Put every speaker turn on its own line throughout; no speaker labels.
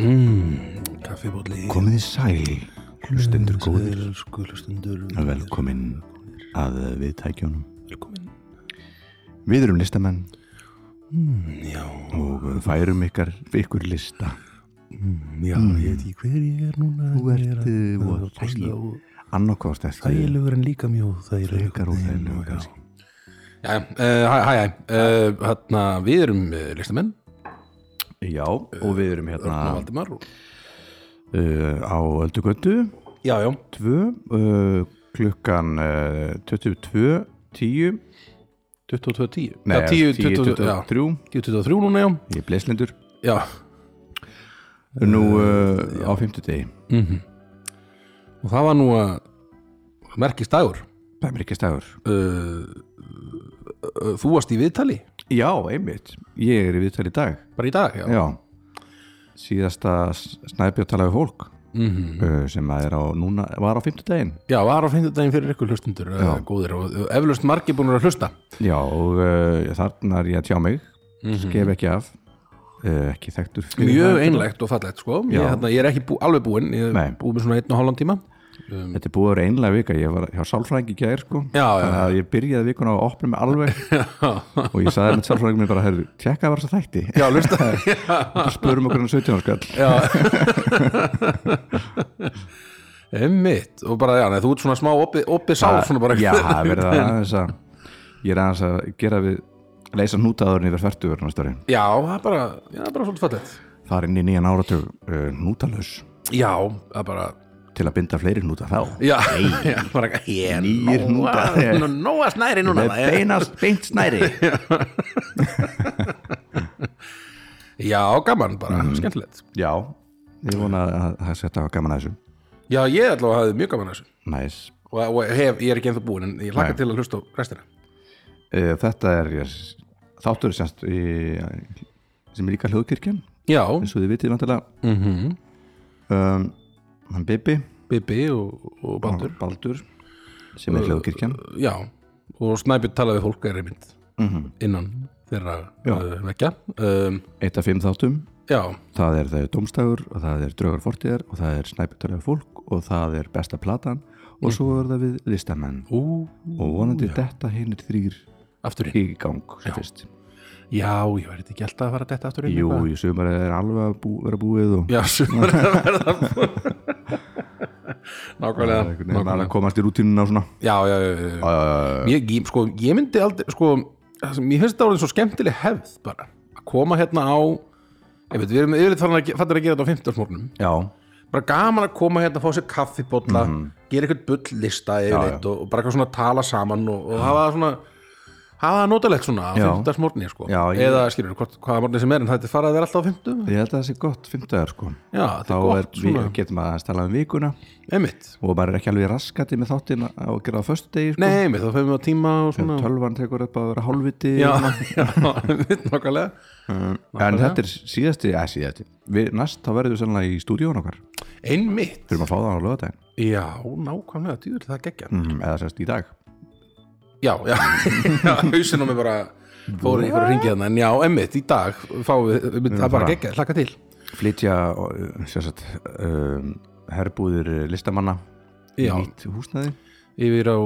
Mmm, Kaffibóli
Komið þið sæl, hlustendur góðir,
Skulustundur
velkomin að viðtækjónum.
Velkomin
Við erum listamenn Mm,
Já,
og færum ykkar ykkur lista.
Mm, já, ég veit ekki hver ég er núna
Mm. Þú
en ég að-
ert, uh,
það
voða
er ofboðslega
þægileg.
og
Annarkost eftir
Þægilegur en líka mjög þægilegur
frekar og
Já,
þægilegur
já.
kannski.
Já, eh, hæ, hæ, hæ eh, Hérna, við erum eh, listamenn
Já, og við erum
Örn og
hérna
Valdimar og-
uh, á Öldugötu
Já, já,
2 uh, klukkan uh, 22, 10,
22.10
nei,
Já, 10, 20, 23
23,
10.23 núna, já
ég er bleslindur,
Já,
nú uh, á 50 degi.
og það var nú eh, að merkist dagur
Bæmrikistæður.
uh, uh, Þú varst í viðtali
Já, einmitt, ég er í viðtal í dag.
bara í dag, já,
Já, síðasta snæbjörn talaði við fólk
Mhm.
uh, sem að er á núna, var á fimmtudaginn
Já, var á fimmtudaginn fyrir ykkur hlustundur uh, góðir og uh, eflaust margir búin að hlusta
Já, og uh, þarna er ég að tjá mig skef ekki af uh, ekki þekktur fyrir
Mhm. Mjög
það.
einlegt og fallegt sko ég,
Já.
hérna, ég er ekki bú, alveg búinn, ég
Nei.
er búinn með svona einn og hálfan tíma
Þetta er búið að vera einlega vika, ég var hjá sálfræðingi í gær sko,
Já, já,
þannig að ég byrjaði vikuna á að opna mig alveg og ég sagði með sálfræðingi mér bara, heyrðu, tjekka að vera svo þætti
Já, hlusta
spörum okkur um hann 17 áskall
Emmitt, og bara, já, nei, þú ert svona smá opið, opið sál svona bara
Já, það er verið að aðeins að ég er aðeins að gera við leysa nútaðurinn yfir færtugur næsta ári
Já, það er bara, já, það er bara svolítið fallegt
Það er inn í nýjan áratug uh, nútalaus
Já, það er bara
til að binda fleiri núta þá
Já, já bara, ég
Nýir hnútar.
Nú, nú að snæri núna
með
það er-
beinast beint snæri
Já, gaman bara,
Mhm.
skemmtilegt
Já, ég vona að það sé þetta gaman að þessu
Já, ég allavega hafði mjög gaman að þessu
Næs
og, og hef, ég er ekki ennþá búinn en ég laka
Nei.
til að hlusta á restina
uh, Þetta er yes, þáttur semst í, sem er líka hljóðkirkjan
Já, mhm.
eins og þið vitið vantilega mm -hmm. um, Hann Bibi
Bibi og, og Baldur Uh,
Baldur sem er hljóðkirkjan
Já, Mhm. og Snæbjörn talaði fólk er einmitt innan þeirra uh, vekja um,
Eitt af fimm þáttum
Já,
Það er það er Dómstagur og það er Draugar Fortíðar og það er Snæputalega fólk og það er Besta Platan og svo er það við listamenn
Mm. ú,
og vonandi þetta hinir þrýr
aftur í
í gang sem fyrst.
Já, ég var eitthvað ekki alltaf að fara þetta aftur í
Jú, í sumar er alveg að bú, vera búið og
Já, sumar er að verða Nákvæmlega,
Nefnir að
nákvæmlega.
komast í rútínuna og svona
Já, já, já, já, já. Ég, ég, sko, ég myndi aldrei sko, það sem- mér finnst þetta orðið svo skemmtileg hefð bara, að koma hérna á ég veit, við erum yfirleitt farin að ge- farnir að gera þetta á 15. morgunum
Já,
bara gaman að koma hérna, fá sér kaffibólla
Mhm.
gera eitthvað bulllista yfirleitt og, og bara eitthvað svona tala saman og, og hafa það svona hafa það notalegt svona á
Já.
15. morgunni sko.
Já, ég-
eða skilur, hvort, hvaða morgunni sem er en þetta er farið að vera alltaf á 15.
ég held að það sé gott fimmtaðar sko
Já, þetta
Þá
er
er,
gott
við,
svona,
getum að tala um vikuna
einmitt
og maður er ekki alveg raskati með þáttin að gera það á föstu degi sko
Nei, einmitt, þá fæðum við á tíma og svona
Tölvan tekur upp að vera hálfviti
Já,
og-
já, einmitt nokkulega
En þetta er síðasti, eða síðasti við, Næst þá verðum við sannlega í stúdíón okkar
Einmitt,
Þurfum að fá það á lögadaginn
já, nákvæmlega dýður það geggja
mm, eða sérst í dag
Já, já, já, hausinn á mig bara fór í fyrir að ringja þannig, en já, einmitt, í dag fáum við, við það er bara
bara-
geggja, hlaka til
flytja uh, sérst, um, herbúðir listamanna í
Já.
nýtt húsnaði
yfir á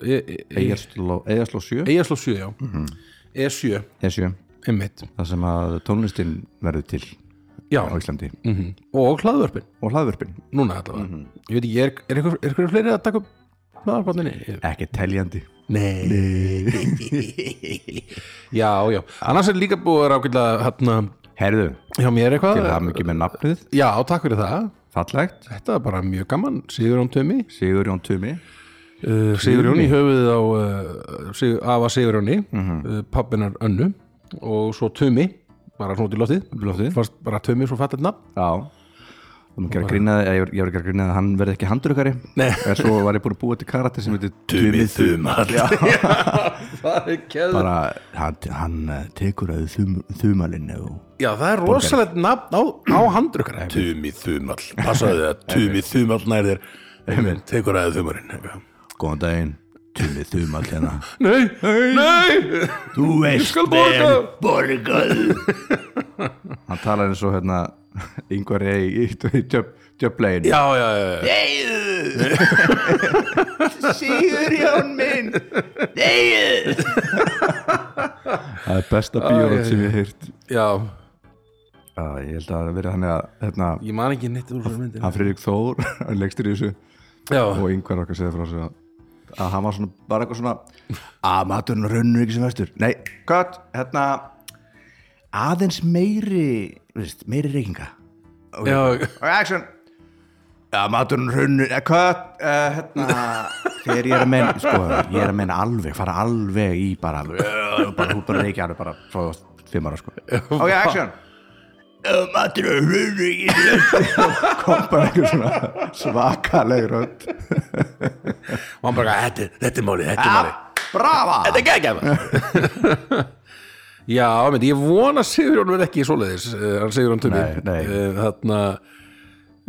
e,
Eigarsló 7
Eigarsló 7 já. E7,
E7
einmitt
þar sem að tónlistin verður til
já.
á Íslandi
mhm. og hlaðvörpin,
og hlaðvörpin
núna allavega ég veit ekki, er, er, einhver, er einhver fleiri að taka upp hlaðvörpinni?
ekki teljandi
Nei, Nei. Já, já, annars er líka búið að vera ákveðlega hérna,
herðu,
hjá mér
til
eitthvað
það mikið með nafnið
Já, takk fyrir það,
fallegt,
þetta er bara mjög gaman Sigur Jón Tömi,
Sigur Jón Tumi
uh, Sigur Jón í höfuðið á uh, Sigur, afa Sigur Jóni mm uh, pappinar Önnu og svo Tömi, bara svona út í loftið
blóttið,
fannst bara tömið svo fallið nafn
já og maður gerir grinnaði, ég var- ég var ekki að grinnaði að hann verði ekki handrukari
Nei.
en svo var ég búin að búa til karakter sem heitir Tumi Þumall já
það er keður
bara, hann, hann eh, tekur að þum, þumalinni og
já það er rosalegt nafn á, á handrukar Tumi Þumall passaðu þið að Tumi Þumall nærðir einmitt, tekur aðeins þumarinn eitthvað.
Góðan daginn, Tumi Þumall hérna
Nei, nei
Þú veist
skal borga.
borgað Hann talar eins og hérna yngvar rey í tjöplegin
Já, já, já, já
Deyðu Sigurjón minn Deyðu Það er besta bíórótt sem ég heirt
Já,
Já, ég held að það hafi verið hann að hérna,
ég man ekki neitt úr þessari myndin
hann Friðrik Þór, hann legstur í þessu
Já,
og yngvar okkar segði frá sér að að hann var svona, bara eitthvað svona að maturinn rönnur ekki sem vestur nei, gott, hérna aðeins meiri veist, meiri reykinga og
já,
og action að maturinn rönnur, eða gott uh, hérna, þegar ég er að menna sko, ég er að menna alveg, fara alveg í bara, bara, bara hún bara reykja alveg bara frá fimm ára sko ok, action að maturinn rönnur ekki sem vestur kom bara einhver svona svakaleg rönd
og hann bara, þetta, er- þetta er málið, þetta er málið
Brava
Þetta er geggjaf Já, menn, ég vona að Sigurjón verð ekki svoleiðis uh, hann Sigurjón Tumi
Nei, nei.
Uh, þarna,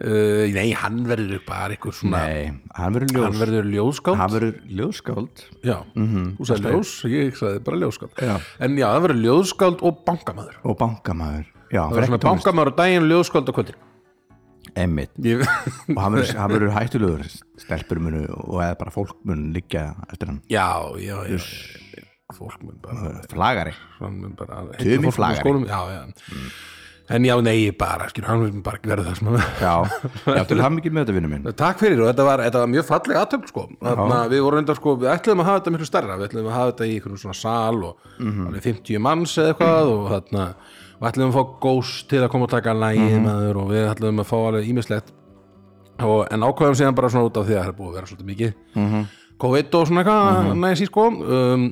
uh, nei, hann verður bara eitthvað svona
Nei, hann verður ljós
hann verður ljóðskáld
Hann verður ljóskáld
Já, þú sagði ljós, ég sagði bara ljóðskáld
Já.
En já, hann verður ljóðskáld og bankamæður
og bankamæður Já,
Það er
hann verður
svona
ekki tónlist
bankamæður á daginn, ljóðskáld og kvöldir
Emmitt
ég...
Og hann verður, hann verður hættulegur Stelpur munu og eða bara fólk mun liggja eftir hann
Já, já, já, já, já. Fólk mun bara,
Flagari
hann mun bara
Tumi
fólk úr
flagari.
skólum, Já, já En já, nei, bara, skilur, hann mun bara ekki verða það sem hann verður
Já, já til hann mikið með þetta vinnu minn
Takk fyrir og þetta var, þetta var mjög falleg aðtöfn sko. Þarna, við vorum undar sko, við ætluðum að hafa þetta miklu starra við ætluðum að hafa þetta í einhvern svona sal og alveg 50 manns eða eitthvað og þarna, og ætluðum að fá ghost til að koma og taka lægið mm maður og við ætluðum að fá alveg ímislegt og, en ákvæðum síðan bara svona út af því að það er búið að vera svolítið mikið COVID og svona eitthvað næsí sko um,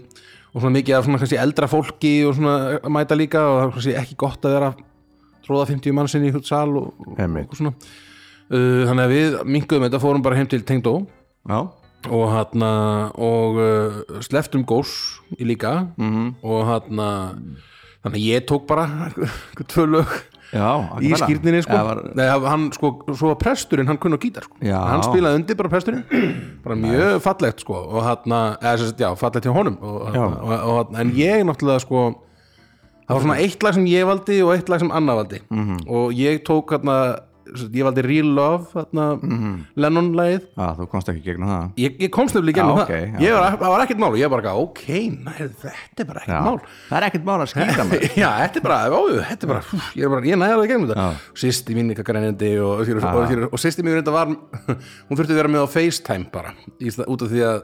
og svona mikið af svona kannski eldra fólki og svona að mæta líka og það er kannski ekki gott að vera að tróða 50 mann sinni í einhvern sal og, og,
Einmitt.
og svona Uh, þannig að við minkuðum þetta, fórum bara heim til Tengdó
Já,
og hérna og uh, sleftum gós í líka -hmm. og hérna þannig að ég tók bara einhver tvö lög
já
í
akkurat.
skýrninni sko,
Já, var,
Nei, hann, sko svo var presturinn, hann kunni á gítar sko.
Já.
hann spilaði undir bara presturinn bara mjög fallegt sko og hérna, eða sem sagt, já, fallegt hjá honum og,
Já.
og, og, og, en ég náttúrulega sko það var svona eitt lag sem ég valdi og eitt lag sem Anna valdi
Mhm.
og ég tók hérna ég valdi Real Love hérna,
Mhm.
Lennon lagið
já, þú komst ekki gegn það
ég, ég komst nefnilega í
Já,
gegnum
ok, já.
það ég var, það var ekkert mál og ég bara gaf, ok, nær, þetta er bara ekkert mál
Það er ekkert mál að skýta mig
já, þetta er bara, ó, þetta er bara, hú, ég, er bara ég næði alveg í gegnum þetta sýsti mín eitthvað grænindi og, og, og, og, og sýsti mín þetta var hún þurfti að vera með á FaceTime bara í, stað- út af því að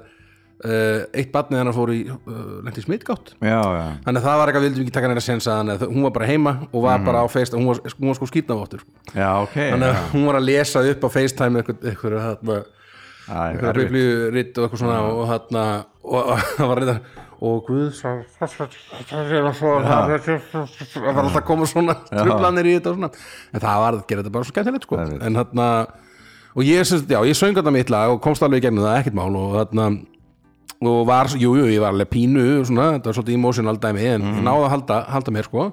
uh, eitt barnið hennar fór í uh, lendi smitgátt
Já, já,
þannig að það var eitthvað, við vildum ekki taka hennar sens að hann eða þau- hún var bara heima og var bara á FaceTime hún var, hún var sko skýtnaváttur sko.
já, ok
þannig að hún var að lesa upp á FaceTime eitthvað, eitthvað, eitthvað
Það er erfitt.
biblíuritt og eitthvað svona og þarna og og það var reyndar og Guð sá- það var alltaf að koma svona trublanir í þetta og svona en það var að gera þetta bara svo skemmtilegt sko
veit.
en þarna og ég, sem sagt, já, ég söng þarna mitt lag og komst alveg í gegnum það ekkert mál og þarna og var, jú, jú, ég var alveg pínu svona, þetta var svolítið emotional dæmi en ég náði að halda, halda mér sko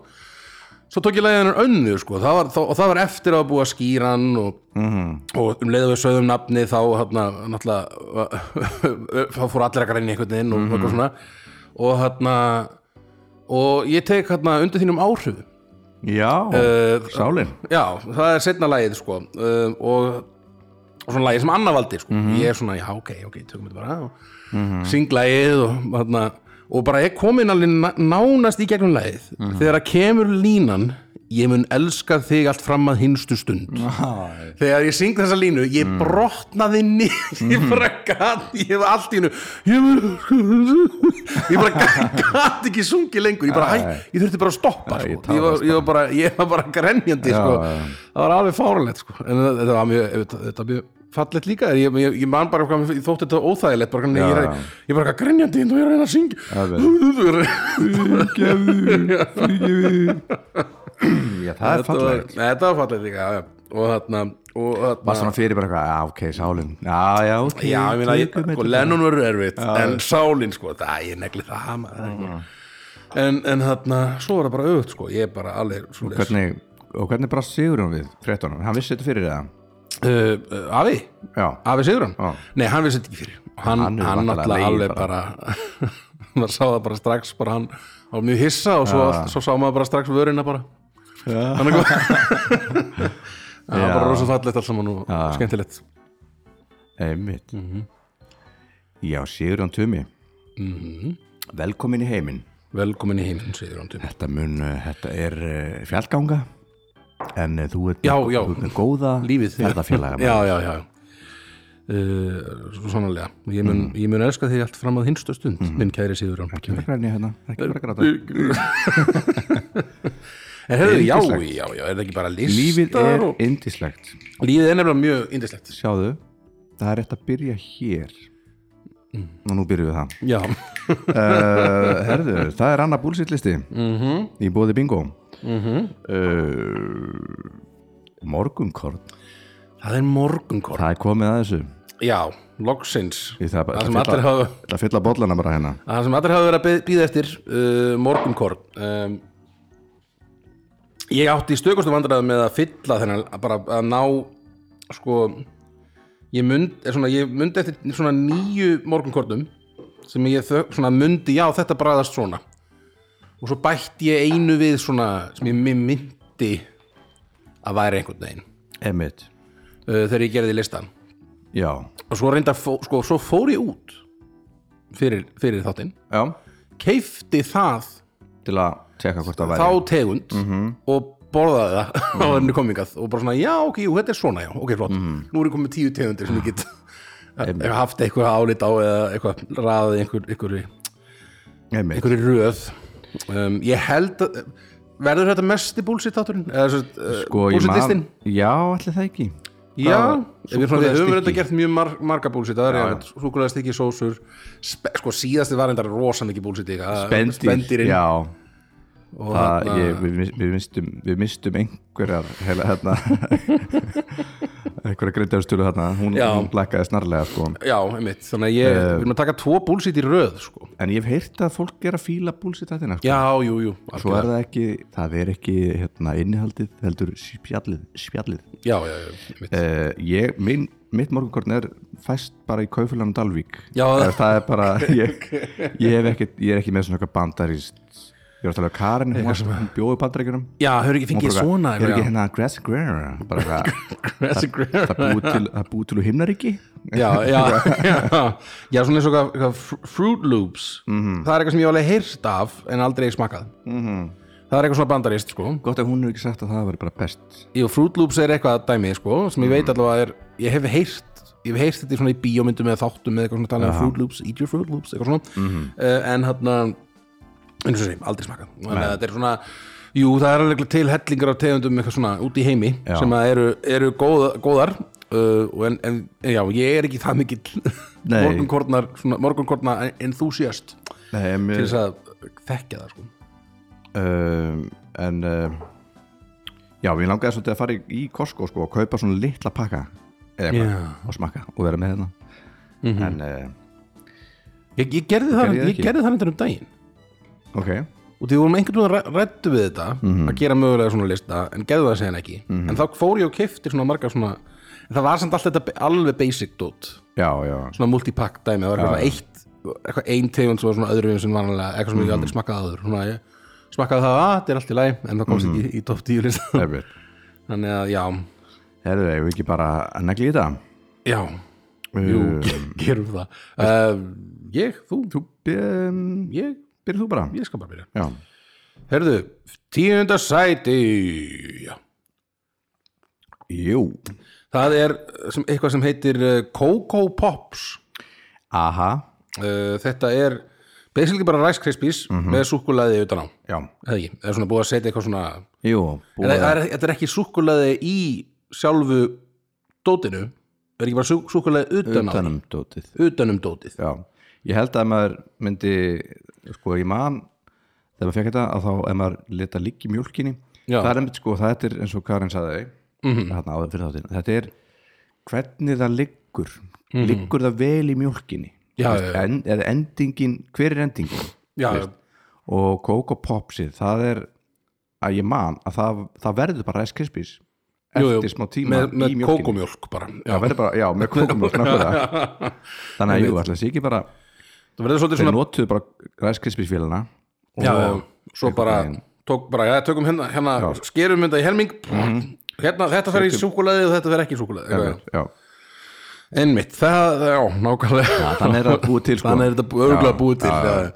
svo tók ég leiðið hennar önnu sko það var, þá, og það var eftir að búa skýran og, og um leiðið við sögðum nafni þá hérna, náttúrulega þá fór allir að græni einhvern veginn og mm svona og hérna og ég tek hérna undir þínum áhrifum
Já, sálin
já, það er setna lagið sko uh, og og svona lagið sem Anna valdi sko.
Mhm.
ég er svona, já ok, ok, tökum þetta bara og syng lagið og, þarna, og bara ég komin alveg ná- nánast í gegnum lagið
Mhm.
þegar að kemur línan ég mun elska þig allt fram að hinstu stund
Já,
þegar ég syng þessa línu, ég
Mhm.
brotnaði niður, ég bara gat ég var allt í hennu ég, mun- ég bara gat, gat ekki sungið lengur, ég bara, hæ, ég þurfti bara að stoppa,
Æ,
sko.
ég
ég, var, ég var bara ég var bara grenjandi,
Já,
sko
já.
það var alveg fáralegt, sko, en það- þetta var mjög þetta- þetta var mjög fallegt líka, ég, ég, ég man bara hvað, mér þótti þetta óþægilegt, bara hvernig ég,
Já, já.
er- ég bara gat grenjandi og ég er að reyna að syngja
fyrirgefu, fyrirgefu Já, það er
þetta var,
fallegt
þetta var fallegt líka, já, já og þarna, og þarna
Var svona fyrir bara eitthvað, já, ok, sálin Já, já, ok
Já, ég meina, ég-
tökum
sko,
þetta.
Lennon verður erfitt en sálin, sko, það ég negli það hama
Mm.
en, en þarna, svo er það bara auðvitað, sko ég er bara alveg svo les
Hvernig, og hvernig brast Sigurjón við fréttunum? Hann vissi þetta fyrir það
uh, uh, Afi,
Já.
Afi Sigurðan
Já.
Nei, hann vissi þetta ekki fyrir Og hann,
Hann
hann,
er væntanlega
náttúrulega
legið
alveg bara, maður sá það bara strax bara hann hann var mjög hissa og svo, allt, svo sá maður bara strax vörina bara hann er góð það var bara rosa fallegt allt saman og skemmtilegt
Einmitt
Mhm.
Já, Sigurjón Tumi mm
Mhm.
Velkomin í heiminn
velkomin í heiminn Sigurðan Tumi
Þetta mun, uh, þetta er uh, fjallganga En uh, þú ert
Já,
með-
já.
þú ert með góða
lífið
ferðafélaga
já, já, já uh, svo sannlega ég mun, ég mun elska þig allt fram að hinstu stund minn kæri Sigurðan
Mm. Ekki vera græni hérna, ekki vera gráta
en hefur, já,
Yndislegt.
já, já, er það ekki bara listar
Lífið er
og...
indislegt
lífið er nefnilega mjög indislegt
Sjáðu, það er rétt að byrja hér
Mm.
Og nú byrjuðu það
já,
uh, Herðu, það er annar búlsittlisti
Mhm.
-hmm. Í bóði bingo mm uh, Morgunkorn
það er morgunkort
Það er komið að þessu
já, loksins
Ég þarf bara-
það sem allir hafa
Það fylla bollana bara hérna
það sem allir hafa verið að býða eftir uh, morgunkorn um, ég átti í stökustu vandræðum með að fylla þennan að bara að ná sko ég mynd, er svona, ég mynd eftir svona nýju morgunkornum sem ég þau, svona myndi, já þetta bræðast svona og svo bætti ég einu við svona sem ég mig myndi að væri einhvern veginn
Emmitt
uh, þegar ég gerði listan
Já,
og svo reynda, fó, sko, svo fór ég út fyrir, fyrir þáttinn
já
keifti það
Til að tjekka hvort það væri
þá tegund
Mhm.
og borðaði það á henni komingað og bara svona, já, ok, jú, þetta er svona, já, ok, flott
Mhm.
nú er ég komið tíu tegundir sem ég get hef haft eitthvað álit á eða eitthvað raðið einhver, einhverju
Einmitt.
einhverju röð um, ég held að verður þetta mest í búlsitt þátturinn eða svo, uh,
Sko, ég
búlsitt
man
listin
Já, allir það ekki
Já, ef við, svona, við höfum
súkkulaðistykki.
reynda gert mjög mar marga búlsýtt það er súkulega stikki sósur spe, sko síðasti var reyndar rosa mikið búlsýtt
Spendir Já
og
það,
þarna-
ég, við, mis- við, mistum, við mistum einhverjar heila hérna einhverja greitarstjólu hérna hún,
Já.
hún blakkaði snarlega sko
Já, einmitt, þannig að ég,
Eh,
við erum að taka tvo búlsitt í röð sko.
en ég hef heyrt að fólk er að fíla búlsitt þetta sko.
Já, jú, jú
svo
algjörlega.
er það ekki, það er ekki hérna, innihaldið, heldur spjallið, spjallið.
Já, já, já, einmitt
Uh, ég, minn, mitt morgunkorn er fæst bara í Kaufélan og Dalvík
Já.
það, það er bara ég, ég, hef ekki, ég er ekki með svona eitthvað bandarist ég var að tala um Karin hún, var- hún bjóði bandaríkjunum
Já, hefur ekki fengið svona
er ekki hérna Grass and Grera bara það
Grass and Grera.
það búið til, það búið til úr himnaríki
Já, já, já Já, svona eins og eitthvað- eitthvað fr- Fruit Loops
Mhm.
Það er eitthvað sem ég hef alveg heyrst af en aldrei smakað Það er eitthvað svona bandarist sko
gott að hún hefur ekki sagt að það var bara best
Jú, Fruit Loops er eitthvað dæmi sko sem ég veit allavega er, ég hef heyrt ég hef heyrt þetta í svona í bíómyndum eða þáttum eða eitthvað svona talað um Fruit Loops, eat your Fruit Loops eitthvað svona, uh, en hann eins og sem, aldrei smakað þannig að þetta er svona, jú, það er alveg til hellingar af tegundum eitthvað svona út í heimi
Já.
sem að eru, eru góða, góðar uh, og en, en já, ég er ekki það mikill
Nei.
morgunkornar svona, morgunkorna enthusiast
Nei, em,
til þess að þekkja það sko
um, en um, já, mér langaði svolítið að fara í, í Costco sko og kaupa svona litla pakka eða eitthvað
Já.
og smakka og vera með hérna
Mhm.
en uh,
ég, ég gerði það,
Gerði ég
ég
ekki?
gerði það reyndar um daginn
ok
og því vorum einhvern veginn rættu við þetta að gera mögulega svona lista en gerðu það segjan ekki en þá fór ég og kefti svona margar svona en það var samt allt þetta be- alveg basic dot
já, já,
svona multipack dæmi það var eitthvað svona eitt eitthvað ein tegund sem var svona öðru sem vanlega eitthvað sem ég aldrei smakkaði aður svona ég smakkaði það að þetta er allt í læg en það komst ekki í, í topp 10 lista
efir
þannig að já
herðu, ég vil ekki bara að negli í Eh, það
já jú ge- gerum það uh, ég, þú,
þú um,
ég
byrjir þú bara
ég skal bara byrja
já,
herðu, tíunda sæti já
jú
Það er sem, eitthvað sem heitir eh, Coco Pops
aha,
uh, Þetta er basically bara Rice Krispies
Mhm.
með súkkulaði utan á
já,
eða ekki, það er svona búið að setja eitthvað svona
jú
en
búið
það
að-
er, þetta er ekki súkkulaði í sjálfu dótinu það er ekki bara sú, súkkulaði utan, utan. á
utanum dótið
því, utan um dótið
Já, ég held að ef maður myndi, sko ég man þegar maður fekk þetta að þá ef maður leta lík í mjólkinni
Já. Mhm.
það er einmitt sko, þetta er eins og Karin sagði þarna áður fyrir þáttinn, þetta er hvernig það liggur liggur það vel í mjólkinni
Mhm. Já,
Þú veist,
já, já.
en, eða endingin, hver er endingin
Já,
og Coco Popsið, það er að ég man að það, það verður bara Rice Krispies
Jú, jú,
eftir smá tíma
með, með
í mjólkinni
kókumjólk bara
Já, verður bara, já, með kókumjólk nákvæmlega. Þannig að jú, alltaf sé ekki bara
það verður svolítið
þeir
svona
notuðu bara græskrispísfélina
já, já, svo bara, tók bara já, tökum hérna, hérna skerum þetta í helming hérna, þetta fer í súkulaði og þetta fer ekki í súkulaði
Mhm. já,
Einmitt, það, já, nákvæmlega já,
þannig er það búið til, sko.
Þannig er þetta örgulega búið til já,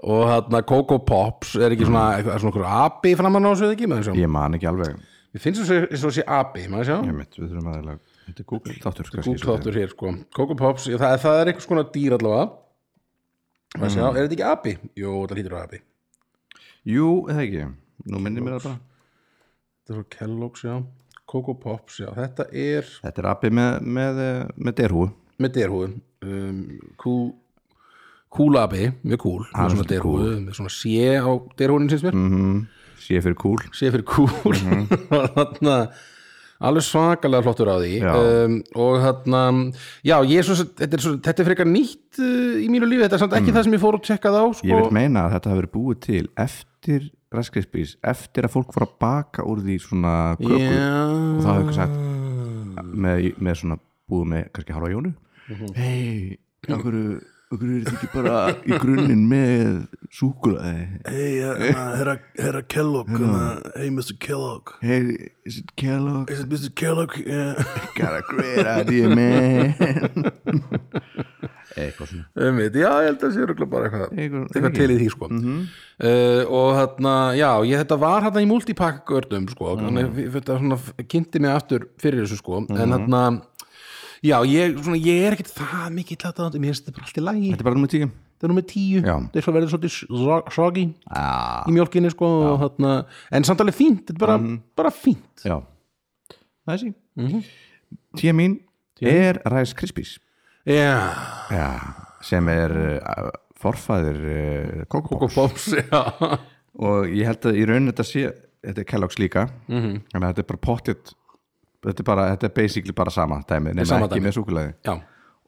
Og þarna Coco Pops er ekki svona, mm. svona okkur api framan á þessu eða ekki með þessu
ég man ekki alveg
Við finnst þessu eins og sé api, maður sjá
Ég mitt, við þurfum að eiginlega- þetta er Google þáttur kannski,
Google
svolítið.
þáttur hér, sko Coco Pops, ég, það, er- það er einhvers konar dýr allavega Maður sjá, er þetta ekki api? Jú, þetta hlýtur að vera api
Jú, eða ekki, nú minnir mér það bara
Þetta er svo Kellogg's, já Coco Pops, já, þetta er
Þetta er appi með, með, eh, með derhúu
með derhúðu um, kú, Kúlapi, mjög kúl með svona derhúðu, með svona sé á derhúðin sinns mér
Mhm. sé fyrir kúl
sé fyrir kúl
Mhm.
og þarna alveg svakalega flottur á því
Já.
um, og þarna já, ég er svo, sem- þetta, er svo, þetta er frekar nýtt uh, í mínu lífi, þetta er samt ekki það sem ég fór og tjekka þá
Mhm. Ég
sko.
vil meina að þetta hafi verið búið til eftir græskrispís, eftir að fólk var að baka úr því svona köku og það hafi eitthvað sagt með, með svona búið með kannski halva jónu Mhm. hei, okkur okkur er þetta ekki bara í grunninn með súkulaði
Hey, uh, uh, herra, herra Kellogg.
Hmm.
Uh, hey, Mr. Kellogg.
hei, is it Kellogg
Is it Mr. Kellogg?
uh,
Yeah.
got a great idea man eitthvað svona
um, já, ég held að það sé röglega bara eitthvað
Eitthvað-
eitthvað til í því sko.
Mhm.
uh, og þarna, já, ég, þetta var þarna í multipack ördum sko.
Mhm.
þannig að þetta svona kynnti mig aftur fyrir þessu sko.
Mhm.
en þarna já, ég, svona, ég er ekkert það mikið þetta, mér finnst þetta bara allt í lagi
Þetta er bara nummer tíu
þetta er nummer tíu,
Já.
þetta er svo verður svolítið soggy
ah.
í mjólkinni sko og þarna, en samt alveg fínt, þetta er bara, bara fínt
Já Næsí Tía mín er Rice Krispies
já,
Já, sem er uh, forfæðir uh, Coco Pops.
og bóms, Sko, já
og ég held að í raun þetta sé þetta er Kellogg's líka -hmm. en þetta er bara pottit þetta er, bara, þetta er basically bara sama dæmi nema
sama
ekki
dæmi.
með súkulaði
já,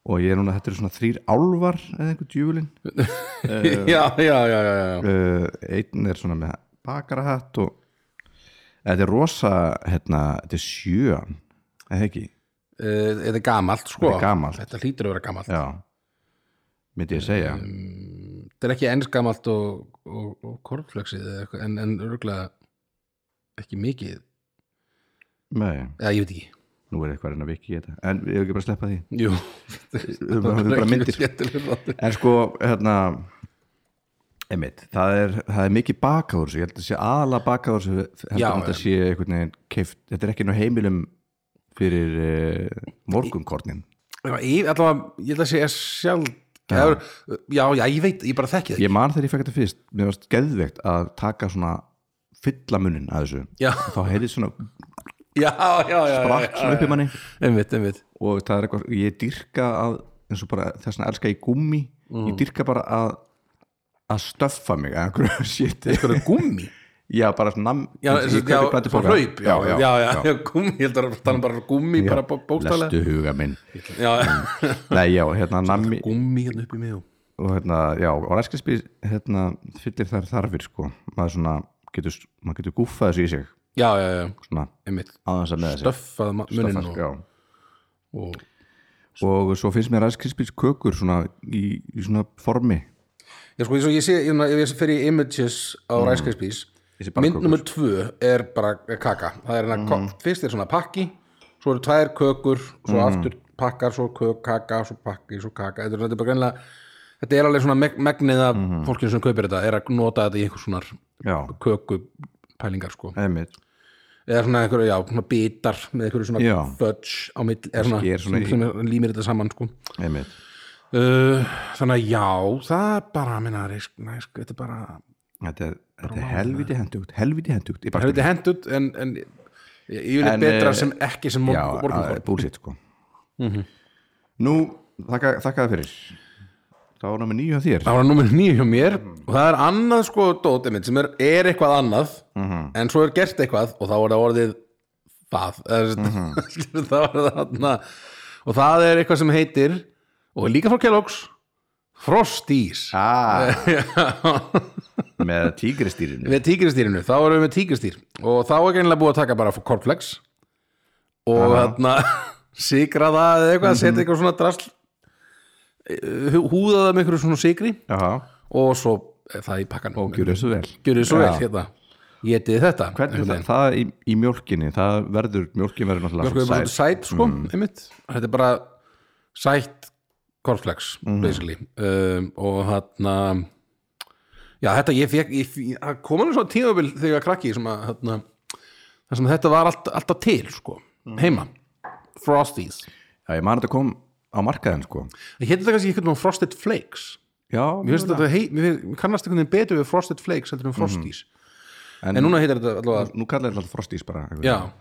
og ég er núna, þetta eru svona þrýr álvar eða einhver djúlin
já, já, já, já, já.
uh, einn er svona með bakarahatt og þetta er rosa hérna, þetta er sjöan eða ekki,
Uh, þetta er gamalt sko
Þetta er gamalt.
þetta hlýtur að vera gamalt, Mm,
já myndi ég segja
þetta er ekki ens gamalt og, og, og kornflöksið eða eitthvað, en, en örgulega ekki mikið,
Nei,
eða ég veit ekki
nú er eitthvað að reyna að viki í þetta en við hefum ekki bara að sleppa því
jú,
höfum bara- höfum bara myndir.
myndir
En sko, hérna einmitt, það er, það er mikið bakaður ég held að sé aðla bakaður heldur
Já,
að þetta sé einhvern veginn keift, þetta er ekki nú heimilum fyrir uh, morgunkornin
Já, Ég, allavega, ég held að sé sjálf já. já, já, ég veit, ég bara þekki það
Ég man þegar ég fekk þetta fyrst, mér varst geðveikt að taka svona fylla munnin að þessu
Já.
þá heyrið svona
Já, já, já, já,
brakk svona upp í manni
einmitt, einmitt
og það er eitthvað, ég dyrka að eins og bara þess að elska ég gummi
Mm.
ég dyrka bara að að stöffa mig að einhverju shit
einhverju gummi
Já, bara svona nam,
já,
ég
já,
kaupi
já,
plötupóka.
hlaup já, já, já, já, gummi, ég held að tala um bara gummi bara bó- bókstaflega
Lestu huga minn
já,
Nei, já, hérna nammi
gummi hérna upp í mig og-
og hérna, já, og ræskisbís hérna, fyllir þær þarfir, sko maður svona, getur, maður getur gúffað þessu í sig
já, já, já,
svona,
einmitt
aðeins að með þessu
stöffað ma- munninn og,
já
og
Og svo finnst mér ræskisbís kökur svona í, í svona formi
já, sko, eins og ég sé, ég, ég, ég fer í images á mm. ræskrispís
Ég sé bara
mynd
kökur.
nummer tvö er bara er kaka það er hérna, mm. fyrst er svona pakki svo eru tvær kökur, svo
Mm.
aftur pakkar, svo kök, kaka, svo pakki svo kaka, þetta er, þetta er bara greinlega þetta er alveg svona meg- megnið af
Mhm.
fólkinu sem kaupir þetta er að nota þetta í einhvers svona
Já,
kökupælingar sko
einmitt
eða svona einhverju, já, svona bitar með einhverju svona
Já.
fudge á mill eða svona,
Sker svona
svona,
í-
svona, límir þetta saman sko
Einmitt
uh, þannig að já, það er bara minna, risk, næsk, þetta er bara
Þetta er, þetta er helviti hendugt, helviti hendugt í bakstæðum.
þetta er hendut en, en ég, ég vil
En,
betra
eh,
sem ekki sem
Já,
morgun
það er búlsitt sko
Mhm.
Nú, þakka, þakka það fyrir Þá er námið nýju að þér
það var nummer nýju hjá mér og það er annað sko dótið mitt sem er, er eitthvað annað
Mhm.
en svo er gert eitthvað og þá er það orðið það
Mhm.
mm þá er það þarna og það er eitthvað sem heitir og er líka frá Kellogg's Frostís
ah, Með tígristýrinu
við tígristýrinu, þá erum við með tígristýr og þá er greinlega búið að taka bara kornflex og hérna sikra það eða eitthvað,
Mhm.
setja eitthvað svona drasl eh, hú- húða það með einhverju svona sikri
já,
og svo er það í pakkan
og gjur þessu vel
gjörðu svo vel
Já.
hérna getið þetta Hérna.
hvernig það, það í, í mjólkinni það verður, mjólkin verður
Mjölkur
náttúrulega
er bara svolítið sæt sko, einmitt Þetta er bara sætt cornflakes, basically um, og þarna já, þetta ég fekk ég, ég, það kom alveg svo tímabil þegar ég var krakki sem að, þarna, þar sem þetta var allt, alltaf til sko, heima Frosties
já, ég man að þetta kom á markaðin sko
Það hétt þetta kannski einhvern veginn Frosted Flakes
já,
Mér finnst þetta, hei, mér finnst- mér kannast einhvern veginn betur við Frosted Flakes heldur en Frosties Mhm.
En-
en, Mm. núna heitir þetta allavega
nú kallar þetta alltaf frostís bara eitthvað.
Já,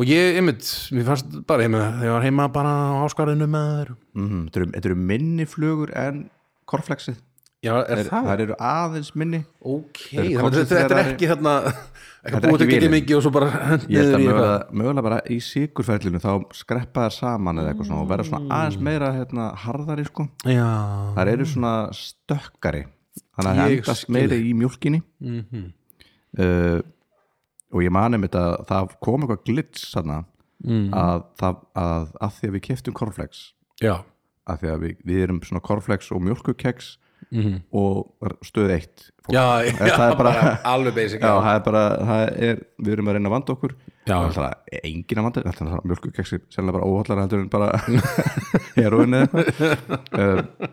og ég, einmitt, mér fannst bara heima, þegar ég var heima bara á áskarðinu með þér
Mhm, þetta eru- þetta eru minni flugur en korflexið
Já, er, það?
það eru aðeins minni
Ok,
Þeir eru
þannig að þetta, þetta er
konsentreraðir.
ekki þarna ekki
Þetta er
búið til
ekki
ekki
vélin.
mikið og svo bara
ég held
hendur
að
í eitthvað
mögulega, mögulega bara í sigurferðlinu þá skreppa þær saman eða eitthvað svona og verða
Mm.
svona aðeins meira hérna, harðari sko
Já,
þær eru svona stökkari þannig að það
Mm. Ég
endast
skil. Mhm.
meira í mjólkinni uh, og ég mani mitt að það kom eitthvað glits þarna
Mm.
að, það, að, að því að við keftum korflex
já,
að því að við, við erum svona korflex og mjólkukeks
Mhm.
og stöð eitt fólk.
já,
En það er bara-
alveg basic
Já, það er bara, það er, við erum að reyna að vanda okkur
Já.
Það er alltaf engin að vanda Þetta er alltaf mjölkukeksi, sérlega bara óhallara heldur en bara heroin eða eitthvað um,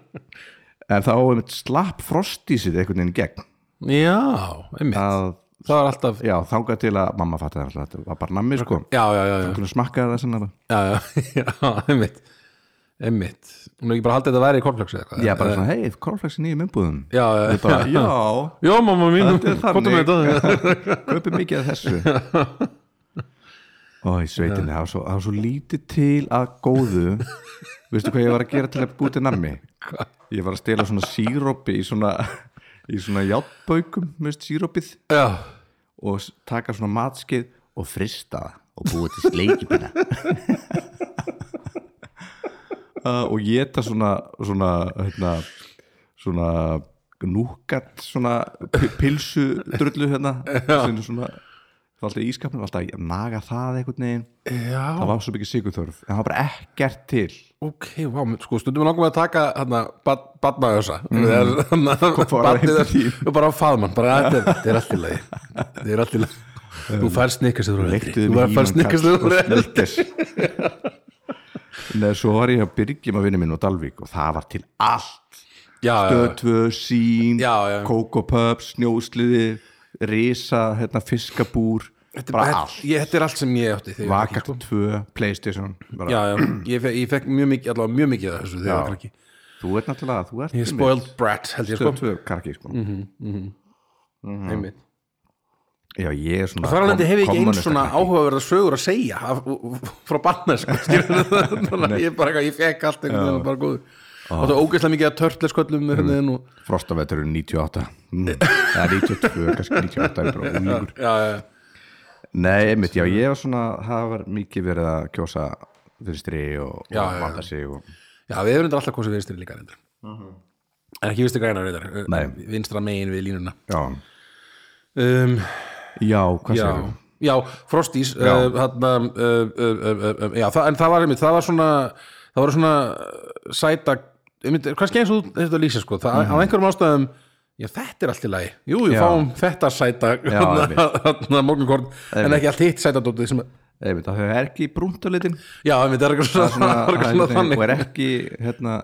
En þá er mitt slapp frostísið einhvern veginn í gegn
Já, einmitt,
að,
það var alltaf
Já, þangað til að mamma fatti það alltaf, þetta var bara nammi sko
Já, já, já, já,
Hvernig smakka það sennar
já, já, já einmitt einmitt, hún er ekki bara haldið að þetta væri í kornflöksu eða eitthvað Eh,
Já, bara svona, hei, korflexin í minnbúðum
Já, já,
Ég bara,
já,
já,
já, mamma mín
þetta er
komdu með þetta.
þannig Kaupi mikið af þessu Ó, í sveitinni, það var svo, það var svo lítið til að góðu Veistu hvað ég var að gera til að búti nammi? Ég var að stela svona sírópi í svona í svona játbaukum, veist, sírópið
Já,
og s- taka svona matskið og frista það og búa til sleikipina uh, og geta svona svona hérna, svona núkat svona pi- pilsu drullu hérna sem er svona það var alltaf ískapnum, alltaf að naga það einhvern veginn
já,
það var svo mikið sigurþörf en það var bara ekkert til
ok, vá, mér- sko, stundum við langum að taka hérna, badmaðjósa
Mm. bara heim til þín.
og bara faðmann, bara þetta er- þetta er allt í lagi þetta er allt í lagi þú fær snikkast þegar þú er eldri þú
Leiktuðu Um, með
fær
Ívan
snikkast þegar
Karl
þú er
og
eldri
Snilkes Nei, svo var ég að byrgjum að vinna minn á Dalvík og það var til allt
já, já,
Stöðtvö, sín,
Já, já.
Coco Pups, snjósliði, risa, hérna, fiskabúr, bara
þetta-
allt.
ég, þetta er allt sem ég átti þegar ég var krakki,
Vakart 2, Playstation, bara.
já, já, ég, fe, ég fekk mjög mikið allavega mjög mikið af þessu þegar ég var
Já.
krakki
Þú ert náttúrulega, þú ert
ég er spoiled brat, held ég sko Mhm.
Stöðtvö, karki, sko.
einmitt
Já, ég er svona...
Það er alveg hef ég ekki eins svona
kommúnistakrakki.
áhugaverða sögur að segja af, frá sko, barnesk ég bara eitthvað, ég fekk allt einhvern veginn bara góð og það er ógeðslega mikið að törtlesköllum með henni og
Frostaveturinn 98, mm. eða 92, kannski 98, ég er bara ungur.
já, já,
Nei, einmitt, já, ég var svona, það var mikið verið að kjósa vinstri og,
Já, já,
og
já.
vanda sig og...
já, við erum þetta alltaf kosið vinstri líka reyndar en ekki vinstri græna
Nei.
reyndar vinstra megin við línuna
Já,
um,
já, hvað
já,
segir þú?
já, Frostís uh, þarna, uh, uh, uh, uh, uh, já, það, en það var einmitt, það var svona það var svona uh, sæta einmitt, kannski eins og þú- þetta lýsir sko það, á einhverjum ástæðum Já, þetta er allt í lagi. Jú, við
Já.
fáum þetta sæta
einmitt.
þarna morgunkorn, en ekki allt hitt sæta dótið sem,
Einmitt, það er ekki brúntalitin.
já, einmitt, það er eitthvað svona,
svona,
það er eitthvað svona
og
þannig.
er ekki hérna,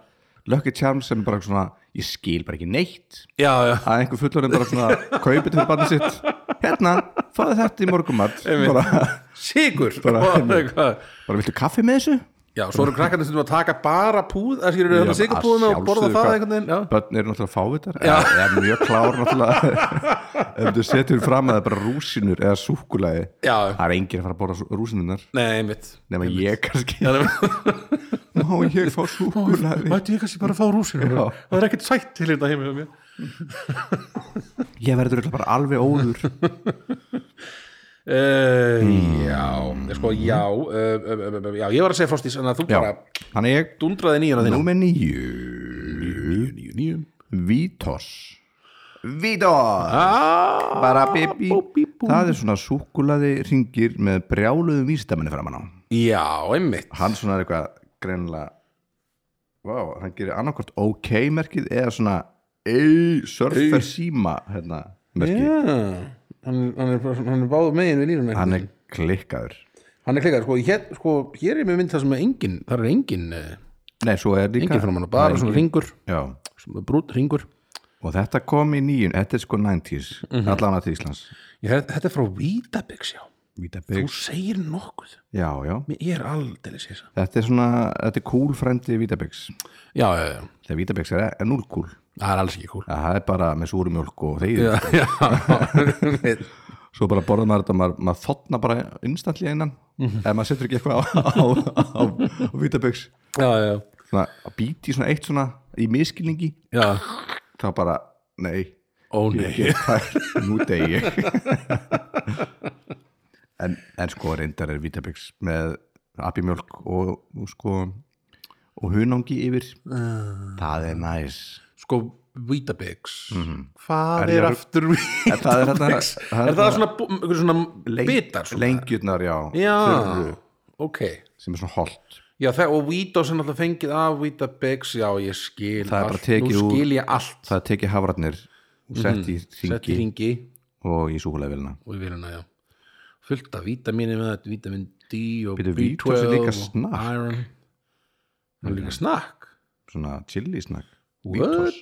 Lucky Charms sem er bara svona ég skil bara ekki neitt
Já, já,
að einhver fullorinn bara svona kaupið fyrir barnið sitt hérna, fáðu þetta í morgumat bara,
sigur.
Bara,
Og
einmitt.
eitthvað.
bara viltu kaffi með þessu?
Já, svo eru krakkarnir stundum að taka bara púð að skilur þetta sigurpúðuna og borða það einhvern veginn já.
börn eru náttúrulega fávitar eða eða mjög klár náttúrulega ef þú setur fram að það er bara rúsinur eða súkulaði
já,
það er enginn að fara að borða rúsinunar
nei, einmitt
nema ég kannski
Já, nei,
má ég fá súkulaði
Mætti ég kannski bara að fá rúsinu
Já.
Það er ekkert sætt til þetta heimil mér
ég verður örugglega bara alveg óður
uh, Já, sko, já uh, uh, uh, uh, Já, ég var að segja Frostís en að þú bara
þannig ég
dundraði nýjuna þína
Númer nýju Vítos Vítos
ah,
Bara bíbí
bú, bí, bú.
Það er svona súkulaði ringir með brjáluðum vísdamenni framan á
já, einmitt
hann svona er eitthvað greinilega vá, hann gerir annarkvort OK merkið eða svona ei, surfer síma hérna, merkið,
Já, hann, hann, er, bara svona- hann er báð megin við línuna
hann er klikkaður
hann er klikkar, sko, hér, sko, hér er mér mynd það sem er engin, það er engin eh,
nei, svo er líka
engin framann, bara svona ringur
já,
svona brút ringur
og þetta kom í nýjun, þetta er sko 90s
Mhm.
allan að til Íslands
ég, þetta er frá Vítabix, já þú
Vítabygg,
segir nokkuð,
já, já
Mér- ég er aldeilis hissa
þetta er svona, þetta er cool frendi Vítabyggs,
já, já, já,
þegar Vítabyggs er, er null cool
það er alls ekki cool
það er bara með súrumjólk og þegið
já, já, einmitt.
svo bara borðar maður þetta, maður, maður þotna bara instantlega innan,
Mhm.
ef maður setur ekki eitthvað á, á, á, á, á Vítabyggs
já, já,
svona, að býti svona eitt svona í miskilningi,
já
þá bara nei,
ó nei,
ég, það- nú degi ég en, en sko reyndar er Vitabix með abimjólk og, og sko og hunangi yfir
Ah.
það er næs
sko Vítabix
Mhm.
hvað er, aftur
En það er þetta
Vítabix er það svona, bú- einhver svona bitar svona?
lengjurnar, já,
já,
þurru,
ok
sem er svona holt
já, það, og Vítos er náttúrulega fengið af Vítabix já, ég skil
Það er bara
allt.
tekið
nú
úr-
skil ég allt
það tekið hafratnir og sett í
Mhm. sett í
hringi
ringi
og í súkulegvilna
og í viluna, já fullt af vítamini með þetta, vítamin D og B12
Bíddu, Vítos er líka
og
snakk.
Iron Það er líka snakk
svona chili snakk
What?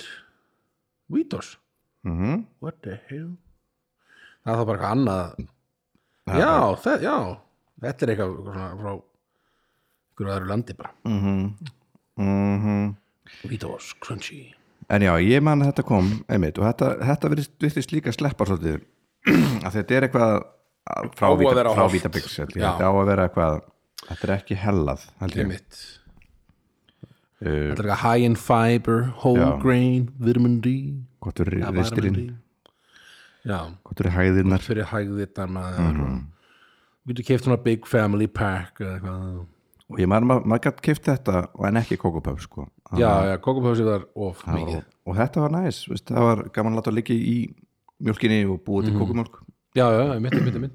Vítos?
mm
What the hell? Það er þá bara eitthvað annað Já, það, já Þetta er eitthvað eitthvað svona frá einhverju öðru landi bara
Mhm.
Vítos, crunchy
En já, ég man að þetta kom einmitt, og þetta, þetta virðist, virðist líka sleppa svolítið að þetta er eitthvað að- frá,
Á að
Víta-
vera
frá
holt.
Vítabix held ég.
Já.
þetta á að vera eitthvað þetta er ekki hellað held ég. Eh,
Einmitt Þetta er eitthvað high in fiber, whole
Já.
grain, vitamin D
hvort eru
Ja, vitamin D.
ristirinn,
Já
hvort eru hæðirnar
fyrir hægðirnar maður
Mhm.
og getur keft svona big family pack eða eitthvað
og ég man að ma- maður gætt keift þetta og en ekki kokopöf sko. Það
já, já, kókupási var of
var-
mikið
og, og þetta var næs, veist, það var gaman að láta líka í mjölkinni og búa
Mhm.
til kokumjölk
já, já, mitt, mitt, mitt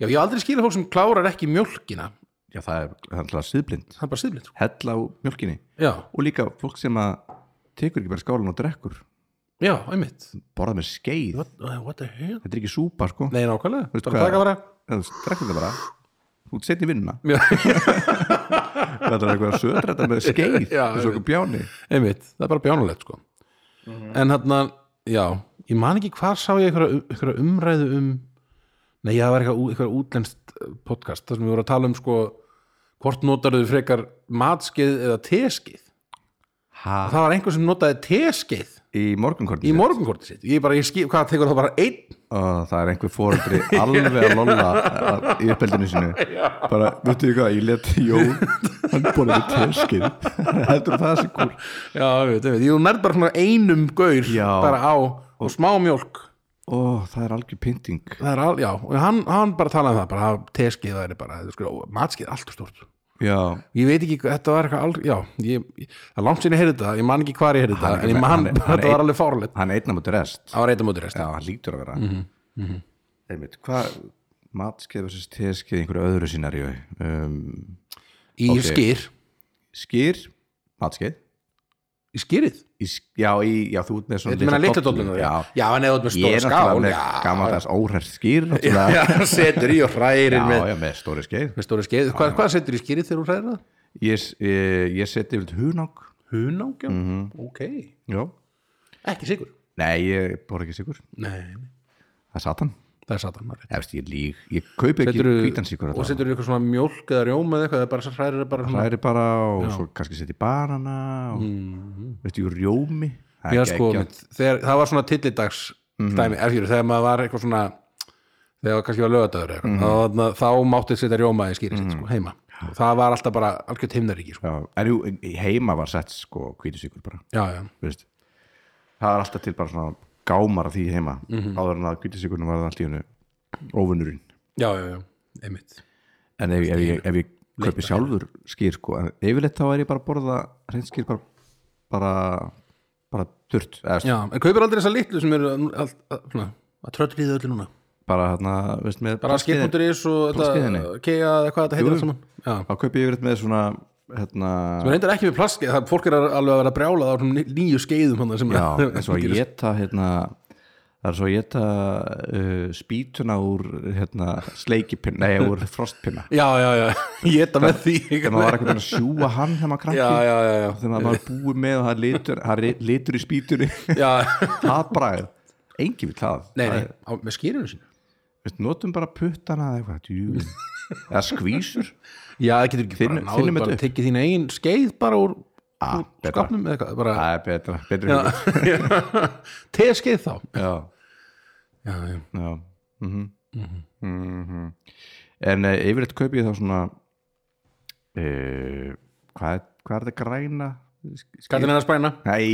já, ég hef aldrei skilja fólk sem klárar ekki mjölkina
já, það er það er alltaf síðblind
það er bara siðlitt sko.
hella á mjölkinni
já,
og líka fólk sem að tekur ekki bara skálan og drekkur
já, einmitt
borða með skeið
what, uh, what the hell?
þetta er ekki súpa sko
nei, nákvæmlega,
Veistu
bara
hvað?
taka bara
það strekkur þetta bara þú ert setni vinnuna
Já.
þetta er eitthvað að södra þetta með skeið
Já,
eins og okkur bjáni
einmitt, það er bara bjánulegt sko en hérna, já ég man ekki hvar sá ég einhverja, einhverja umræðu um nei, það var eitthvað, eitthvað útlenskt eh, podcast þar sem við vorum að tala um sko hvort notarðu frekar matskeið eða teskeið
ha.
það var einhver sem notaði teskeið
í morgunkortin
í morgunkortið sitt ég bara, ég skip, hvað tekur það bara einn
það er einhver fóreldri alveg að lolla að- í uppeldinu sinu bara, veitu ég hvað, ég let Jón hann borði með teskið heldur það sé kúl
já, við veit, við, ég nærð bara svona einum gaur
Já.
bara á og smá mjólk
ó, það er algjör pynting
það er al, já, og hann, hann bara talaði um það bara teskeið það er bara, sko, matskeið er allt og stórt
já,
ég veit ekki, þetta var eitthvað aldrei já, ég, ég- það er langt sinni að heyrði þetta, ég man ekki hvar ég heyrði þetta en ég man,
hann er- hann er
þetta var
einn-
alveg fárlegt
hann er einna mútið rest
það var eitthvað mútur
já, hann lítur að vera mm -hmm. einmitt, hvað matskeið versus teskið í einhverju öðru sinari um,
í
Ok.
skýr,
skýr, matskeið
í skýrið
í, sk- já, í, já, þú ert með svona
þetta meina litla dolluna
já.
já, en eða út með
ég
stóra
er náttúrulega
skál
með gammaldags óhært skýr náttúrulega.
já, setur í og hrærir
já,
með,
já, með stóri skeið
með stóra skeið hvað, hvað setur í skýrið þegar þú hrærir það?
ég, s- eh, ég, ég seti yfir hunang
hunangja,
Mhm.
ok
já.
ekki sigur
nei, ég bor ekki sigur
Nei.
það er satan,
það er satan maður
ég, veist, ég líg ég kaupi ekki
Seturðu-
hvítan sigur
og setur eitthvað svona mjólk eða rjóma eða eitthvað, það er bara, hrærir bara svona
það er bara og svo kannski seti banana og mm. veistu, ég rjómi Það er
Mhm. Já,
ekki-
sko,
ekki-
mitt, þegar, það var svona tillidags dæmi, erfjör, þegar maður var eitthvað svona þegar var kannski var lögadagur mm -hmm. þá, þá mátti setja rjóma í skýrið sitt sko, heima og það var alltaf bara algjörð himnaríki sko.
já, en jú, í- heima var sett sko hvítu sigur bara
já, já,
veist, það er alltaf til bara svona gámar af því heima
Mhm.
áður en að kvítisíkurnum var það allt í hennu óvunurinn
já, já, já, einmitt
en ef, ef, ég, ef ég kaupi sjálfur skýr sko, en yfirleitt þá er ég bara að borða reynskýr bara bara, bara þurrt eða,
já, en kaupir aldrei þessa litlu sem eru að, að, að, svona, að tröllriða öllu núna
bara bara hérna, veist, með
bara skip.is og þetta,
plaskiðinni.
kea eða hvað þetta heitir allt saman já.
þá kaupi yfir með svona hérna,
sem reyndar ekki með plaski, það fólk er alveg að vera brjálað á svona ný- nýju skeiðum hann sem
já,
er-
eins og að geta hérna, það er svo að geta uh, spýtuna úr hérna, sleikipinna, nei, úr frostpinna
já, já, já, geta með því
þegar maður var eitthvað að sjúa hann þegar maður krakki
já, já, já, já.
þegar maður var búið með og það er litur, það er litur í spýtunni
já.
það bræð, engi vil það
nei,
Það
nei,
er-
á, með skýrinu sín
veist, notum bara puttana eða eitthvað djú, eða skvísur
já, það getur ekki
Finnum-
bara náðu
finnum
bara
þetta upp.
tekið þín eigin skeið bara úr,
Ah,
úr
betra.
skapnum eða eitthvað bara,
það er betra, betra hugmynd.
teð skeið þá
já,
já, já,
já mhm mhm en e, yfirleitt kaupi ég þá svona e, hvað, er- hvað er þetta græna
skattin er að spæna
Nei.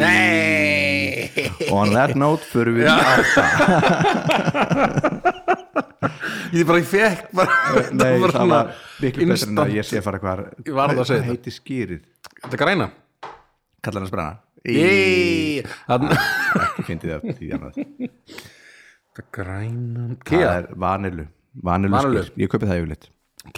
on that note fyrir við
ég bara, ég fekk bara
Nei, það var miklu betur en
instant.
að ég sé að fara hvað
Ég varð að segja
hvað
þetta.
heiti skýrið
þetta græna
kallar hann sprenna
Í, þarna-
fyndi það því annað
þetta græna
það
kea,
er vanilu, vanilu
Vanillu.
skýr ég kaupi það yfirleitt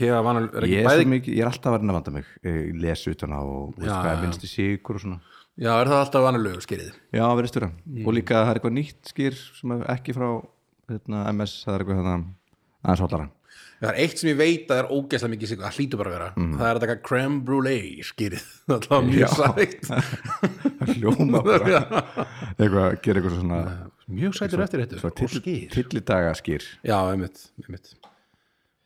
kea vanal er
ég
ekki
er,
bæði
svo mikið, ég er alltaf að verðin að vanda mig Ég les utan á og veist hvað er minnsti sigur og svona
já, er það alltaf vanalögu skeið
Já, verðist vera.
Mm.
Og líka það er eitthvað nýtt skýr sem er ekki frá hérna, MS, það er eitthvað hérna aðeins hóllara.
Það er eitt sem ég veit að er ógeðslega mikið sigur, það hlýtur bara að vera það er að taka creme brulee skýrið það er alltaf mjög sætt
Hljóma bara. eitthvað, gera eitthvað svona
mjög sættur eftir þetta og skýr
tillidaga skýr.
já, einmitt, einmitt.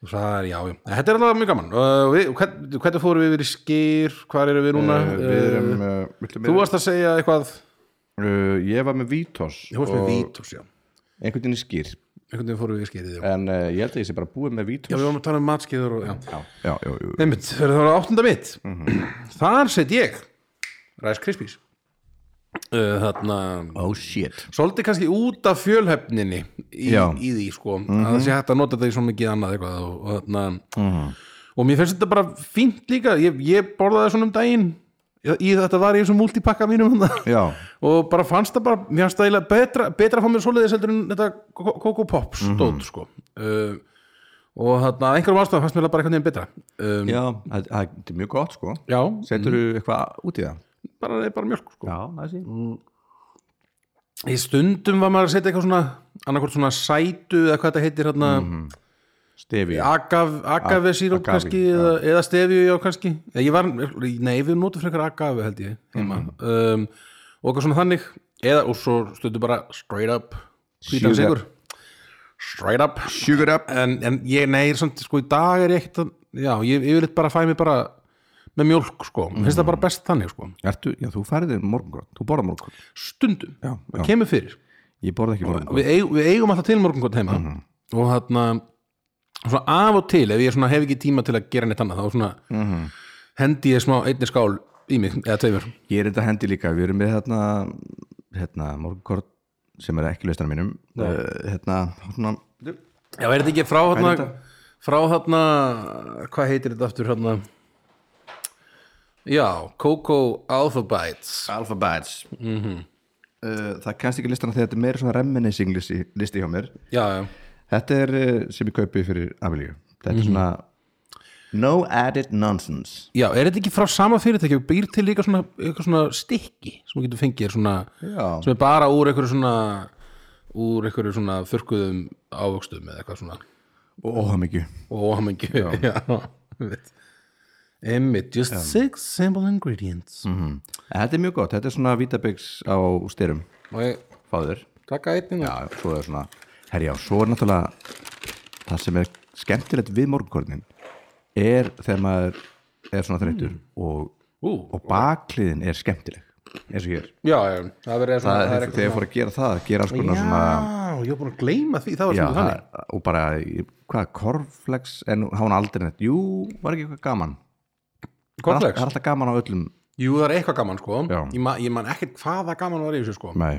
Og það er, já, já. En þetta er alltaf mjög gaman uh, við, hvern, hvernig fórum við yfir í skýr hvað erum við núna
Uh, við erum, uh,
Eh,
viltu
þú
meira?
varst að segja eitthvað
Uh, ég var með Vítos
ég varst með vítos, já
einhvern veginn í skýr.
einhvern veginn fórum við í skýrið já.
En uh, ég held að ég sé bara búið með Vítos.
já, við varum að tala um matskýður og, já.
já, já, já, já.
einmitt, það var áttunda mitt þar set ég Rice Krispies uh, þarna
Oh shit.
svolítið kannski út af fjölhefninni í,
Já. Mhm.
í því sko að það sé hægt að nota þetta í svo mikið annað eitthvað og, og, þarna,
Mhm.
og mér finnst þetta bara fínt líka, ég, ég borðaði svona um daginn Ég- í þetta var í þessum multipakka mínum þarna.
Já,
og bara fannst það bara mér fannst það eiginlega betra, betra að fá mér svoleiðis heldur en þetta Coco Coco Pop
Mhm.
stóð sko uh, og þarna af einhverjum ástæðum fannst mér það bara einhvern veginn betra um, Mm.
já, það það er mjög gott sko.
já,
Setur þú eitthvað út í það?
bara, bara mjölk sko
Já, það sé.
í stundum var maður að setja eitthvað svona annarkvort svona sætu eða hvað þetta heitir hérna,
Mhm. Stefi.
agav, agave síróp
Agave,
kannski eða, eða stefju já kannski Eða ég var, nei við notum frekar agave held ég heima um, og eitthvað svona þannig eða og svo stundu bara straight up hvítan
Sugar.
sigur straight up
Sugar up.
en, en ég nei samt, sko í dag er ég ekkert að já ég, ég vil bara fæ mig bara með mjólk sko, mér
Mm.
finnst það bara best þannig sko
Ertu, já, þú færið þér morgungrótt, þú borðar morgungrótt
stundum,
Já,
það
já.
kemur fyrir
Ég borða ekki morgungrótt
við, eig, við eigum alltaf til morgungótt heima og þarna svona af og til, ef ég svona hef ekki tíma til að gera neitt annað, þá svona hendi ég smá einni skál í mig eða tveimur,
Ég er þetta hendi líka, við erum með hérna, hérna morgungrótt sem er ekki lausnar mínum uh, hérna, svona
já, er þetta ekki frá
er
þarna,
þetta?
frá þarna hvað heitir þetta aftur þarna já, Coco Alpha Bites
Alpha Bites uh, Það kennst ekki listana þegar þetta er meira svona reminiscing listi, listi hjá mér
já, já,
Þetta er uh, sem ég kaupi fyrir Amelíu Þetta er svona No added nonsense
já, er þetta ekki frá sama fyrirtæki og býr til líka svona, eitthvað svona stikki sem þú getur fengið svona,
Já.
sem er bara úr einhverju svona úr einhverju svona þurrkuðum ávöxtum eða eitthvað svona
og óhamingju
og óhamingju já, einmitt. einmitt, just six simple ingredients mm.
Hmm. En Þetta er mjög gott, þetta er svona vítabyggs á styrum
og ég
Fáður
taka einn hérna? inn
já, svo er svona herjá, svo er náttúrulega það sem er skemmtilegt við morgunkornin er þegar maður er svona þreyttur
Mm.
og,
Ú.
og bakliðin er skemmtileg eins og hér
já, já, það verður svona
það,
það
þegar ég fór að gera það, gera alls konar svona
já, ég er búin að gleyma því, það var
já,
svona
það,
þannig
og bara, í- hvað, korflex en hafa hann aldrei neitt, jú, var ekki eitthvað gaman það er alltaf- það
kortlegs,
er alltaf gaman á öllum
jú það er eitthvað gaman sko
Já.
ég, man, ég man ekkert hvaða gaman var í þessu sko
Nei,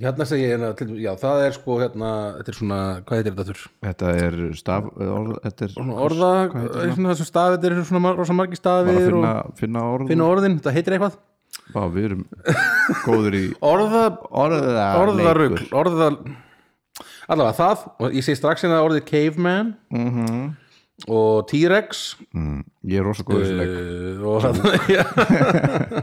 hérna segi ég, hérna, til- já það er sko hérna, þetta er svona, hvað heitir þetta þurr
þetta er staf orð, þetta er
svona orða, eh, svona þessum stafið þetta er svona mar- rosa margir
bara að
stafir
finna,
og
finna orð
finna orðin, þetta heitir eitthvað
Bá, við erum góður í
orða,
orðarleikur
orðarugl, orða allavega það, og ég sé strax hérna orðið caveman
Mhm.
-hmm. og T-Rex
Mm, Ég er rosa góður sem leik
uh, og það já.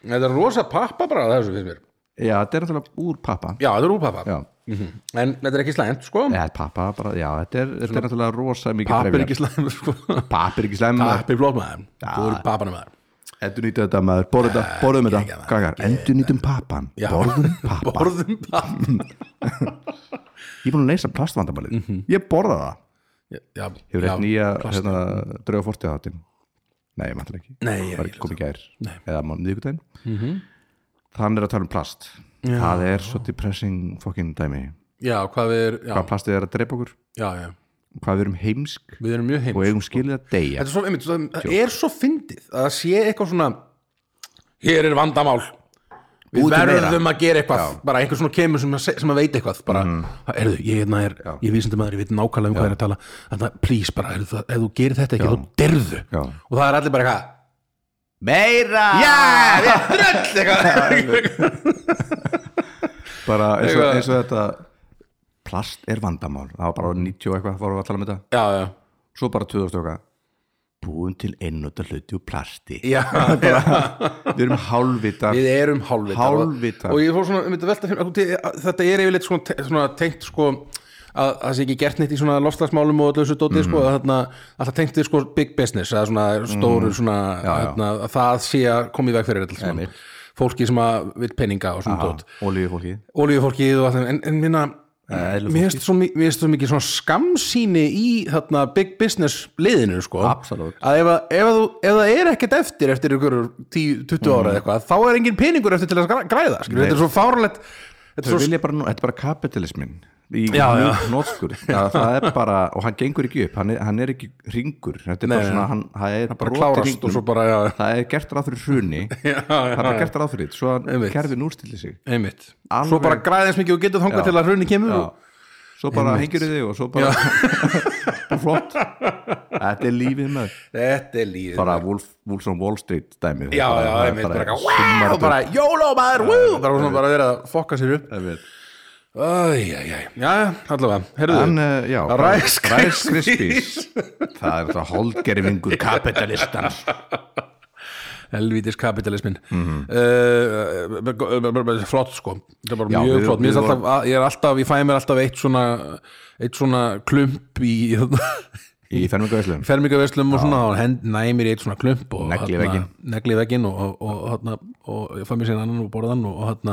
þetta er rosa pappa bara að þessu fyrir mér
Já, þetta er náttúrulega úr pappa
já, þetta er úr pappa
Já,
Mhm. en þetta er ekki slæmt sko
eða pappa bara, já, þetta er, þetta er náttúrulega rosa mikið
pappa er
trefjar.
ekki slæmt sko
Pappi er ekki slæm maður.
pappa er flott maður, þú eru pappanum maður
Endur nýta þetta maður, borðum þetta, borðum þetta Kakar, endur nýtum pappan,
Já.
borðum pappan
borðum pappa
Ég er búin að leysa plastvandamalið Ég borða það
já,
Hefur
Mhm. já,
eitt nýja hérna, drauga fortið þáttin Nei, ég mætti ekki
Nei, ég
Var
ekki Mhm.
ekki komið gær Eða miðvikudaginn mm -hmm. Þann er að tala um plast Það er svo depressing fucking dæmi
já, hvað við er já,
Hvað plastið er að dreipa okkur
já, já,
Hvað við erum heimsk
við erum mjög heims
og eigum skilið að deyja
þetta er svo, einmitt, svo- það er svo fyndið að það sé eitthvað svona hér er vandamál við
Búið til
verðum
meira.
að gera eitthvað bara einhver svona kemur sem að, se- sem að veit eitthvað bara, mm erðu, ég, hérna er, ég vísindi maður ég veit nákvæmlega um hvað er að tala þannig að please bara, heyrðu, það, ef þú gerir þetta ekki þá derðu
Já.
og það er allir bara eitthvað
Meira!
Já, við erum dröll eitthvað
Bara eins og,
Eitthvað.
eins og þetta Plast er vandamál Það var bara 90 og eitthvað, vorum við að tala um þetta
Já, já,
Svo bara 2000 og eitthvað Búum til einnota hluti úr plasti
já
Við erum hálfvitar
Við erum hálfvitar
Hálfvitar.
Og ég fór svona, um þetta velta fyrir mér, ákveð, Þetta er yfirleitt svona, te- svona tengt sko að það sé ekki gert neitt í svona lofslagsmálum og öllu þessu dótið
Mhm.
sko, að þarna, alltaf tengt við sko big business, eða svona stóru svona,
Mhm. já.
Þarna, að það sé að koma í veg fyrir þetta allt saman.
Einmitt.
fólki sem að vil peninga og svona dót
Ólíu fólki
olíufólkið og alltaf, en, en minna
Eðlufólkið.
mér finnst svo, mi- mér finnst svo mikið svona skamsýni í þarna big business liðinu sko
Absolutt.
að ef, að- ef, að þú, ef það er ekkert eftir eftir ykkur 10-20 ára
Mm.
eða eitthvað þá er engin peningur eftir til að gra- græða skilur, þetta er svo fárlegt þetta
Þau
er svo,
vilja bara, nú- þetta er bara kapitalismin í
Já, já.
nótskur það er bara, og hann gengur ekki upp hann er, hann er ekki ringur þetta er bara
nei.
svona, hann, hann er
bara
brot í
klárast
hringnum.
og svo bara já,
það er gert ráð fyrir hruni það
já, já,
sko. er bara
já,
gert ráð fyrir, svo að
Einmitt.
kerfin úrstilli sig
einmitt
Alveg-
svo bara græða eins mikið og getur
Já.
þangað til að hrunni kemur
Já.
og,
svo bara hengir þig og svo bara Bara flott þetta er lífið með
þetta er lífið
bara Wolf, Wolf on Wall Street dæmi
já, já,
það er
einmitt bara,
bara summar
wow,
þetta
bara jóló maður, wú bara svona bara verið að fokka sér upp
upp. Einmitt.
Æjæjæj, já, allavega, heyrðu
En, uh, já,
eh, Rice
bara-
Krispies.
Rice Það er það holdgerfingur kapitalistans
helvítis kapitalismin
Mhm.
uh, flott sko þetta er bara
Já,
mjög
við-
flott, mér
við
finnst alltaf, að- ég er alltaf ég fæ mér alltaf eitt svona eitt svona klump í
Í fermingavæslum
fermingaverslum og svona og hend næmir í eitt svona klump og
Negli í
þarna-
vegginn.
negli í vegginn og, og, og, og, og ég fæ mér sér annan og borðan og hann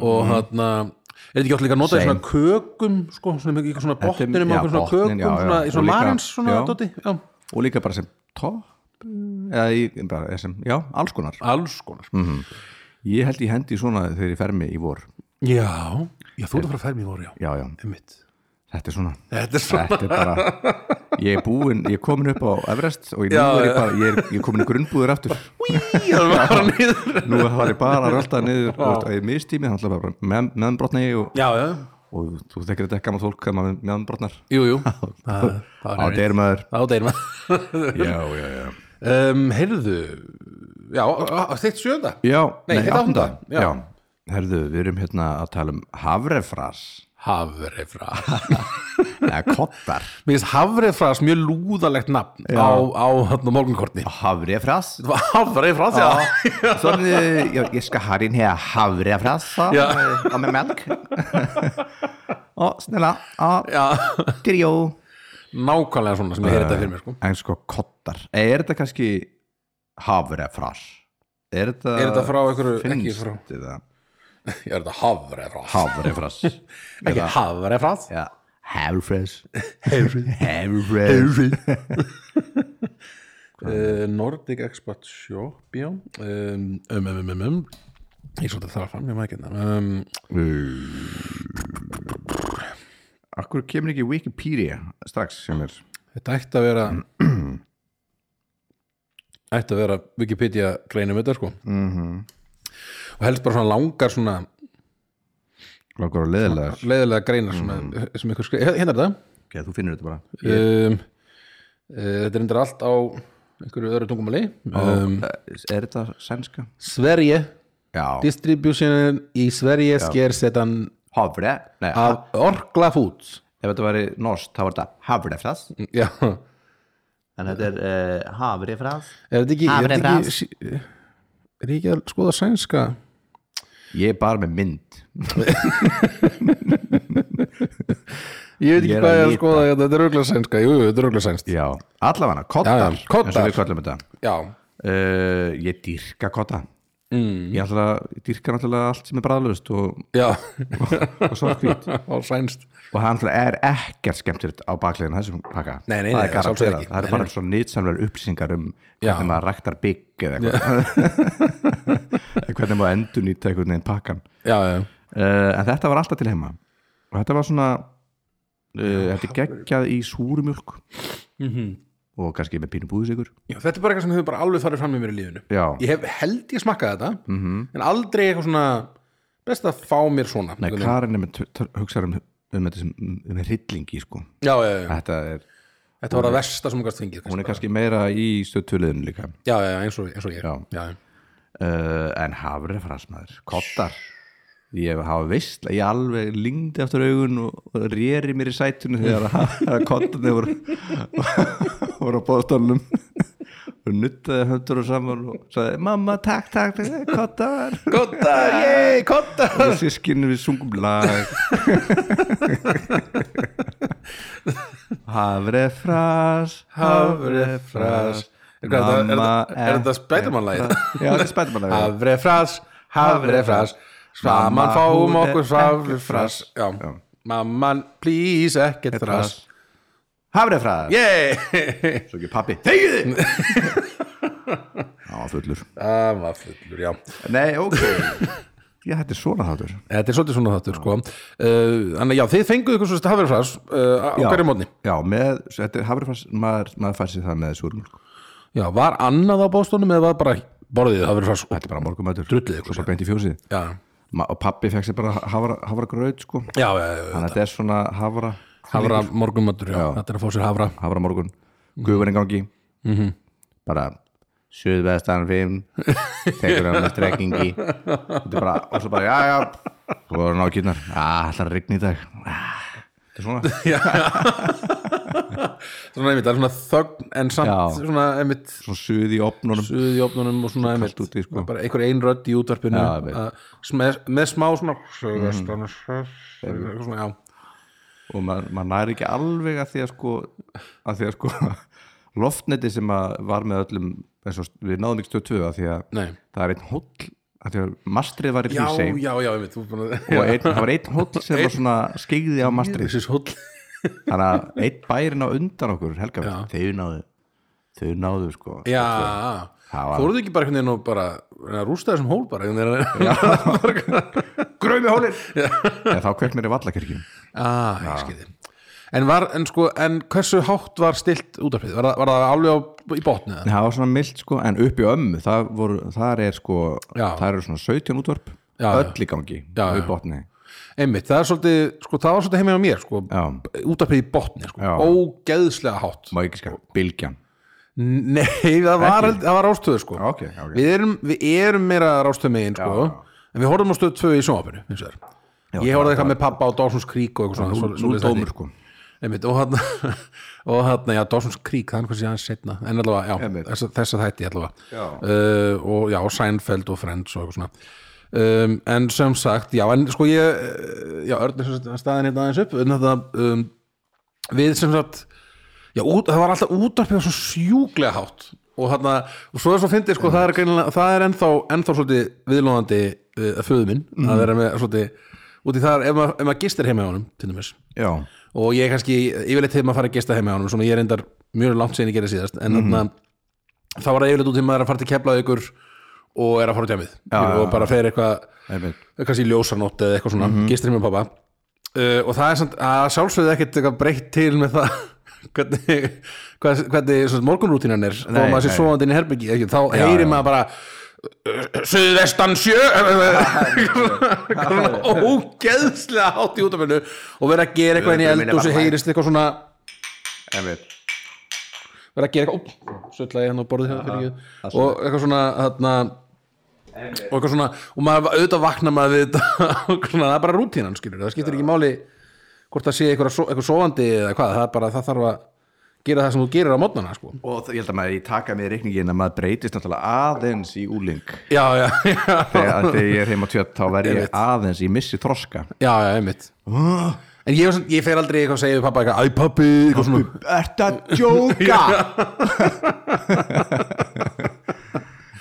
og hann er þetta ekki alltaf líka að nota í
Mhm. Same.
svona kökum sko, svona, í svona
er-
botninum á
já,
einhverjum svona kökum
botnin, já, já.
svona, í svona
Og líka-
marins svona
já.
dóti, já
Og líka bara sem topp eða í, bara sem, já, alls konar
alls konar
ég held ég hendi í svona þegar ég fermi í vor
Já, já þú ert að fara að færa mér voru, já.
já, já,
Einmitt.
þetta er svona
Þetta er svona,
þetta er bara ég er búinn, ég er komin upp á Everest og ég,
Já,
nú
já.
er ég bara, ég er, ég er komin í grunnbúður aftur
það var bara niður.
nú var ég bara að rölda niður og það er mistími, þannig að bara með, meðanbrotna ég og,
Já, já,
og þú þekkir þetta ekki gaman fólk að maður meðanbrotnar
jú, jú. Það það
á
var niður.
deyr maður
Á deyrum að.
já, já, já
Um, heyrðu, já, þitt sjönda.
Já,
Nei, þetta áttunda. Já.
Já. herðu, við erum hérna að tala um havrefras
Havrefras.
eða kottar
Mér finnst Havrefras mjög lúðalegt nafn á, á hann morgunkortni.
Havrefras
Havrefras, já.
Svona, ég, ég skal ha din her havrefras
Ja.
og med mjölk og snilla og
Já,
trijó
nákvæmlega svona sem ég heyrði þetta fyrir mér, sko.
En sko kottar, er þetta kannski havrefras? Er þetta,
Er þetta frá einhverju- ekki frá-
þetta
Ég er þetta Havrefras.
havrefras
Ekki Havrefras.
Já, havrefras Havrefras
Uh, Nordic Expert Shop, já. Um, um, um, um, um, um. Ég svolítið þarf að fram, ég maður ekki hérna. Um,
Akkur kemur ekki Wikipedia strax sem er
Þetta ætti að vera ætti að vera Wikipedia greinum þetta sko og helst bara svona langar svona
langar og leðilegar
leiðilega greinar sem, sem ykkur skrið hérna er þetta
okay, Þú finnur þetta bara
um, uh, þetta er endur allt á einhverju öðru tungumali um,
eh, Er þetta sænska?
Sverige
Já,
distributionen í Sverige sker sedan
Havre, nei,
af Orkla Foods
ef þetta væri norskt þá var þetta havrefras
já, er
en þetta er uh, havrefras
þetta ekki, er þetta
Hafrefras.
ekki sí- er ég ekki að skoða sænska
ég er bara með mynd
ég veit
Ég
ekki
er
hvað ég er
að
að
lita.
skoða hérna, þetta er röglega sænska, jú, jú, þetta er röglega sænst
já, allavega kottar,
Já, já, koddar.
eins og við kallum þetta
já,
uh, ég dýrka kotta mm. ég alltaf, dýrka náttúrulega allt sem er bræðlust og,
já,
og svartkvít
á sænst
og það náttúrulega er ekkert skemmtilegt á bakliðinu þessu pakka
Nei, nei, nei,
það er
sjálfsagt
garanterað.
ekki.
það eru bara svo nýtsamlega upplýsingar um
Já.
hvernig maður ræktar bygg eða eitthvað hvernig maður endur nýta einhvern veginn pakkan
já, já,
uh, en þetta var alltaf til heima og þetta var svona uh, þetta er geggjað í súrumjölk og kannski með pínu búðisigur
Mhm. já, þetta er bara eitthvað sem hefur bara alveg farið fram með mér í lífinu
já,
ég hef held ég smakkað þetta en aldrei eitthvað svona best að fá mér svona
nei,
einhvern veginn.
Karin er með t- t- hugsar um, um þetta sem um rillingi sko
já, já, já,
þetta er,
þetta var að versta sem ég gæst fengið
hún
kannski.
er kannski meira í stöðtöluðinu líka
já, já, já, eins og, eins og ég
Já.
já, já.
uh, en hafri frasmaður, kottar ég hafa veist, ég alveg lingdi aftur augun og, og reri mér í sætunum þegar að kottarni voru voru á bóðstólnum og nuttaði höndur og saman og sagði, mamma, takk, takk, takk kottar,
Kottar, yey, kottar
og sískinu við sungum lag hafri fras hafri fras
Er hvað þetta- er þetta- er þetta Spiderman-lagið?
já, þetta er spætumannlagið
Havre fras, havre fras Saman
Mamma,
fáum
hún er
okkur havre
ekki
fras
fras.
Já, mamman, please, ekkert fras
Hafrefræðar
Yey
Svo ekki pappi Þegiði Já, fullur
Það var fullur, já
Nei, ok Já, þetta er svona þáttur
Þetta er svolítið svona þáttur, sko Uh, Þannig, já, þið fenguðu ykkur svo havre fras uh, á
Já.
hverju mótni
Já, með Þetta er hafrefræðs maður, maður fær sér það með súrmjölk
Já, var annað á bóðstónum eða var bara borðið havre fras og
Þetta er bara morgumætur
Drullið ykkur
Svo bara beint í fjósið
Já,
Ma, Og pappi fekk sér bara hafra, hafra gröð sko Þannig
já, já, já.
að þetta er svona hafra
Havra morgumatur, já. Þetta er að fá sér havra
Hafra morgun Guðurinn gangi mm -hmm.
Mhm.
Bara Suðvestan 5 Tekur hann með strekkingi Þetta er bara Og svo bara, já, já Svo er hann á kýrnar Já, alltaf að rigna í dag Ah, Þetta er svona
Svona einmitt, það er svona þögn en samt
Já.
svona einmitt
svona suð í opnunum
suð í opnunum og svona einmitt
úti, sko.
bara einhver ein rödd í útvarpinu
Já, ég veit.
að- með, með smá svona sögvestan eitthvað svona, já
og maður mað næri ekki alveg að því að sko, að því að sko loftneti sem að var með öllum eins og við náðum ekki stöð 2 að því að
Nei.
það er einn hóll að því að mastrið var í
já,
Hrísey
já, já, einmitt þú ert búin að-
og einn, það var einn hóll sem var svona skeigði á mastrið
þessi hóll
þannig að einn bærin á undan okkur helga, þau náðu þau náðu sko
já,
Það var-
þú voruð ekki bara einhvern veginn og bara reyna að rústa þessum hól bara einhvern veginn
grömi hólin en þá kveknir í vallakirkjum
ah, ég skil þig. en var, en sko, en hversu hátt var stilt útvarpið, var, það- var það alveg á, í botni eða?
En það var svona mild sko, en upp í ömmu það voru, þar er sko
Já.
það eru svona 17 útvarp
Já, já.
öll í gangi,
Já, já.
upp botni
einmitt, það er svolítið, sko, það var svolítið heiminn á mér sko,
Já.
útvarpið í botni, sko,
Já.
ógeðslega hátt
má ekki skar, bylgjan
Nei, það var, held- það var rástöðu sko
ok, ok.
Við, erum, við erum meira rástöðu megin sko En við horfum á stöðu tvö í sjónvapinu Ég horfði eitthvað með pappa á Dawson's Creek og eitthvað svona
svo dómur sko
Einmitt, og hann og hann, já, Dawson's Creek, það er einhvers ég aðeins setna en allavega, já,
Einmitt.
þess, þess að þætti allavega
Já.
uh, og já, Seinfeld og Friends og eitthvað svona um, en sem sagt, já, en sko ég uh, já, Örn er sem sagt staðin hérna aðeins upp en þetta, um, við sem sagt já, út, það var alltaf útarpið svo sjúklega hátt og þarna, og svo er svo fyndið sko, það er, greinilega- það er ennþá, ennþá svolítið viðlóðandi uh, föðu minn,
Mhm.
að vera með svolítið, út í þar, ef maður ef maður gistir heima á honum, til dæmis
já,
og ég er kannski yfirleitt þegar maður fara að gista heima á honum svona ég er endar mjög langt síðan ég gerði síðast en mm þá var það yfirleitt út þegar maður er að fara til keflað ykkur og er að fara út hjemmið og bara fer eitthvað
einmitt
Eh, kannski í ljósanótt eða eitthvað svona
Mhm.
gistir heima á pappa uh, og það er samt að sjálfsögðu ekkert eitthvað breytt til með það hvernig, hvað, hvernig svona, morgunrútínan er þá
Nei,
maður sé
nei.
svoandi inn í herbyggi ekki? þá heyrir maður bara "Uh, suðvestan sjö Svona ógeðslega hátt í útafinu og vera að gera eitthvað inn í
Öldurinn
eld
er
og svo
bara
heyrist eitthvað svona
einmitt,
hérna vera að gera eitthvað suttlaði hann á borðið hjá fyrir ekki og eitthvað svona þarna hérna, og eitthvað svona og maður auðvitað vakna maður við þetta og eitthvað svona, það er bara rútínan skilur það skiptir ekki máli hvort það sé eitthvað, so, eitthvað sofandi eða hvað það er bara það þarf að gera það sem þú gerir á mótnana sko.
og það- ég held að maður í taka með reikningin að maður breytist náttúrulega aðeins í úling
já, já, já,
þegar, þegar ég er heim á tjött þá verð ég aðeins í missi þroska
já, já, einmitt en ég, var svona- ég fer aldrei eitthvað að segja við pappa eitthvað, æ pappi, eitthvað svona
Ertu að djóka?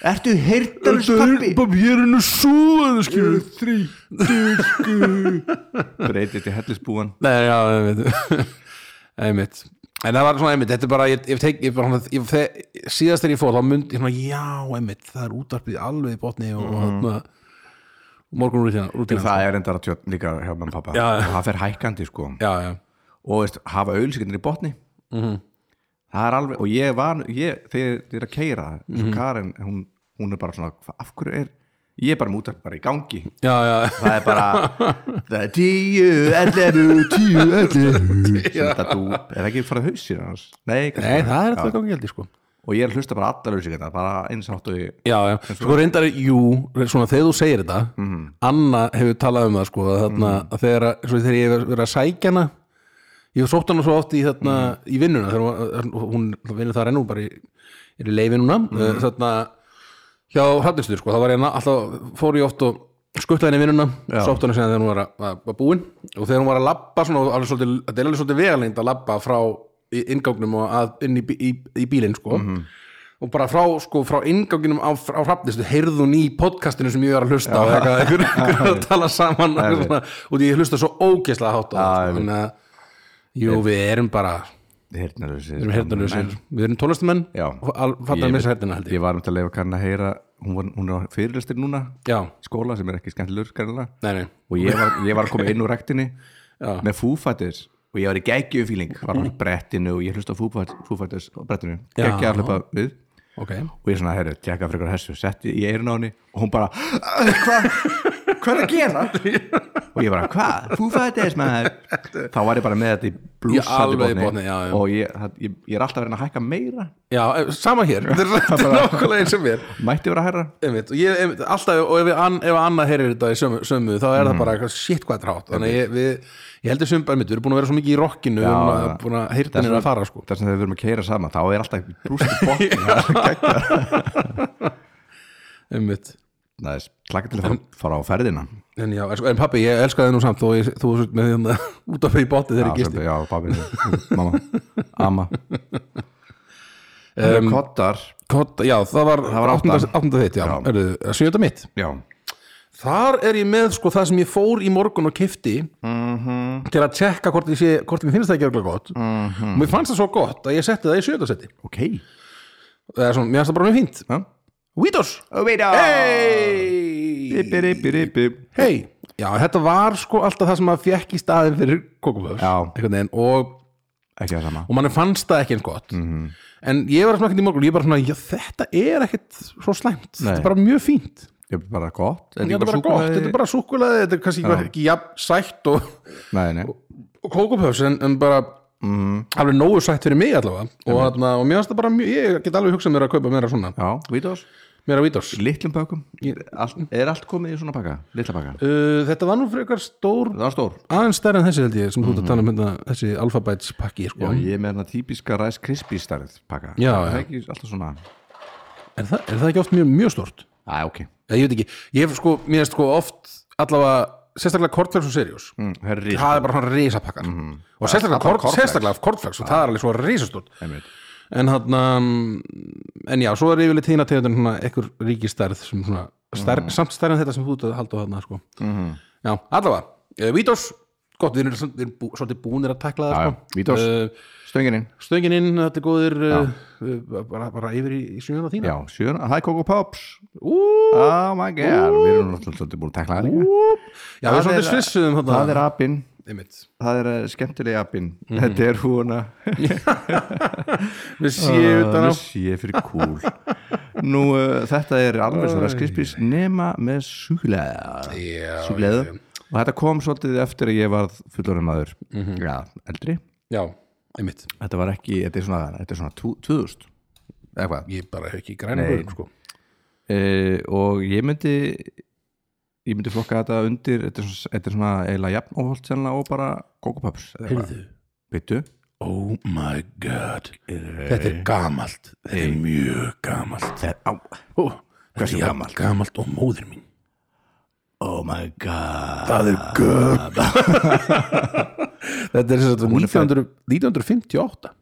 Ertu heyrtalus pappi?
pappi, ég er henni súðan skilur þrý
Breytist í hellisbúan
Nei, já, einmitt Einmitt En það var svona einmitt, þetta er bara, ég, ég tek, ég bara svona, ég, þe, síðast þegar ég fór, þá mynd, ég svona, já, einmitt, það er útarpið alveg í botni og, mm -hmm. og morgun rútina, rútina.
Það er endara tjött líka hjá mann pappa
Já.
og það fer hækandi sko
Já, Mhm. já,
og veist, hafa auðlýsingarnir í botni það er alveg og ég var, ég, þegar ég er að keira eins
Mhm.
og Karen, hún, hún er bara svona "Hva- af hverju er, ég er bara mútar bara í gangi
já, já,
það er bara það er tíu, ellefu, tíu, ellefu sem þetta dú, er það ekki farið hausir annars? Nei, kannski
nei,
bara-
það er
Já.
þetta gangi held ég sko
og ég er að hlusta bara allar auðlýsingarnar, hérna, bara eins áttu í
Já, já, sko reyndar, jú, svona þegar þú segir þetta, Anna hefur talað um það sko, að þarna, að þegar, að- svo þegar ég hef verið að sækja hana ég hef sótt hana svo oft í þarna, í vinnuna þegar hún, hún vinnur það rennum bara í, er í leifi núna mm. þarna, hjá Hrafnistur sko, þá var ég hana alltaf, fór ég oft og skuttlaði henni í vinnuna, sótt hana síðan þegar hún var að, að, að búin og þegar hún var að labba svona, og alveg svolítið, þetta er alveg svolítið vegalegind að labba frá í ingangnum og að, inn í, bí- í, í bílinn sko og bara frá, sko, frá inganginum á, á hrafnistu heyrðu hún í podcastinu sem ég var að hlusta á eitthvað, einhver, einhver að tala saman og svona, og ég hlusta svo ógeðslega hátt á það, sko, þannig að jú, við erum bara,
heyrnarlausir
við erum hertanlausir við erum tónlistamenn
Já.
og al- fattar
Ég
að missa
veit-
hertina held ég
ég var um til að leifa Karen að heyra hún, var, hún er á fyrirlistir núna
já,
í skóla sem er ekki skemmtilegur skærlega
nei, nei,
og ég var, ég var að koma inn úr rektinni
Já.
með fúfætis og ég var í geggjum fíling var á brettinu og ég hlusta fúfætis á brettinu,
Já.
geggja að hlupa við
ok
og ég svona, herru, tjekka fyrir ykkur hessu setti í eirun á henni og hún bara hvað, hvað er að gera og ég bara, hvað, fúfætis maður þá var ég bara með þetta í blúsandi
alveg í botni, já, já.
og ég, það- ég, ég er alltaf verið að hækka meira
já, eh, sama hér, þetta er nákvæmlega eins og mér
mætti vera að herra
einmitt, og ég, einmitt, alltaf, og ef, an, ef annað heyrir þetta í sömu, sömu þá er
Mhm.
það bara eitthvað shit hvað þetta er hátt þannig að ég, við, ég heldur sömu bara mitt, við erum búin að vera svo mikið í rockinu við erum búin
já.
að- búin að heyrtanir að fara sko
þess að þegar við erum að keira saman, þá er alltaf brústi botn
einmitt
það er klakka til að fara, fara á ferðina
En já, en- en pappi, ég elska þig nú samt þó ég, þú ert með þérna út af í bóti þegar ég
já,
gisti.
sem- já, pabbi, mamma, amma um, Kottar
Kott, já, það var,
Það var átta.
8. þitt, já,
Já.
já. sjöta mitt.
Já,
Þar er ég með sko það sem ég fór í morgun og kifti
Mhm.
til að tjekka hvort, ég sé, hvort mér finnst það ekki örgulega gott. Og mér fannst það svo gott að ég setti það í sjöta seti.
ok
Það er svona, mér fannst það bara mjög fínt.
Já.
Vítos!
Hey Bipi, bipi, bipi
Hei! Já, þetta var sko alltaf það sem maður fekk í staðin fyrir kókumöfs.
Já.
Og
Ekki það sama
og mann fannst það ekki eins gott en ég var að smakka þetta í morgun og ég bara svona, já þetta er ekkit svo slæmt, þetta
Nei.
er bara mjög fínt
Ég er bara gott
þetta er bara, gott, þetta er bara súkulaði þetta er kannski ekki- ekki jafn sætt og,
Nei, nei
og kókupöfs en, en bara alveg nógu sætt fyrir mig allavega og, þarna, og mér finnst það bara mjög, ég get alveg hugsað mér að kaupa meira svona,
Já, vítós
meira vítós
Litlum bökum Allt, Er allt komið í svona pakka? Litla pakka
uh, þetta var nú frekar stór
Það var stór
aðeins stærri en þessi held ég sem þú ert að tala um hérna, þessi alfabæts pakki sko.
Já, ég er með hérna típiska Rice Krispies starrið pakka
Já,
Það
já.
er ekki alltaf svona
er, það, er það ekki oft mjög, mjög stórt?
Æ, ok
Ég, ég veit ekki, ég hef sko, mér finnst sko oft allavega, sérstaklega kortverðs og seriós
Mm, Mhm. Það er ríkt
það er bara svona risapakkar og sérstaklega, kort, sérstaklega kortflex og það er alveg svo risastort
Einmitt.
en hann en já, svo er yfirleitt hína tegundin svona ekkur ríkistærð sem svona stær,
Mhm.
samt stærð en þetta sem þú ert að halda á þarna sko. já, allavega, uh, Vítós gott, við erum, samt- við erum bú, svolítið búnir að tekla
Já,
það
já, Vítós.
uh,
Stöngininn
stöngin inn, þetta er góðir uh, uh, bara, bara yfir í, í sjöðan á þína
Já, sjöna Hæ, Coco Pops
Ú,
Oh my god, við erum náttúrulega svolítið búin að tekla það líka
já, við erum svolítið svissuðum
Það er apinn
einmitt
Það er eh, skemmtilega apinn Þetta er húna
Ah, við séum utan á
sé fyrir kúl Nú, uh, þetta er alveg svona skrispis nema með súkulega
Já,
Súkulega Og þetta kom svolítið eftir að ég varð fullorinn maður Já, eldri
já, einmitt
Þetta var ekki, þetta er svona, þetta er svona 2000 Eða hvað?
ég bara hef ekki græna
Nei.
bröðum sko
uh, og ég myndi ég myndi flokka þetta undir þetta er svona, þetta er svona eiginlega jafn óholt sennilega og bara kókupöps
Heyrðu.
byttu
Oh my god Þetta er gamalt Þetta er mjög gamalt Ó, Þetta
Hversu
er jafn
gamalt?
gamalt og móðir mín
oh my god
Það er gömalt Þetta er sem sagt
Hún er fædd-
1900 1958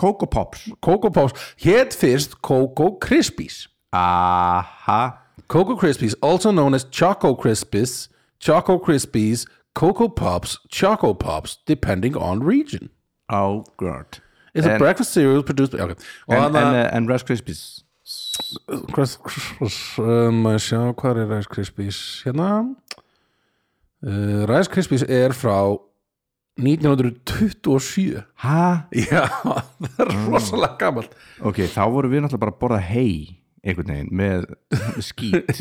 kókupops
Coco Pops Hétt fyrst Coco Crispies
aha
Coco Crispies, also known as Choco Crispies, Choco Crispies, Coco Pops, Choco Pops, depending on region.
oh god
It's a
En-
breakfast cereal produced by... Okay. Og
en, en,
annað-
eh, en Rice Krispies
Kris- kris- um, að sjá, Hvað er Rice Krispies? Hérna. Uh, Rice Krispies er frá 1927.
ha?
Já, það
Mm.
er rosalega gammalt.
ok, þá vorum við náttúrulega bara að borða hei einhvern veginn með með skít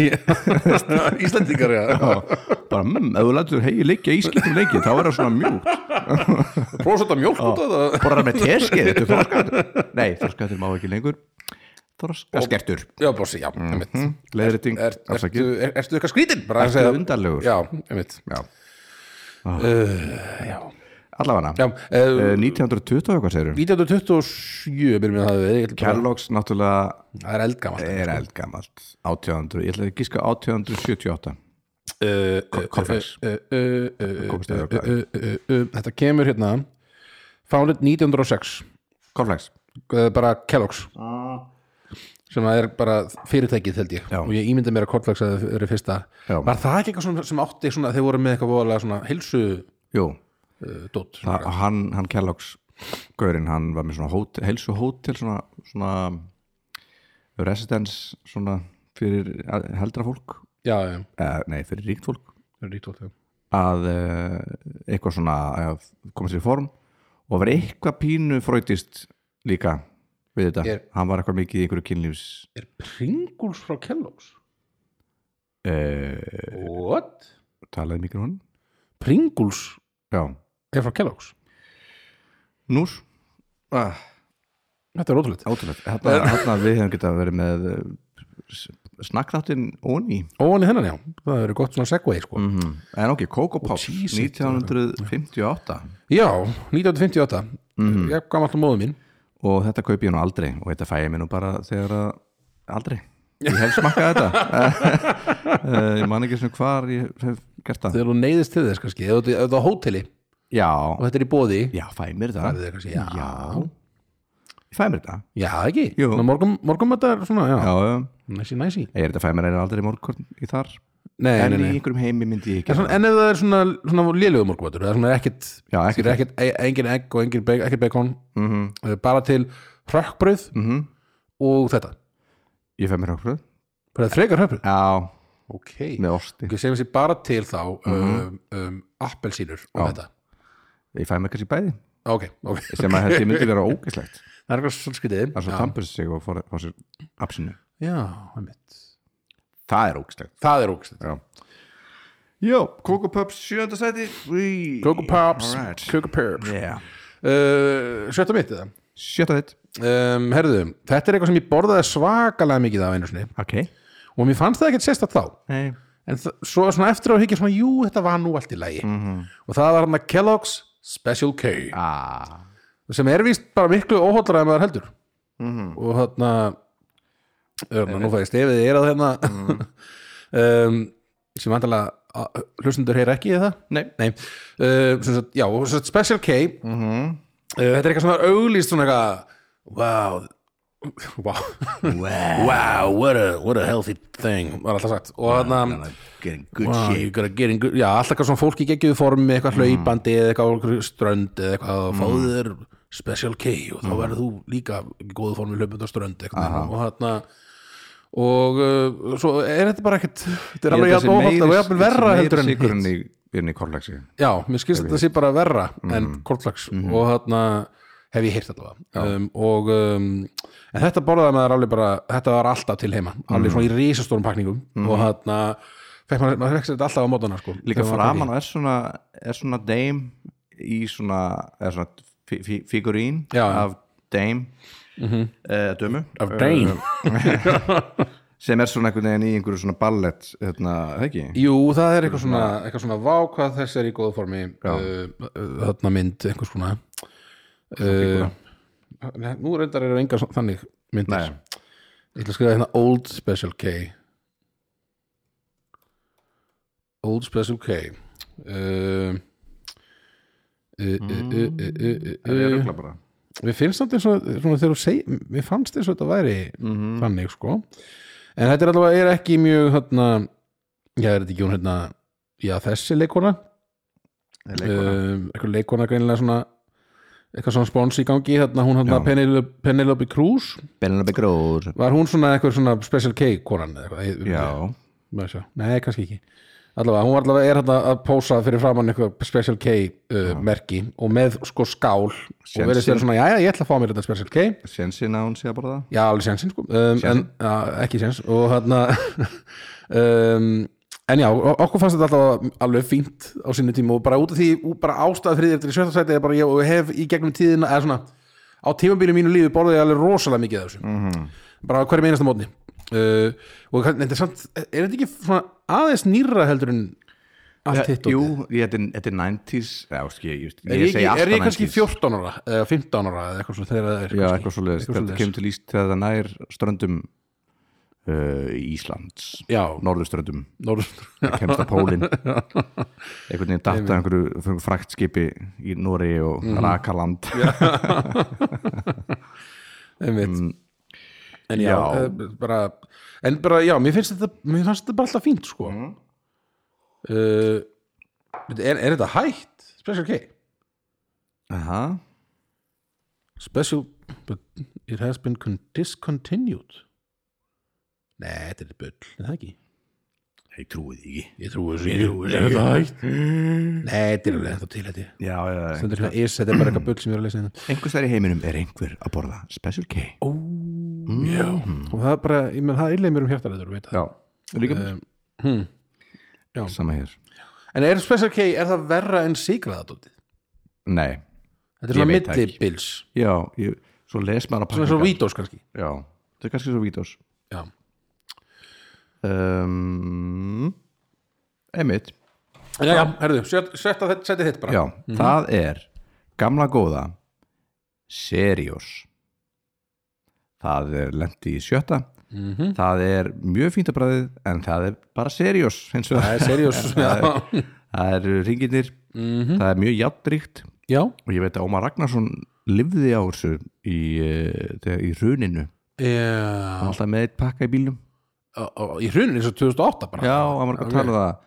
Íslendingar, já.
Já, bara, mmm, ef þú lætur hei liggja í skítum lengi þá er það svona mjúkt
Prósata mjólk út af það.
borða með teskið, þetta er þorskattur nei, þorskattur má ekki lengur þorskaskertur,
Já, bósi, já,
Mhm.
einmitt.
leðriting,
er, ertu,
afsakið
er, ertu eitthvað skrítin bara að
Ertu
segja-
undarlegur?
já, einmitt
Já. Ah.
Uh, já.
allavana,
Já,
já. Eh,
uh,
1920 eitthvað segir
1927 byrjum við að hafa verið, ég ætla bara-
Kellogg's náttúrulega
það er eldgamalt
er eldgamalt 1800, ég ætla að gíska 1878
Eh,
Cornflakes. Kókosneiðar og hvað?
þetta kemur hérna founded 1906
Cornflakes,
eh, bara Kellogg's sem að er bara fyrirtækið held ég
Já.
og ég ímyndi mér að Cornflakes að það eru fyrsta
Já.
var það ekki eitthvað svona sem átti svona, þeir voru með eitthvað voðalega svona hilsu
jú
uh, dót
það, hann, hann Kellogg's Gaurinn, hann var með svona hótel, helsu hótel svona, svona residence svona fyrir heldra fólk
já, já,
eh, nei, fyrir ríkt fólk
það er ríkt já
að eh, eitthvað svona að koma sér í form og var eitthvað pínu fröytist líka við þetta,
Ég-
hann var eitthvað mikið í einhverju kynlífs
Er Pringles frá Kellogg's?
eh,
What?
talaði mikið hún
Pringles
já,
er frá Kellogg's?
nús ah,
Þetta er ótrúlega
ótrúlegt, þarna, þarna við hefum getað verið með eh, snakkþáttinn óný
Óan í hennan, já, það eru gott svona segway sko.
Mm. En ok, Coco Pops,
Jesus,
1958
Já, 1958
Mhm.
mm. Ég gaf alltaf móðu mín
og þetta kaupi ég nú aldrei og þetta fæ ég mér nú bara þegar að aldrei, ég hef smakkað þetta Eh, ég man ekki sem hvar ég hef gert það
Þegar þú neyðist til þess kannski, ef þú ef þú ert á hóteli
Já,
og þetta er í bóði
já, fæ ég mér
það er
þetta
þér kannski, já,
Já, ég fæ mér þetta
já ekki
Jú.
Ná, morgum, morgum þetta er svona, já,
Já, já.
næsi, næsi
ég er þetta fæ mér eiginlega aldrei morgun í þar
Nei,
En
nei,
í
nei
einhverjum heimi myndi ég
En,
ekki
svona, en ef það er svona, svona lélögum morgumvættur það er svona ekkit,
Já, ekkert.
skilur, ekkit e- engin egg og engin bacon, ekkit bacon eh, bara til hrökkbrauð
Mhm.
og þetta
Ég fæ mér okkur
bara frekar hrökkbrauð
Já,
ok,
með osti
ok, segjum þessi bara til þá um, um, appelsínur og þetta
Ég fæ mér kannski bæði
ok, ok,
sem að þetta myndi vera ógæslegt
það er eitthvað svolskriðið
Það er svo
já,
tampur sig og fór, fór sér absinu
já, einmitt.
Það er ógæslegt
það er ógst
Já Jó, Coco Pups sjönda sæti Í.
Coco Pops,
Alright.
Coco Pops
yeah.
uh, sjötta mitt eða
Sjötta þitt
um, herðu, þetta er eitthvað sem ég borðaði svakalega mikið af einu sinni
Ok
og mér fannst það ekkert sérstætt þá
Nei
en þa- svo svona eftir á higgja svona jú, þetta var nú allt í lagi og það var hann að Kellogg's Special K
ah.
sem er víst bara miklu óhóllara en maður heldur og þarna um, nú fæði stefið er að hérna um, sem vandalega hlustundur heyr ekki í það
Nei
nei, uh, sem sagt, já, og sem sagt Special K uh, þetta er eitthvað svona auglýst svona eitthvað wow wow, wow what, a, what a healthy thing var alltaf sagt og þarna
Getting good
Ah, you gotta get in good- Mhm. Já, alltaf eitthvað svona fólk í geggjuðu formi eitthvað hlaupandi eða eitthvað á einhverju strönd eða eitthvað að fáðu þér special K og þá verður þú líka í góðu formi hlaupandi á strönd eitthvað og þarna og uh, svo er þetta bara ekkert þetta er alveg jafn óholt og jafn verra heldur en
Sigur
hitt
enn í, enn í korlæksi
Já, mér skilst þetta sé bara verra
Mm.
en kortlags
Mhm.
og þarna hef ég heyrt allavega um, og um, en þetta borðaði maður alveg bara þetta var alltaf til heima,
Mhm.
alveg svona í risastórum pakningum og þarna fekk maður, maður fekk sér þetta alltaf á mótana sko
Líka
þegar maður var
framan á er svona Er svona Dame Í svona Er svona fí- fí- Figurín
Já.
Mhm. Af Dame mm -hmm. Dömu
krakki. Af Dane
sem er svona einhvern veginn í einhverju svona ballett hérna, það ekki?
Jú, það er eitthvað svona, eitthvað svona vá hvað þess er í góða formi uh, uh, þarna mynd, einhvers konar uh, nei, Nú reyndar eru engar svo- þannig myndir
Nei.
Ég ætla að skrifa hérna Old Special K Old Special K Eh, uh,
Mm.
eh,
Það er rugla bara
Við finnst þetta eins og svona, þegar þú segir, við fannst eins og þetta væri
Mhm. Mm.
þannig sko en þetta er allavega, er ekki mjög hérna, já er þetta ekki hún hérna já þessi leikona,
Það er leikona.
leikona. eitthvað leikona greinilega svona eitthvað svona spons í gangi, hérna hún hérna Penelope, Penelope Cruz,
Penelope Cruz
var hún svona eitthvað svona special K konan eða eitthvað, ég-
Já,
maður sjá, nei kannski ekki allavega, hún allavega er hérna að pósa fyrir framann eitthvað special K uh, merki og með sko skál og verið
Sénsinn.
sér svona, já ég ætla að fá mér þetta special K
sensin að hún sé að borða það
Já, alveg sénsinn sko um, en, ja, ekki séns og hérna um, en já, o- okkur fannst þetta alltaf alveg fínt á sínu tíma og bara út af því ú- bara ástæð fyrir þetta í sjötta sæti er bara ég og hef í gegnum tíðina eða svona á tímabílu mínu lífi borðið ég alveg rosalega mikið af þessu
Mhm.
-hmm. bara á hverjum einasta mótni uh, og kann- þetta er samt er þetta ekki svona aðeins nýra heldur en allt hitt og
Jú, ég, þetta er- þetta er 90s Já, skil, ég, ég,
Er ég,
segi
ekki,
alltaf
er ég kannski
90s.
14 ára eða 15 ára eða eitthvað svona þegar það er
Já,
kannski-
eitthvað svoleiðis, þetta
svoleiðis.
kemur til íst þegar það nær ströndum uh, Íslands
Já,
Norðurströndum,
norður
það kemst að pólinn einhvern veginn datta einhverju, einhverju fraktskipi í Nóri og
Mhm.
Rakaland
einmitt en já,
Mm. já.
eh, bara, en bara já, mér finnst þetta mér finnst þetta bara alltaf fínt sko
Mm.
uh, veitu, er, er þetta hægt? Special K
Aha,
Special, but it has been con discontinued Nei, þetta er bull, er það ekki?
ég trúi því ekki Mm.
Ég trúi þessu, ég trúi þessu Er þetta hægt? Nei, þetta er alveg ennþá til þetta
Já, já, já,
Þetta er hérna is, þetta er bara eitthvað bull sem ég er að lesa hérna
einhvers þær í heiminum er einhver að borða Special K Ó, Mm.
Já Og það er bara, ég menn, það er illa mér um hjartaræður, veit það
já, líka um,
Já.
Sama hér
En er Special K, er það verra en sigraðadótið?
Nei,
Þetta
Ég
er svona
veit það ekki.
millibils
já, ég, svo les maður að
Svona
pakka
svo vítós kannski
Já, þetta er kannski svo vítós
Já,
um, Emmitt
já, já herðu, set- setta þetta- setja þitt bara Mhm.
Já, það er gamla góða Seriós Það er lendi í sjötta
Mhm.
-hmm. Það er mjög fínt að bræðið en það er bara seriós hins
Það
vegar
er seriós Mhm. já.
Það eru ringinir Það er mjög játtryggt
já,
og ég veit að Ómar Ragnarsson lifði á þessu í, eh, þegar- í runinu
já.
alltaf með eitt pakka í bílum
Ó- ó, Í hruninu eins og 2008 bara
Já, hann var eitthvað að tala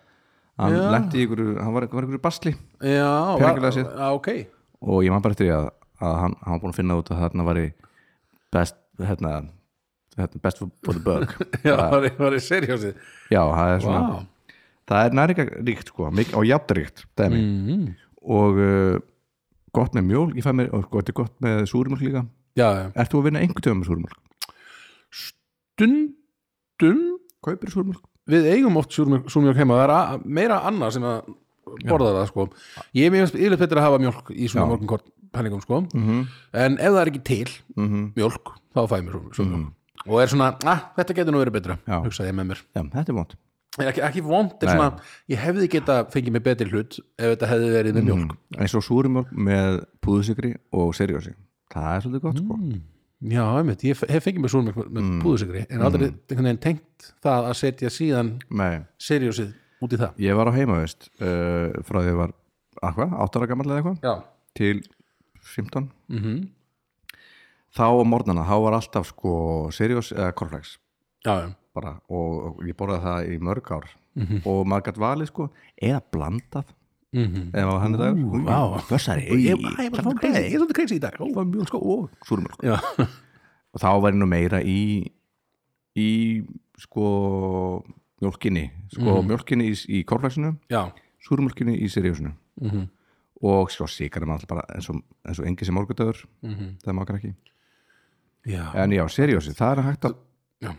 um það Hann lendi í ykkur, hann var, var ykkur basli
já
Peningalega
var,
séð.
á, ok
og ég man bara eftir því að, að hann, hann var búin að finna út að þarna var í best hérna, hérna best for, for the bug
Já, var, í- var í seriósið
já, það er svona
Vá.
það er næringaríkt sko, mikið og játnaríkt dæmi
Mhm.
og uh, gott með mjól, ég fæ mér og gott, gott með súrmjólk líka
Já, já.
ert þú að vinna einhvern tjóðum með súrmjólk?
stundum
kaupir súrmjólk?
Við eigum oft súrmjólk súrmjólk heima Það er að, meira annað sem að borða það sko Ég er mjög yfirleitt betur að hafa mjólk í svona morgunkort pælingum sko
Mhm.
-hmm. En ef það er ekki til -hmm. mjólk þá fæ ég mér súrmjólk og er svona, ah, þetta getur nú verið betra
Mm. Já.
hugsaði ég með mér
já, þetta er mót
er ekki, ekki vond, er svona, ég hefði geta fengið mér betri hlut ef þetta hefði verið
Mm.
með mjólk
eins og súrmjólk með púðusikri og seriósi það er svolítið gott sko
Mm. já, einmitt, ég hef fengið mér súrmjólk með mm. púðusikri en aldrei einhvern veginn tengt það að setja síðan
Nei.
seriósið út í það
ég var á heimavist uh, frá því ég var að hvað, 8 ára gammal eða eitthvað
já,
til 15 -hmm.
Mhm.
þá á morgnana þá var alltaf sko Sirius eða Corflex
já, já,
bara og og ég borðaði það í mörg ár
Mhm.
og maður gætt valið sko eða blandað mm -hmm. eða maður hann er dagur
vá.
Fössari,
Mhm. ég, æ, ég, bara fór crazy, ég er svolítið crazy í dag
var mjög sko og súrumjölk
já,
og þá var ég nú meira í í sko mjölkinni sko
Mhm.
mm mjölkinni í, í Corflexinu
já, Mhm.
súrumjölkinni í Siriusinu og sko, svo sikarinn maður alltaf bara eins og, eins og engi sem morgudöður
Mhm.
það maður ekki
já.
en já, seriósi, það er hægt að
Já.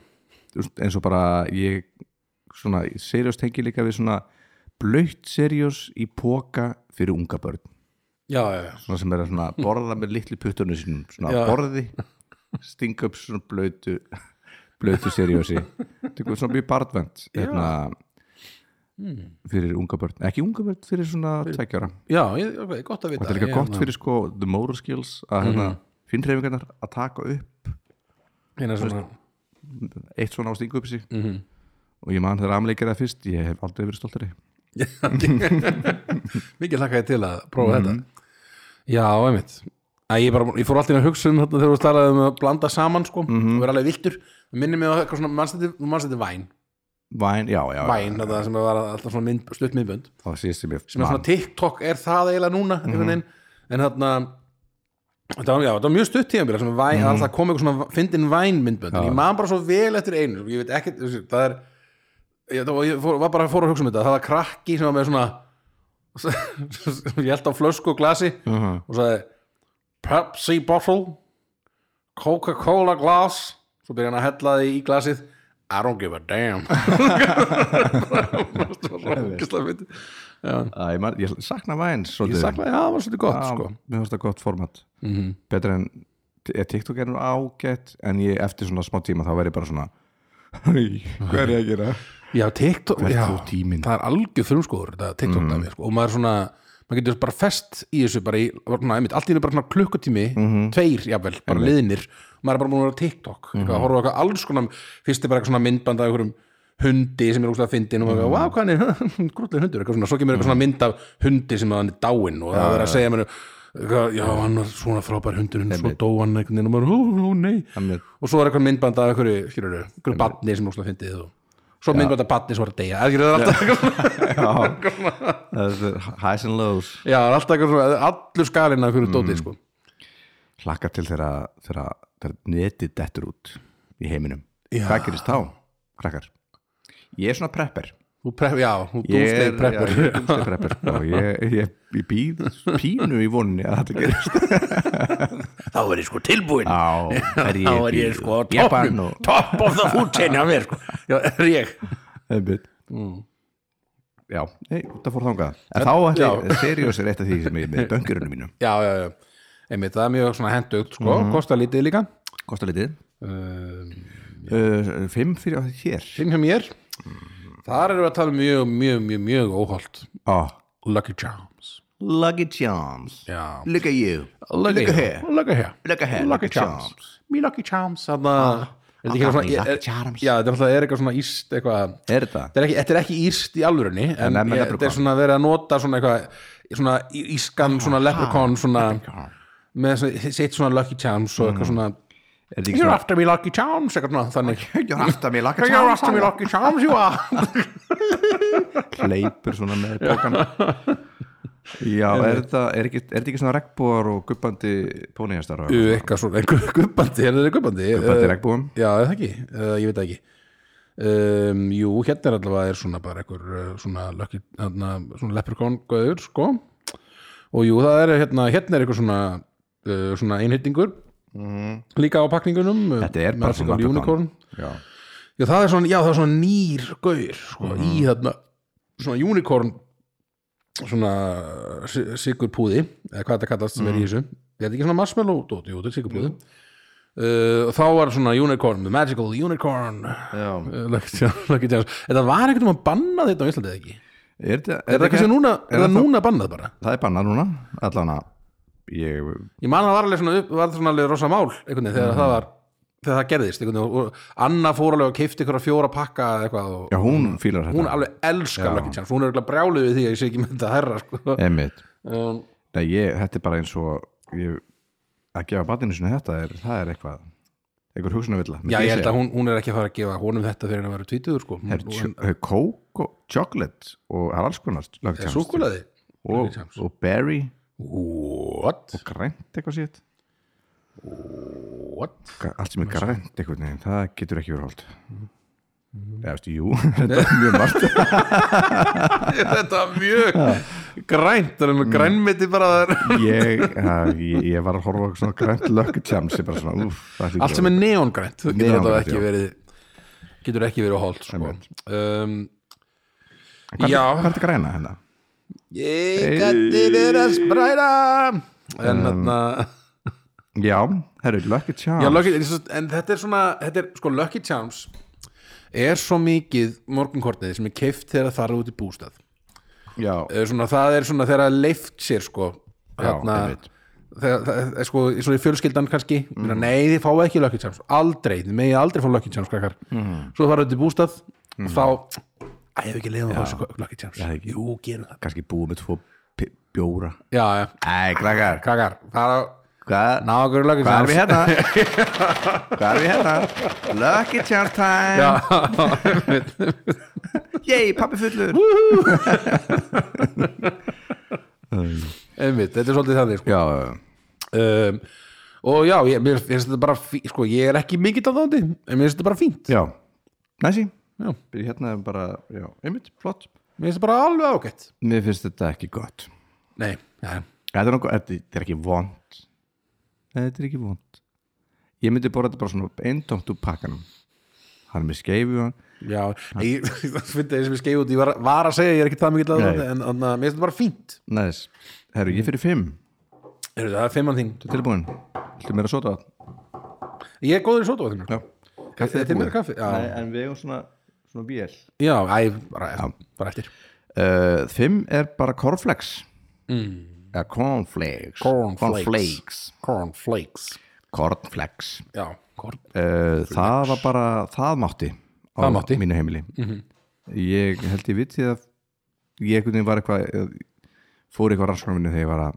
Þú veist, eins og bara ég svona, seriós tengi líka við svona blöytt seriós í póka fyrir unga börn
já, já, já.
svona sem er að svona borða með litlu puttunum sínum svona
Já.
borði stinga upp svona blöytu blötu seriósi tekur svona mjög barnvend hérna, fyrir unga börn ekki unga börn, fyrir svona tækjara
já, ég, ok, gott að vita
þetta er líka
Ég-
gott fyrir sko the motor skills að hérna,
Mhm.
finnreifingarnar að taka upp
hérna svona,
eitt svona á stingu upp í sig
Mhm.
og ég man þegar amleikir það fyrst ég hef aldrei verið stoltari
mikið hlakka ég til að prófa
Mhm.
þetta já, einmitt Æ, ég, bara, ég fór alltaf inn að hugsa um þetta þegar þú talaði um að blanda saman sko,
Mhm.
og vera alveg viltur það minnir mig á eitthvað svona, mannstætti, mannstætti væn
væn, já, já,
væn, þetta sem var alltaf svona mynd, stutt myndbönd
það var síðast sem ég
sem er svona TikTok er það eiginlega núna mm -hmm. en þarna þetta var, já, þetta var mjög stutt tíðanbyrja sem væn, mm alltaf kom eitthvað svona fyndin vænmyndbönd en ég man bara svo vel eftir einu ég veit ekki, það er ég, það var, ég fór, var bara að fór að hugsa um þetta það var krakki sem var með svona ég held á flösku og glasi
Mhm.
og sagði Pepsi bottle Coca-Cola glass svo byrja hann að hella því í glasið I don't give a damn það var svo ógislega myndi
Æ, ég, man, ég sakna væn
ég
svolítið
sakna, já, það var svolítið gott sko. Mhm.
mér finnst það gott format -hmm. betra en er TikTok er nú ágætt en ég eftir svona smá tíma þá verð ég bara svona Hei, hvað er ég að gera?
já, TikTok,
Hvert
já,
fór tíminn? Mm.
það er algjör frumskóður þetta TikTok dæmi, sko, og maður er svona maður getur bara fest í þessu bara í, bara svona, einmitt, allt í hennu bara svona klukkutími
Mhm.
tveir, jafnvel, bara liðnir maður er bara búin að vera á TikTok, mm -hmm. horfa á eitthvað alls konar, fyrst er bara eitthvað svona myndband af einhverjum hundi sem er úrslega fyndin og maður
Mhm.
er, wow, hvað hann er, grútlega hundur eitthvað svona, svo kemur eitthvað svona mynd af hundi sem hann er dáinn og það er að segja mér já, hann var svona frábær hundur hann svo dó hann einhvern veginn og maður, ó, ó, nei
Einmitt.
og svo er eitthvað myndband af einhverju, skilur einhverju batni sem er úrslega fyndið og svo myndband af batni sem var að deyja, er ekki það er alltaf
Það er- Highs and lows
Já, það er alltaf eitthvað svona, allur skalinn af hverju mm. dótið, sko.
Hlakka til þegar þegar- þegar netið dettur út í heiminum
Já.
Hvað gerist þá, krakkar? Ég er svona prepper
Þú prep, já, þú
Ég er-
dúmsteg preppur.
já, ég er doomsday prepper og ég, ég, ég býð pínu í voninni að þetta gerist
Þá er ég sko tilbúinn.
Á, er ég,
Þá er ég
býð-
sko á
ég bara
toppnum,
nú-
topp of the food chain á mér, sko. Já, er ég.
einmitt
Mm.
já, nei, það fór þangað en þá ætla ég, seriós er eitt af því sem ég er með böngurunum mínum,
Já, já, já. Einmitt, það er mjög svona hendugt, sko,
Mhm.
kostar lítið líka.
kostar litið
Um,
uh, fimm fyrir hér
Finn hjá mér.
Mhm.
Þar erum við að tala um mjög, mjög, mjög, mjög óholt.
oh.
Lucky Charms.
luggage arms
Já.
look at you, look
Lucky
at her
Look at here.
Look at her,
Lucky
Lucky Charms.
Charms. Me Lucky Charms, þarna... Er þetta ekki
I got
eitthvað
me
svona-
Lucky
er-
Charms.
Já, þetta er alltaf- er eitthvað svona íst, eitthvað...
er þetta?
þetta er ekki, þetta er ekki írst í alvörunni en,
Nei,
en
með
ég,
leprechaun.
þetta er svona verið að nota svona eitthvað svona í- ískan, svona leprechaun svona, með svona- sitt svona Lucky Charms og eitthvað svona
Mm. er þetta ekki
You're
svona
after me Lucky Charms, eitthvað svona þannig
You're after me, luggage
You're
arms
after me Lucky Charms, you are
hleypur svona með bókana já, er þetta er ekki, er þetta ekki svona regnbúar og guppandi pónihestar og
Ú, eitthvað svona, einhver gubbandi, er þetta gubbandi? Eh,
guppandi regnbúum
Já, eða ekki, uh, ég veit það ekki um, Jú, hérna er allavega er svona bara einhver uh, svona, lucky, hérna, svona leprechaun gauður, sko og jú, það er hérna, hérna er einhver svona uh, svona einhyrtingur
Mhm.
líka á pakningunum uh,
Þetta er
með
bara
alls
svona
ykkur unicorn.
já,
Já, það er svona, já, það er svona nýr gauður, sko, í þarna svona unicorn svona sigurpúði eða hvað þetta kallast sem er í þessu þetta er ekki svona marshmallow, dót, jú, þetta er sigurpúði uh, og þá var svona unicorn the magical unicorn
já.
Uh, Lucky Charms- Lucky Charms. þetta var ekkert um að banna þetta á Íslandi eða ekki er
Er, þetta,
það kannski núna, er það núna bannað bara
það er bannað núna allan að ég
ég man að það var alveg svona, upp- var svona alveg rosa mál einhvern veginn
Mm.
þegar það var þegar það gerðist einhvern veginn og- og Anna fór alveg að keifti ykkur fjóra pakka eða eitthvað og
já hún fílar
hún
þetta
alveg elskar Lucky Charms hún er eitthvað brjáluð við því að ég sé ekki með þetta herra sko.
einmitt
um,
Nei, ég, þetta er bara eins og ég, að gefa batinu sinni þetta er, það er eitthvað einhver hugsunavilla
já ég held að hún, hún er ekki að fara að gefa honum þetta fyrir að vera tvítugur sko. Hún- hún-
hún kók og eh, chocolate og það er alls konar Lucky Charms.
súkkulaði
og, og berry
what?
grænt eitthvað sétt
what?
allt sem er grænt eitthvað neginn, það getur ekki verið hóld
Mhm.
Nei, veistu, jú, þetta er mjög margt
þetta var mjög grænt það er
Mm.
með grænmeti bara
ég, að, ég, ég var að horfa á eitthvað svona grænt Lucky Charms ég bara svona, úf, það
allt sem er neongrænt getur
Neongrænt,
þetta ekki
já.
verið getur ekki verið hólt sko. um,
hvað,
já
hvað er þetta græna hérna? Um,
ég gæti verið að spræða en þarna
já, herru, Lucky Charms
Já, Lucky, en, svo- en þetta er svona þetta er, sko, Lucky Charms er svo mikið morgunkortið sem er keift þegar það er út í bústað
já,
Eh, svona, það er svona þegar það leift sér sko,
Já, einmitt.
þegar, það, er, sko svona í fjölskyldan kannski mm. nei þið fáið ekki Lucky Charms, aldrei þið megið aldrei fá Lucky Charms krakkar mm. svo fara út í bústað og
Mm.
þá að ég hef ekki leiðum að fá þessu Lucky Charms
hef ekki.
jú, gerum það
kannski búið með tvo pi- bjóra
já, já,
Æ, krakkar,
krakkar, fara
hvað,
ná okkur Lucky
hvað er
Charms
við hérna? hvað er við hérna? Lucky Charms time Yay, pappi fullur
einmitt, þetta er svolítið þannig sko.
Já, já, já.
um, og já, ég, mér finnst þetta bara fí- sko, ég er ekki mikill af þátti en mér finnst þetta bara fínt
já, næsi
já. mér
Byrja hérna er bara, já, einmitt, flott
finnst þetta bara alveg ágætt
Mér finnst þetta ekki gott
nei, ja.
Þetta er, nokkuð, þetta þetta er ekki vond Þetta er ekki vond Ég myndi borða þetta bara svona eintómt úr pakkanum Hann er með skeifu hann
já, ég það finnst það sem ég skeið út ég var, var að segja, ég er ekki það mikill af
Nei.
þátti en þannig að mér finnst þetta bara fínt
Næs, herru, ég fyrir fimm
Heyrðu, það er fimmann þín,
Þú er tilbúin, viltu meira sota
ég er góður í sótavatnum
Já,
Er- er til meira kaffi? Já.
Nei, en við erum svona, svona bíl
já, æ, bara, bara eftir
uh, Fimm er bara cornflakes mm. ja, Cornflakes
Cornflakes.
Cornflakes,
cornflakes
cornflakes.
já, corn
Uh, það var bara, það mátti á
Það mátti. Mhm.
mínu heimili ég held ég viti að ég einhvern veginn var eitthvað eh, fór eitthvað rannsóknarvinni þegar ég var að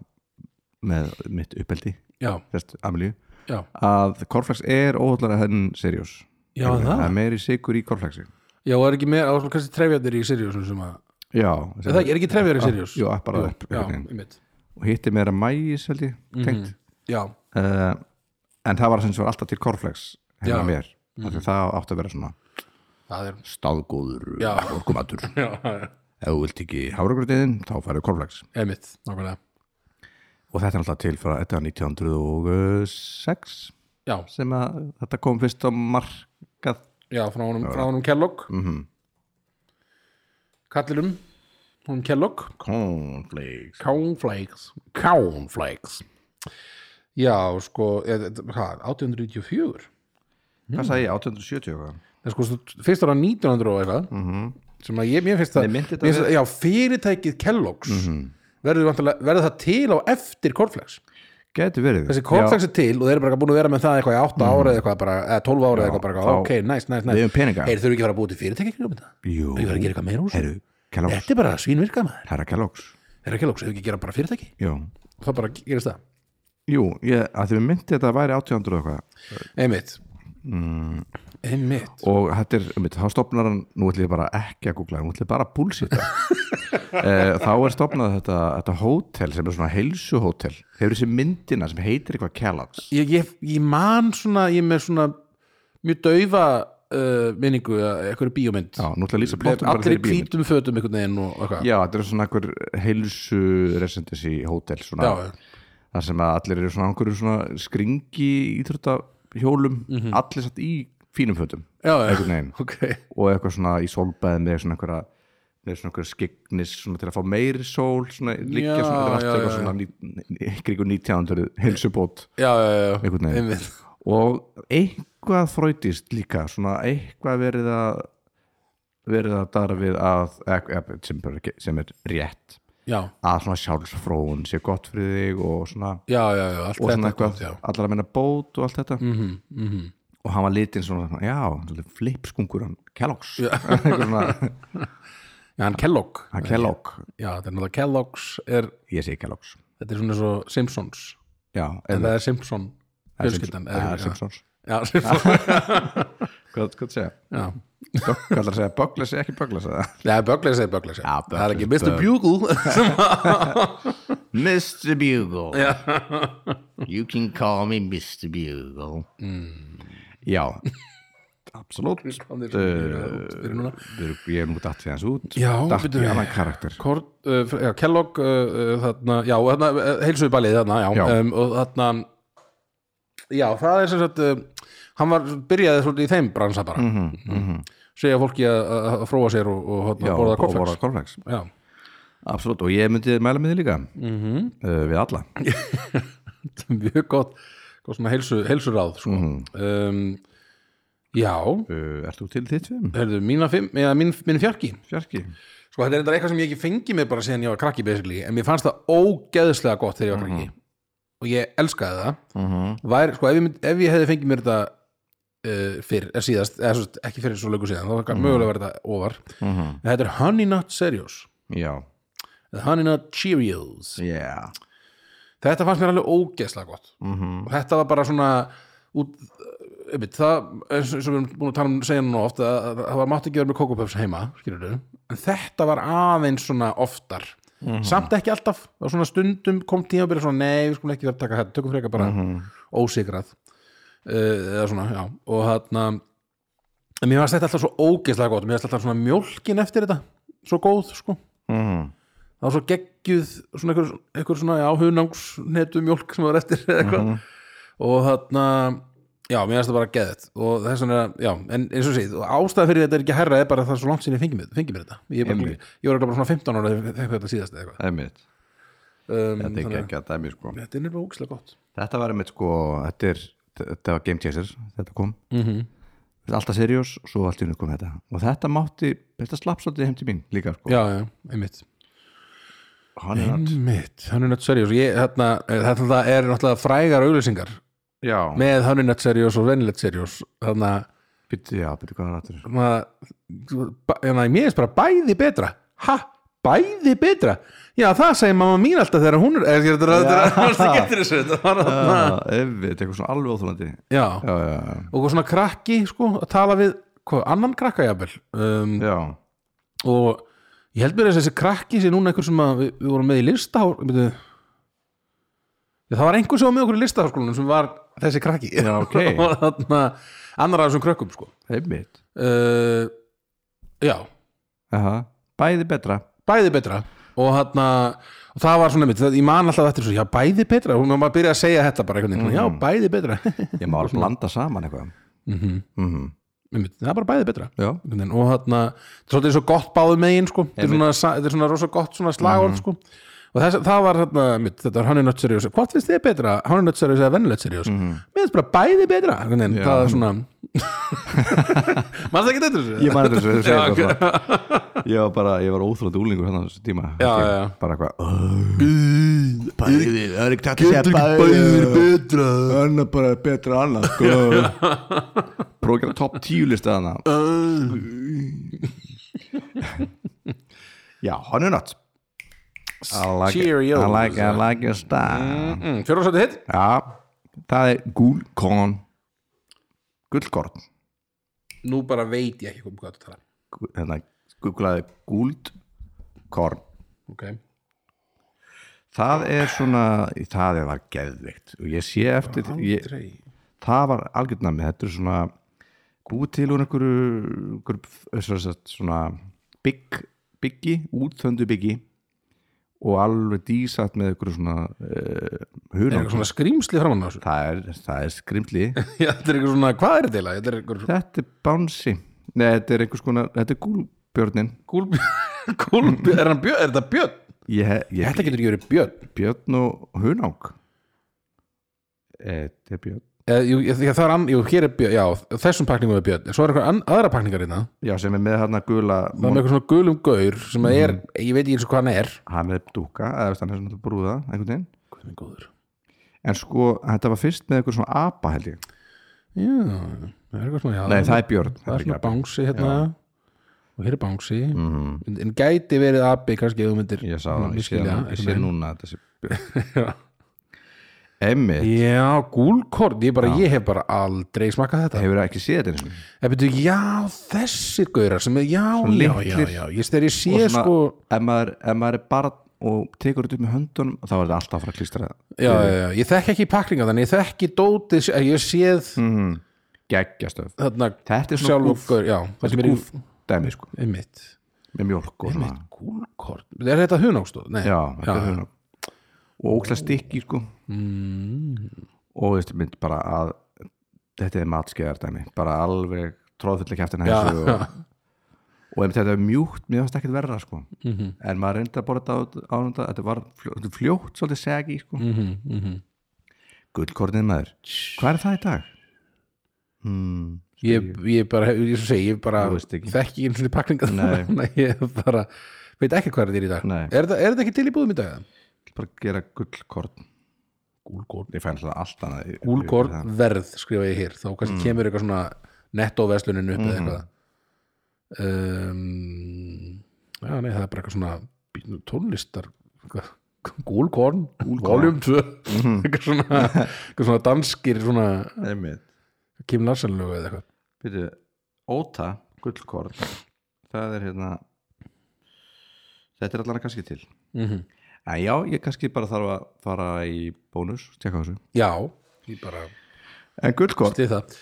með mitt uppeldi
já,
rest, Amelíu,
já,
að korflags er óhullara henn seriós
já, það
er meiri sigur í korflagsi
já, og er ekki meira, og kannski trefjarnir í Sirius sem að,
já,
er það ekki, er ekki trefjarnir í Sirius
Jú, bara upp
já,
einhvern veginn.
einmitt
og hitti meira mægis held ég
Mhm.
tengt
já,
uh, en það var sem sem var alltaf til
Já.
korflags
Mhm.
hennar mér, mm -hmm. það átti að vera svona
það er
stáðgóður
Já.
orkumatur
já, já, já.
ef þú vilt ekki háragrötiðin þá færðu korflags
Einmitt, nákvæmlega
og þetta er alltaf til frá þetta var 1906
Já,
sem að þetta kom fyrst á markað
já, frá honum, frá honum Kellogg mm -hmm.
Mhm.
Kallinum honum Kellogg
Cornflakes
Cornflakes Cornflakes Já, sko, eh, þetta- hvað, 1894 Mhm.
hvað sagði ég, 1870 eitthvað?
En sko, svo- fyrst ára 1900 og eitthvað sem að ég, mér finnst það
Mhm. Nei, myndi þetta Mhm.
mér finnst það- Já, fyrirtækið Kellogg's verður, væntanlega- verður það til á eftir Cornflakes
gæti verið
Þessi Cornflakes er til og þeir eru bara búin að vera með það eitthvað í 8 ára eða eitthvað bara, eða 12 ára eða eitthvað bara,
Mhm. þá-
ok, næst, næst, næst
við höfum peninga.
Þeir þurfi ekki að fara að búið til fyrirtæki kringum þetta Þeir
Jú.
verður að gera eitthvað meira úr þessu.
Heru, Kellogg's,
Þetta er bara svínvirka maður
herra Kellogg's
Þeir eru ekki lóks, þeir ekki gera bara fyrirtæki
Jú,
Það bara gerist það
Jú ég, að því við myndi þetta væri 1800 eitthvað
Einmitt
Mm.
Einmitt
og þetta er, um, þá stopnar hann nú ætlum ég bara ekki að googla, nú ætlum ég bara að búlsita e, þá er stopnað þetta, þetta hótel sem er svona heilsuhótel hefur þessi myndina sem heitir eitthvað Kellogg's
ég, ég, ég man svona, ég er með svona mjög daufa uh, minningu að einhverju bíómynd
Já, nú ætlum ég að lýsa
Með
plottum bara
Allir
þeirri
í
bíómynd.
hvítum fötum einhvern veginn og eitthvað
Já, þetta er svona einhver heilsu resendis í hótel svona,
Já, já.
þar sem að allir eru svona einhverju svona skringi íþrótta hjólum,
Mhm.
allir satt í fínum fötum, einhvern veginn
ok
og eitthvað svona í solbæði með svona einhverja með svona einhverja skiknis svona til að fá meiri sól svona líkja
Já,
svona, þetta er allt
já,
eitthvað
já.
svona ní- kringu 1900 heilsubót
Já, já, já, já.
Einhvern veginn.
Einmitt.
og eitthvað þrautist líka svona eitthvað verið að verið að dara við að ek- ek- sem, bara ekki- sem er rétt
Já,
að svona sjálfsfróun sé gott fyrir þig og svona,
já, já, já allt
og
þetta
svona
gott,
eitthvað
já. Mhm,
allar að menna bót og allt þetta mm -hmm, og hann var litinn svona já, svolítið flipskungur hann Kellogg's Eitthvað svona,
Já, hann Kellogg
hann Kellogg
Já, þetta er náttúrulega Kellogg's er,
ég segi Kellogg's
Þetta er svona eins og Simpsons
já,
En það er Simpson Fjölskyldan
eða
eða-
Simpsons
Já, Simpson
hvað hvað það segja?
Já
Bögg- Hvað það segja? Böggles eða ekki Böggles eða?
Nei, Böggles er Böggles
Já,
Það er ekki
Böggles,
Mr. Bugle sem að-
Mr. Bugle you can call me Mr. Bugle Mm. já absolutt
Hann er
Eh,
svona út fyrir núna.
ég er nú datt því hans út
Já,
datt
byrju.
í annan karakter
Kort, uh, fr- já, Kellogg uh, uh, þarna, Já, og þarna, uh, heilsu í balið þarna, já,
Já.
Um, Og þarna Já, það er sem sagt uh, Hann var, byrjaði svolítið í þeim bransa bara mm -hmm, Segja fólki að, að- að fróa sér og, og
Mhm, Já,
þarna, borða
og borða
korflags
korflex
Já,
absolutt
Mhm.
Eh, og ég myndi mæla með því líka mm -hmm. uh, við alla
mjög gott eitthvað svona heilsu, heilsuráð sko.
Mhm.
um, já,
uh, Ert þú til þitt fimm?
herðu, mína fimm eða minn, minn fjarki
Fjarki
sko þetta er reyndar eitthvað sem ég ekki fengi mig bara síðan ég var krakki basically, en mér fannst það ógeðslega gott þegar ég var krakki og ég elskaði það Vær, sko, ef, ég mynd, ef ég hefði fengið mér þetta uh, fyrr, eða síðast eða, svo, sagt, ekki fyrir svo lögu síðan, þá var mögulega verið þetta ofar
Mhm.
en þetta er Honey Nut Serious
Já
eða Honey Nut Cheerios
Yeah
þetta fannst mér alveg ógeðslega gott og þetta var bara svona út, einmitt, það, eins eins og við erum búin að tala um segja nú oft, að, að það var mátt ekki vera með kókupöfs heima, skilur en þetta var aðeins svona oftar samt ekki alltaf, það var svona stundum kom tíma að byrja svona, nei, við skulum ekki vera að taka þetta tökum frekar bara ósigrað uh, eða svona, já, og þarna en mér fannst þetta alltaf svo ógeðslega gott, mér fannst alltaf svona mjólkin eftir þetta svo góð, sko
Mhm.
það var svo geggjuð svona einhver, einhver svona já, hunangsnetu mjólk sem var eftir eða eitthvað
Mhm.
og þarna já, mér finnst það bara geðið og þess vegna, já, en eins og sé og ástæða fyrir þetta er ekki herra er bara að það er svo langt sinni fengið mér, fengi mér þetta ég, er bara,
Einmitt.
ég var ekki bara svona 15 ára þegar þegar þetta síðast eða eitthvað
Einmitt
um,
Þetta er
þannig
ekki
að-
ekki að dæmi sko
þetta er nefnilega ógislega gott
Þetta var einmitt sko Þetta er Þetta var Game Chaser Þetta kom mm -hmm. Alltaf seriós Svo allt í unni kom þetta Og þetta mátti Þetta slapp svolítið heim til mín líka sko
já, já, einmitt
Hann er hann
einmitt, hann er nött seriós ég, þarna, eh, þetta er náttúrulega frægar auglýsingar
Já
með hann er nött seriós og venilegt seriós þannig að
Býttu, já, býttu hvað er aftur
svona, ba- hérna, mér finnst bara bæði betra ha, bæði betra já, það segir mamma mín alltaf þegar hún er eða þetta er þetta er- þetta er- getur þessu, þetta var þarna.
Evið, Ah, þetta er eitthvað svona alveg óþólandi
já,
Já, já, já.
og svona krakki sko, að tala við hvað, annan krakka jafnvel um,
já
og ég held mér að þessi krakki sé núna einhver sem að við, við vorum með í lista byrju, já, það var einhver sem var með okkur í listaháskólanum sem var þessi krakki já,
ok.
og þarna annar af þessum krökkum sko.
Evið
uh, já
Bæði betra
bæði betra og, þarna, og það var svona mitt, það, ég man alltaf eftir svo, já bæði betra, hún maður byrja að segja þetta bara einhvern veginn, já
Mm.
bæði betra Mhm.
Ég má alveg blanda saman eitthvað Mhm.
Einmitt, það er bara bæði betra
Já
Einhvern veginn, og þarna, þetta er svolítið svo gott báðu megin sko. þetta, er svona, sa- þetta er svona rosa gott svona slagorð
Mm.
sko. og þess, það var þarna, mitt, þetta var hann er nött seriós, hvort finnst þið betra hann er nött seriós eða vennilegt seriós mm
Mhm.
-hmm. mér finnst bara bæði betra einhvern veginn, það er svona maður það ekki þetta þessu?
Ég man þetta svo, þú segir
Já,
það svona Ég var bara, ég var óþrólandi úlingur hérna á þessu tíma
Já,
Ég-
já, já.
Bara eitthvað Bæði, það er ekki tætt að segja bæði
bæði
betra Annað bara er betra en annað sko Prófa að gera topp tíu lista þarna Já, hann er nött I like, it. I
Cheerios.
like, I like your style
mm, fjórfarsætti hitt
Já, það er gúlkorn Gullkorn
nú bara veit ég ekki hvað hvað þetta tala
Gu- Hérna, googlaði gúldkorn
okay.
Það er svona, það er var geðvikt og ég sé eftir, ég,
Aldrei.
það var algjörna með þetta er svona búið til úr einhverju, einhverju svona, sagt, svona bygg, byggi, útþöndu byggi og alveg dísat með einhverju svona uh,
Er
hunang
eitthvað svona skrýmsli framann á þessu?
það er, það er skrimli
Já, þetta er eitthvað svona, hvað er þetta eiginlega? Þetta er eitthvað
þetta er bánsi Nei, þetta er einhvers konar, þetta er gúlbjörnin
kúlbjörn, kúlbjörn, er, hann björn, er þetta björn?
ég, ég,
Þetta getur ekki verið björn.
björn og hunang Eh, Þetta er björn
Eh, jú, ég- ég- það er ann, jú, hér er björn, já, þessum pakningum er björn. En Svo er eitthvað ann, aðra pakningar hérna.
Já, sem er með þarna gula
Það er með eitthvað svona gulum gaur sem að er, ég veit ekki eins og hvað hann er.
hann er dúka, eða veist, hann er svona brúða einhvern veginn,
Hvað er góður?
en sko þetta var fyrst með eitthvað svona apa held ég
Já, það er eitthvað svona, já.
nei það er björn,
Það er svona
ekki apa.
bánsi hérna. Og hér er bánsi. En, en gæti verið abi, kannski, ef þú myndir.
ég sá það, ég sé,
misskilja,
það, ég sé
einhvern
núna að þetta sé björn
Já.
emmi,
Já, gúlkort, ég bara, ég hef bara aldrei smakað þetta.
hefur ekki séð þetta eins og
Það betur, já, þessir gaurar sem er, já, já, já,
litlir.
já, ég þegar ég sé
svona,
sko,
ef, maður, ef maður er barn og tekur þetta upp með höndunum þá er þetta alltaf að fara að klístra
já, já, já, ég þekki ekki pakninga þannig, ég þekki dótið, ég hef séð
geggjastöf,
þarna,
Hmm. Mhm. þetta er svona
sjálf
gúf
gaur, já, það sem er í,
gúf dæmi sko,
einmitt,
með mjólk og svona
gúlkort, er þetta hunangstóð? Nei,
Hmm. já, þetta er hunang og óksla stykki sko
Mm-hmm,
og þetta mynd bara að þetta er matskeðar dæmi bara alveg tróðfulla kæftina þessu og, og einmitt þetta er mjúkt mér varst ekkert verra sko
mm-hmm,
en
mm-hmm,
maður reyndi að borða þetta á- á þetta þetta var fljótt, þetta er fljótt svolítið segi sko mm -hmm, mm -hmm. gullkornið maður hvað er það í dag? Hmm.
ég, ég bara, ég svo segi, ég bara
Þú veist ekki.
þekki ekki einu svona pakninga
Nei.
Nei, ég bara, veit ekki hvað þetta er í dag
Nei.
er, það, er þetta ekki til í búðum í dag?
bara gera gullkorn
Gúlgórn
ég fæn alltaf allt annað í-
Gúlgórn verð, skrifa ég hér þá
Mm.
kannski kemur eitthvað svona nettóverslunin upp
Mhm.
eða eitthvað um, já, nei, það er bara eitthvað svona býtum tónlistar Gúlgórn, voljum 2
Mhm.
eitthvað svona, eitthvað svona danskir svona
Einmitt.
Kim Larsen lögu eða eitthvað
Byrju, óta gullkorn það er hérna þetta er allan kannski til
mm
en já, ég kannski bara þarf að fara í bónus, tjekka á þessu
já, ég bara
en gullkorn,
stið það,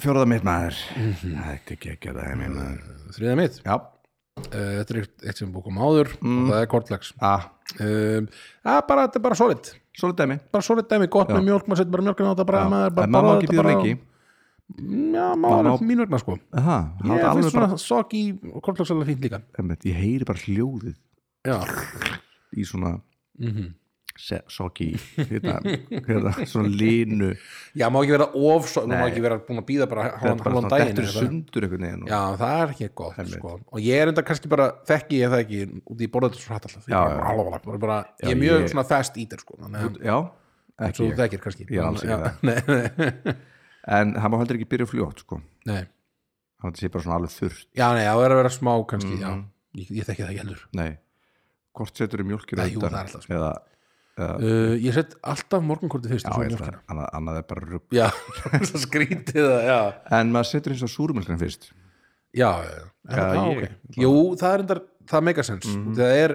fjóraða mitt maður
Mhm.
þetta er ekki að það er mér maður
þriða mitt
já,
Uh, þetta er eitt- eitt sem við bókum áður
Mhm.
og það er kortlags
að,
um, að bara, þetta er bara solid
svolítið dæmi
bara solid dæmi, gott með mjólk, maður setur bara mjólkina á þetta bara, maður bara
en maður má
borðar
ekki
þetta
býða
bara-
lengi
já, má alveg mín vegna sko
Aha,
ég
yeah,
finnst
bara,
svona sokk í kortlags alveg fínt líka
einmitt, ég heyri bara hljóðið
já,
í svona Mhm. se- soggy hérna, hérna, svona línu
já má ekki vera of sokk, má ekki vera búin að býða bara hálfan
bara
hálfan
svona
daginn
dettur í
eða eitthvað.
sundur einhvern veginn og-
já, það er ekki gott sko. og ég er enda kannski bara, þekki ég það ekki út í borðið svo hrætt alltaf Ég
Já,
bara-
já.
bara- bara- bara- ég er
Já,
mjög
ég-
svona fast eater sko þannig að- eins
já,
og
ekki
þú
ég
þekkir kannski
Ég er alls ekki
Já,
það.
nei, nei,
en það má heldur ekki byrja fljótt sko
nei
það sé bara svona alveg þurrt
Já, nei, það er að vera smá kannski,
Mhm.
já Ég, ég þekki það ekki heldur
nei, hvort setur þú mjólkina
Nei, jú,
undan?
það er alltaf
eða,
uh, Ég set alltaf morgunkortið fyrst og
já,
svo
ég ætla
mjólkina.
að- annað, annað er bara rugg
Já, það skrítið það, já
en maður setur eins og súrmjólkina fyrst
Já, já, já,
Já,
já
ég- Mhm.
ok Jú, það er endar, það meika sens mm. Það er,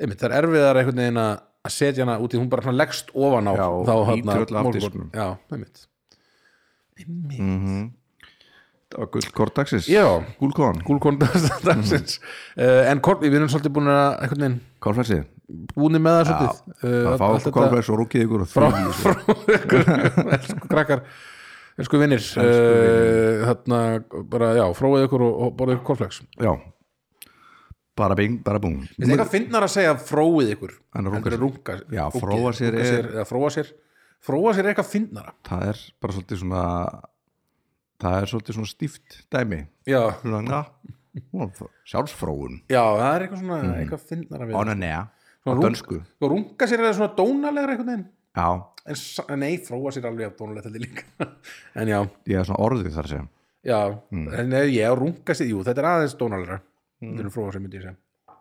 einmitt, það er erfiðar einhvern veginn að að setja hana út í hún bara svona leggst ofan á
Já,
þá
og
hérna
ýtir öll af
morgunkort-
disknum.
Já, einmitt Einmitt
Mhm. og gullkorn dagsins
Já.
gúlkorn,
Gúlkorn dagsins uh, En kort, við erum svolítið búin að einhvern veginn
kórflæsið
búin með það
já,
svolítið Uh,
að fá
allt
okkur
Eh, þetta-
kórflæs og rúkið ykkur og
frá,
því
frá ykkur elsku krakkar elsku vinnir uh, hérna bara já, fróið ykkur og, og borðið ykkur korflex
já bara bing, bara búm
Þetta er eitthvað fyndnar að segja fróið ykkur
En að runka
heldur en runka,
Já,
rúnkið,
fróa sér
runka
er-
eða fróa sér fróa sér er eitthvað fyndnara
það er bara svolítið svona það er svolítið svona stíft dæmi
já,
svona, na, hún er sjálfsfróun
já, það er eitthvað svona eitthvað fyndnara við
on a nea, Mm. á
Svona rúm-
dönsku
og runka sér er það svona dónalegra einhvern veginn
já,
en sa- nei, fróa sér er alveg af dónalegt heldur líka en já,
ég er svona orðið þar að segja
já
Mm.
en nei, já, runka sér, jú, þetta er aðeins dónalegra þetta er fróa sér myndi ég segja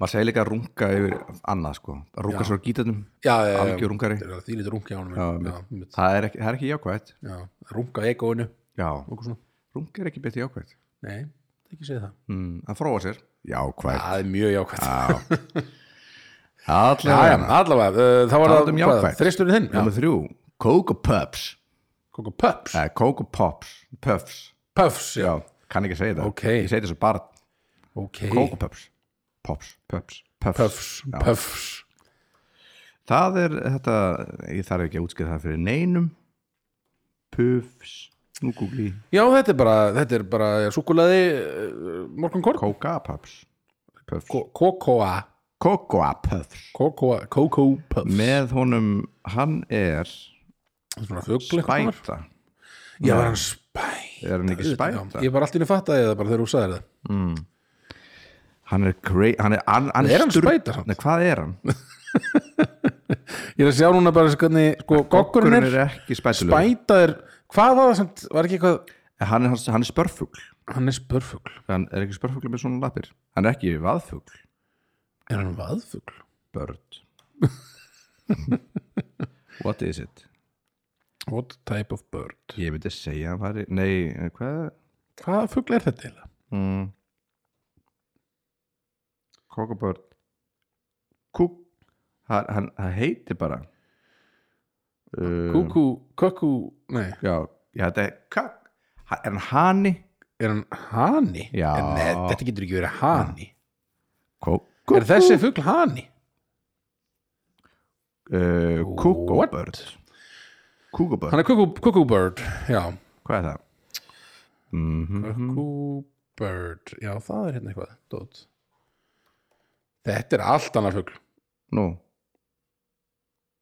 maður segir líka að runga yfir annað sko að runga sér á gítarnum
já, já, já,
Algjör rungari.
Það er því lítið rungi á honum já, einmitt.
það er ekki, það er ekki jákvætt
já, runga egoinu
já,
okkur svona,
runga er ekki betið jákvætt
nei, ekki segja það
mm, að fróa sér jákvætt
það er mjög jákvæmt já, já,
allavega,
allavega, uh, þá var
Talandi
það
um
hvað,
jákvætt.
þristurinn þinn,
nummer þrjú Coco Pups
koko puffs
eh, Coco Pops, Puffs
puffs, já,
já, kann ekki segja það
Ok.
ég segi þessu bara
ok
Coco Pups Pops, Pups, Puffs,
puffs,
Já.
puffs
Það er þetta, ég þarf ekki að útskýra það fyrir neinum Puffs, nú googli
já, þetta er bara, þetta er bara súkulaði, uh, morgunkorn
Coca Puffs Puffs,
kokoa,
Cocoa Puffs
kokoa koko puffs,
Með honum, hann er
svona fugl eitthvað svona.
Spæta
já, var hann spæta
Er hann ekki
Já,
spæta?
ég var allt í henni fattaði það bara þegar þú sagðir það
Hann er grey, hann er, hann, hann
Er hann
stur-
spæta samt?
Nei, hvað er hann?
ég er að sjá núna bara hvernig, sko, goggurinn
Hann
er
er ekki spætulegur
spæta er hvað var það sem var ekki eitthvað
Hann er, hans- hann er spörfugl
hann er spörfugl,
Hann er ekki spörfugl með svona lappir Hann er ekki vaðfugl
er hann vaðfugl
Bird What is it?
what type of bird
Ég myndi segja hann væri Nei, eh, hvað?
hvaða fugl er þetta eiginlega
Mm. Kokabörn Kúk Hann, hann, hann heiti bara uh,
kúkú, kökú, nei
Já, já þetta er kak Ha- Er hann hani?
er hann hani
Já.
En nei, þetta getur ekki verið hani
Kók
er þessi fugl hani
uh, Kúkabörn Kúkabörn
hann er kökú, kökú bird já,
Hvað er það? Mhm.
kökú bird já, það er hérna eitthvað dót. þetta er allt annar fugl
Nú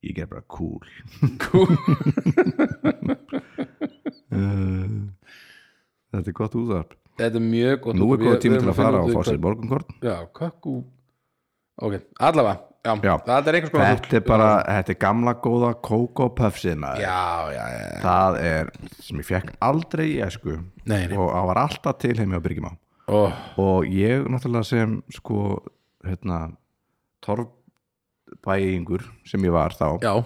ég ger bara cool uh, þetta er gott útvarp
Þetta er mjög gott
nú
út
er
og
góð
við- við
tími
erum
til að fara
finna
á
út
fósið
hvað-
morgunkort
Já, kökku Ok, allavega Já,
Já.
þetta er einhvers konar
þetta er bara, þetta er gamla góða Coco Puffsið maður
Já, já, já
það er sem ég fekk aldrei í esku
Nei, Oh, nei.
og það var alltaf til heimi á Byrgjumá
Ó,
og ég náttúrulega sem sko hérna torfbæingur sem ég var þá
Já,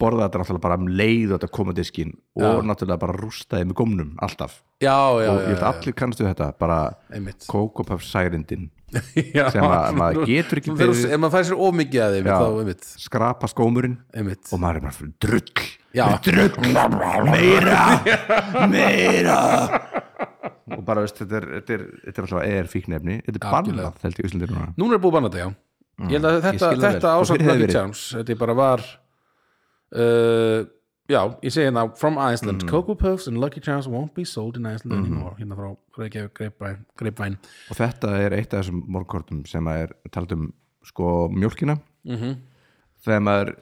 borðaði þetta náttúrulega bara um leið og þetta kom að diskin og náttúrulega bara rústaði með gómnum alltaf
já, já,
og
já,
ég veit
já.
allir kannast við þetta bara
Einmitt
kókopaf særindin
Já.
sem að maður getur ekki
Fer úr-
fyrir
Ef maður fær sér ómikið að þeim
Já.
þá, einmitt,
skrapa skómurinn
einmitt
og maður er bara fyrir drull
Já.
drull meira meira og bara veist þetta er, þetta er, þetta er alltaf er fíknefni þetta er
Algjörlega.
bannað held ég Íslandir núna
Núna er búið bannað þetta, já Mm. Ég held að þetta,
skil það
þetta
vel. Og
ásamt
fyrr hefði
Lucky
verið.
Charms Þetta er bara var uh, Já, ég segi hérna From Iceland, Cocoa Puffs and Lucky Charms won't be sold in Iceland anymore Hérna frá Reykjavík Grapevine, Grapevine.
og þetta er eitt af þessum morgkortum sem að er talað um sko mjólkina -hmm. þegar maður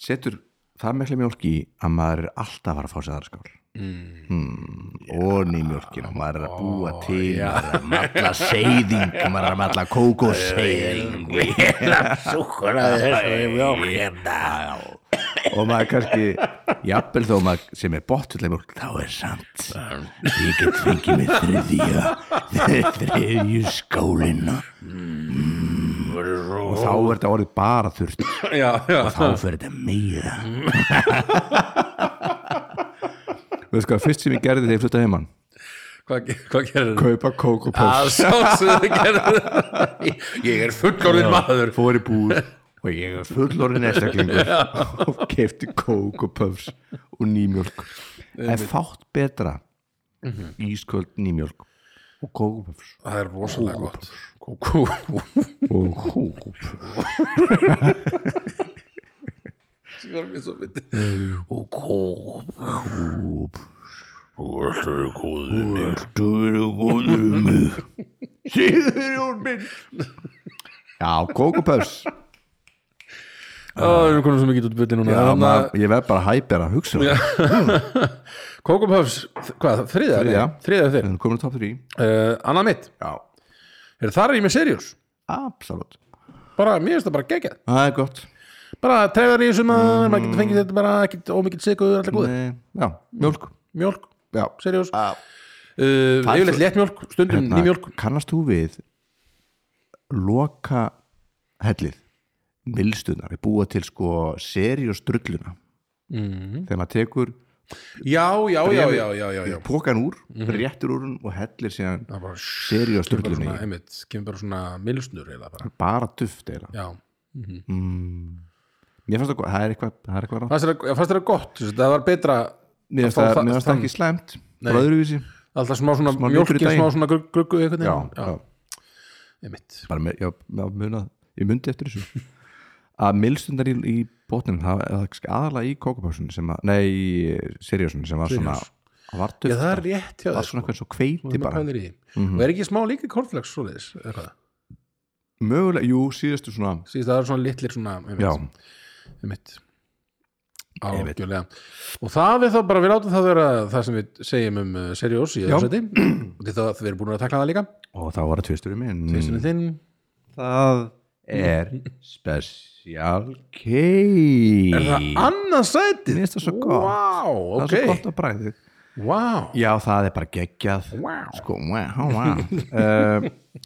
setur það mikla mjólk í að maður er alltaf að fara að fá sér aðra skál mm. Mm. og ný mjólkina maður er að búa til maður er að matla seyðing maður er að matla kókoseyðing Hérna. og maður kannski jafnvel þó maður sem er botullega mjólk þá er samt ég get fengið mig þriðja þriðju skálina og þá er þetta orðið bara þurft
Já, já
þá fyrir þetta meira veist hvað, fyrst sem ég gerði þegar ég flutta heimann
Hvað, hvað gerir þetta?
kaupa Coco
Að sjálfsögðu gerir þetta Ég er fullorðin maður
fór í búð og ég er fullorinn einstaklingur og kefti Coco Puffs og nýmjölk en fátt betra Mhm. ísköld nýmjölk og Coco Puffs
Það er rosalega gott Kúkú
og Coco Puffs
Kúkú
Þú eru góður um mig Sigurjón minn Já, Coco Puffs
Það er einhvern sem ég get út byrði núna
Já,
Þannig að-
maður, ég verð bara hæpjar að hugsa það
Coco Puffs, hvað, þriða?
Þriðja.
Nei, Þriða þeir,
Þannig komin á top 3
uh, annað mitt
Já,
Heyrðu, Þar er ég með seriós,
absolutt
bara, mér finnst það bara geggjað
Það er gott
Bara trefðar í þessum að maður
Mhm.
getur fengið þetta bara ekkert ómikið sigur, allir góði
Nei, Eh, Já, mjölk
Mjólk,
Mhm. Já,
seriós uh,
Já. er
Yfirleitt
svo-
léttmjólk, stundum hérna. nýmjólk
Kannast þú við Loka hellið Milstunar, við búa til sko Seriós drulluna -hmm. Þegar maður tekur
Já, já, já, já, já, já, já
pókan úr Réttur úr hún og hellir síðan
Það er bara sh-
Seriós
bara svona,
drulluna í.
einmitt, kemur bara svona milsnur eða bara,
Bara duft eða
já
Mér fannst það gott, það er eitthvað, það er eitthvað rann
Fannst þér það- fannst þér það gott, þú veist, það var betra
Mér fannst
fá
það,
það-
mér fannst það
þann-
ekki slæmt Bröðruvísi
Alltaf smá svona
Smá mjólkur í
mjólkin,
daginn.
smá svona grugg- gruggu einhvern
Já,
veginn.
já
einmitt
bara með, já, já, muna, ég myndi eftir þessu að milstundar í, í botnin það það er kannski aðalega í kókupásun sem að, nei, í Siriusun sem var svona, það var
Já,
dufta
það er rétt hjá
það var
þér
svona Mhm. eitthvað svo kveiti bara
mm -hmm. og er ekki smá líka kornflex svoleiðis eða hvað?
mögulega, jú, síðustu svona
síðast það eru svona litlir svona
já,
mitt ágjörlega og það er þá bara við látum það vera það sem við segjum um uh, seriós í
Já.
öðsæti og því þá að við erum búin að takla það líka
og það var að tvistur um
þessum
minn
er þinn
það er special kei
er það annað sætið?
Mér finnst það svo gott.
wow,
það er
ok,
svo gott að bræði
wow
já, það er bara geggjað
Wow.
sko, wow, wow. uh,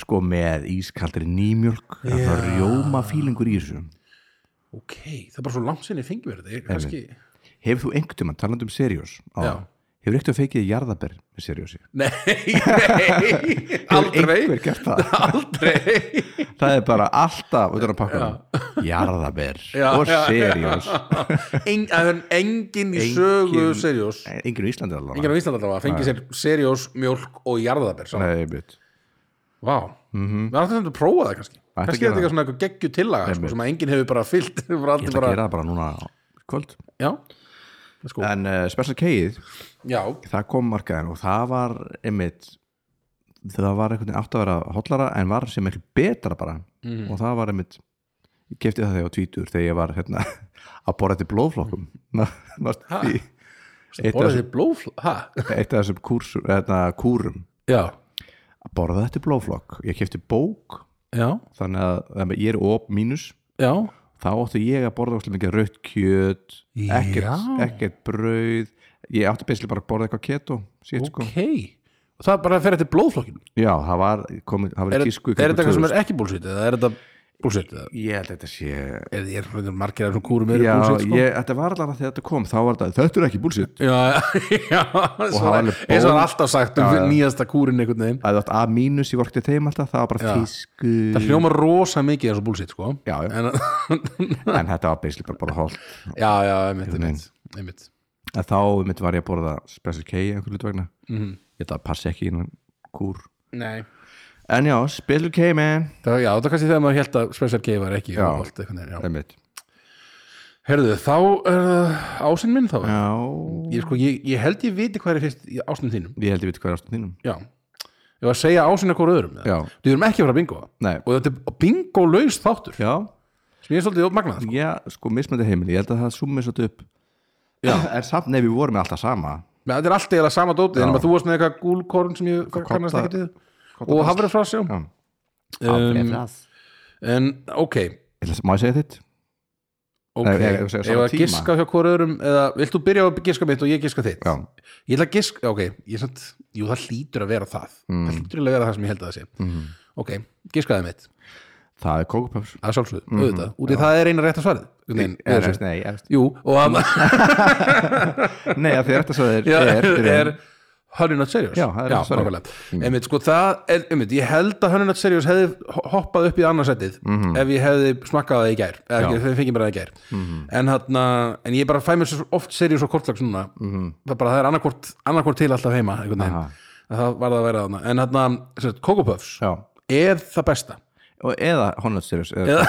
sko með ískaldri nýmjölk yeah. það er rjóma fílingur í þessu
ok, það er bara svo langt sinni fengjum við þetta Ég kannski,
hefur þú einhvern tímann, talandi um seriós
Já.
hefur ekkert að feikið jarðaber með seriósi
nei, nei aldrei,
einhver gert það
aldrei
það er bara alltaf út af pakkanum jarðaber
Já,
og
já, já.
seriós
Eng, það er engin í
Engin-
sögu seriós
enginn í Íslandi allavega
Enginn á Íslanda allavega fengið sér seriós mjólk og jarðabær saman.
Nei, einmitt.
Vá, við ættum þetta að prófa það kannski
Mhm. að
Kannski
gera
er þetta eitthvað svona eitthvað geggju tillaga sko, sem að enginn hefur bara fyllt bara
ég
allir
ætla að
bara,
gera það bara núna á kvöld
já, let's go
en uh, special keið
Já,
það kom markaðin og það var einmitt það var einhvern veginn átt að vera hotlara en var
Mhm.
sem miklu betra bara og það var einmitt ég kefti það þegar ég var tvítur þegar ég var hérna að borða þetta í blóðflokkum
Mhm.
Ná- næst því. eitt af
Borðið
þessum-
þið blófl... Hæ?
eitt af þessum kúrsum, eðna, kúrum
Já,
að borða þetta í blóðflokk ég kefti bók
já,
þannig að, að ég er op mínus
já
þá átti ég að borða óslega mikið rautt kjöt ekkert,
Já.
ekkert brauð ég átti beinslega bara að borða eitthvað keto sítt, sko.
Ok Og það bara fer eftir blóðflokkinu
já, það var komið, það var
Er, er
í tísku í
þetta
kringum
eitthvað sem
2000.
er ekki búlsvítið eða er þetta búlsvítið eða?
ég held að þetta sé
Er þetta er hlutir margir af þessum kúrum eru
já,
búlsvítið sko?
ég, þetta var allavega þegar þetta kom þá var þetta, þetta er ekki búlsitt
Já, já,
það var
svona,
alveg
eins og það er
ból-
alltaf sagt um
Já, já.
nýjasta kúrin einhvern veginn
að þetta að mínus ég vorkti þeim alltaf það var bara
Já.
tísku
Það hljóma rosa mikið eins og búlsvít sko
já, já.
En,
en þetta var beinslega bara bara holt
já, já, einmitt, einmitt, einmitt.
að þá um mitt var ég að borða special K einhvern veit vegna mm. ég það passi ekki innan kúr
Nei
en já, special K man
Það, já, það er kannski þegar maður held að Spencer Gay var ekki
Já.
uppáhald, einhvern veginn, já.
Einmitt.
Herðu, þá er það ásinn minn þá
já,
ég, sko, ég, ég held ég viti hvað er fyrst í ásinn þínum
ég held ég veit hvað er ástum þínum
Já, ég var að segja ásinn eitthvað öðrum
Já.
Þú erum ekki að fara að bingo
Nei.
Og þetta er bingo laus þáttur
já,
sem ég er svolítið magnað sko.
já, sko mismöndi heimili ég held að það summi svolítið upp já. en samt nefn við vorum með alltaf sama
Men Þetta er allt eða sama dótið
Já.
en þú varst með eitthvað gúlkorn sem ég kannast
kotta-
ekki til og hafrið frá sjá
já.
um, En ok,
Ég ætla- má ég segja þitt?
ok
Nei,
Nei,
ég-
ég, ég, ég
ég- ég- ég- sama
var að
tíma.
giska hjá hvort öðrum eða vilt þú byrja að giska mitt og ég giska þitt
já,
Ég ætla að gisk, ok, ég samt, jú það hlýtur að vera það Það hlýtur að vera það sem ég held að það sé mm. Ok, giskaði mitt,
það er kókupöps
að sjálfsögðu, auðvitað Út í það er eina rétt að svarið Nei,
er, nei, er,
Jú, og að
nei, að því þetta svo er,
Já,
er,
er,
er,
Honey Not Serious
Já, það er Not Serious.
nákvæmlega. Einmitt, sko, það er, einmitt, ég held að Honey Not Serious hefði ho- hoppað upp í annarsettið mm. ef ég hefði smakkað það í gær eða ekki, þegar fengið mér það í gær en, hana, en ég bara fæ mér svo oft serious og kortlags núna mm. það, bara, það er annarkvort, annarkvort til alltaf heima einhvern veginn.
Aha.
En það var það að vera þarna en hérna, Coco Puffs
já,
er það besta
og eða Honest Serious er,
Eða-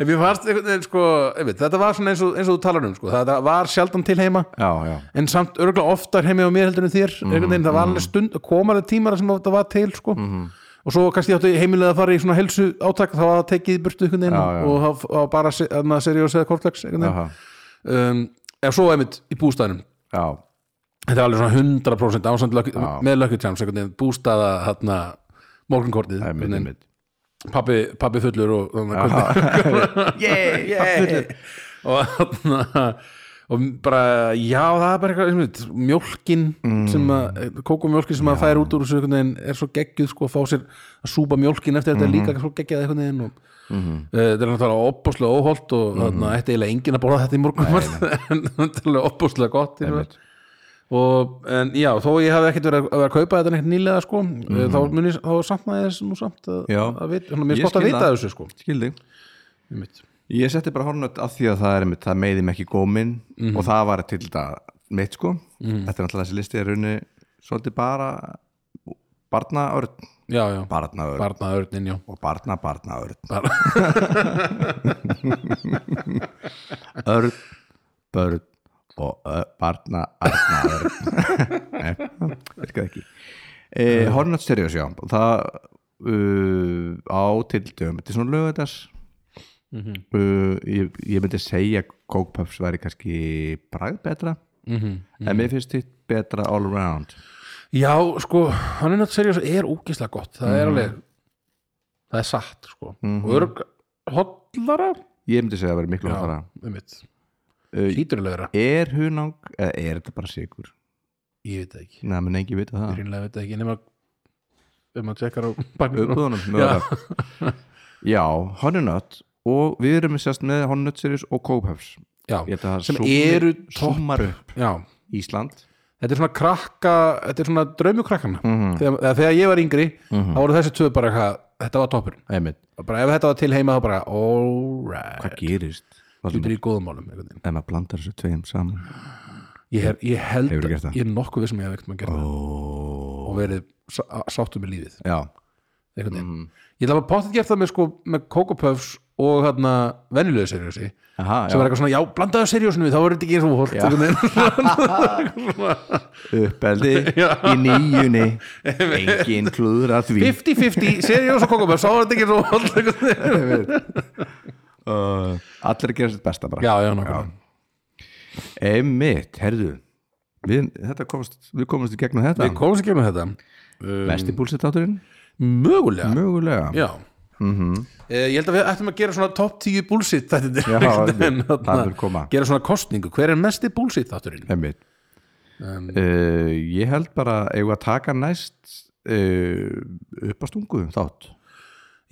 en mér fannst einhvern veginn sko, einmitt, þetta var svona eins og, eins og þú talar um sko, það var sjaldan til heima
já, já,
en samt örgulega oftar heimi á mér heldur en þér einhvern veginn, það
Mhm.
var alveg stund, komaði tímar sem þetta var til sko og svo kannski áttu heimilega að fara í svona helsu átak þá var það tekið í burtu einhvern veginn
Já, já.
og það var bara se- þarna seriós eða kortlegs einhvern
Aha.
veginn um, ef svo einmitt í bústæðnum
já
þetta er alveg svona 100% ásand lökki, með lökkutjáms einhvern veginn bústæða þarna morgunkortið
það er mitt, mitt
pappi, pappi fullur og þarna hvernig
yeah, yeah.
og, þarna, og bara já það er bara eitthvað sem við, mjólkin
Mm.
sem að, kókumjólkin sem að færa út úr þessu einhvern veginn er svo geggjuð sko að fá sér að súpa mjólkin eftir þetta er
Mhm.
líka svo geggjað einhvern veginn og uh, þetta er náttúrulega opbúslega óholt og
Mhm.
þarna ætti eiginlega enginn að borða þetta í morgun en þetta er alveg opbúslega gott yfir.
Einmitt.
og en já þó ég hafi ekkert verið að, að vera að kaupa þetta neitt nýlega sko mm. þá muni þá saknaði ég þess nú samt að,
Mhm. Já.
að vit, svona, mér
Ég
er gott að
skil
vita
það.
þessu sko
skildi
Einmitt.
Ég setti bara hornut af því að það er mitt, það meiði mig ekki gómin og það var til þetta mitt sko Þetta er náttúrulega þessi listi er raunni svolítið bara barnaörn,
já já,
barnaörn
barnaðurinn já
og barna barnaörn
Bara-
Örn, börn og ö, barna arnaörn Nei, virkaði ekki e, Hornut Serious, já Það uh, á til dögum, þetta er svona lögadags uh, ég, ég myndi segja Coke Puffs væri kannski bragð betra en
Mhm.
mér finnst þitt betra all around
Já, sko, hann er náttúrulega seriós er úkislega gott, það
Mhm.
er alveg það er satt, sko og örg hotlara
ég myndi segja að vera miklu hóttara
um mitt,
uh,
hlýturlega
er hunang, eða er þetta bara sigur
ég veit það ekki,
neða, menn engi vita
ég
það
reynilega veit það ekki nema ef maður tjekkar á bakmið
uppbúðunum, mögulega já, honunut og við erum sérst með honunut series og Coke Puffs
Já,
Ég held að það
sem
súmmi-
eru
súmmar upp
já,
Ísland
þetta er svona krakka þetta er svona draumukrakkan
Mhm.
þegar, eða þegar ég var yngri, þá voru þessi tvö bara eitthvað, þetta var toppurinn,
Einmitt.
Og bara ef þetta var til heima þá bara, all right
hvað gerist?
þetta
Ef
er í góðum málum, einhvern veginn
maður blandar þessu tveim saman
ég, hef, ég held,
Hefurðu gert það?
ég er nokkuð við sem ég hef ekkert maður gert oh. og verið sá- sáttur með lífið
Já,
einhvern veginn
Mhm.
ég ætla bara potið gert það með sko með Coco Puffs og hérna venjulegu seriósi sem
Aha,
var
já.
eitthvað svona, já, blandaðu seriósinu við þá verður þetta ekki eins og hólt einhvern veginn.
uppeldi í nýjunni engin klúður að því
50-50 seriós og Coco Puffs þá verður þetta ekki eins og hólt
allir að gera sitt besta bara
já, já, nákvæmlega
Einmitt, herðu við, þetta komast, við komast í gegnum þetta
Við komum sér ekki með þetta
Mesti búlsitt átturinn,
Mögulega
mögulega
Já Eh, Ég held að við ættum að gera svona top 10 bullshit þættir
Mhm. Já,
einhvern veginn,
einmitt.
þarna.
Það mun koma.
Gera svona kostningu, hver er mesti bullshit þátturinn? Um,
Einmitt uh, Ég held bara, eigum við að taka næst uh, upp að stungu um þátt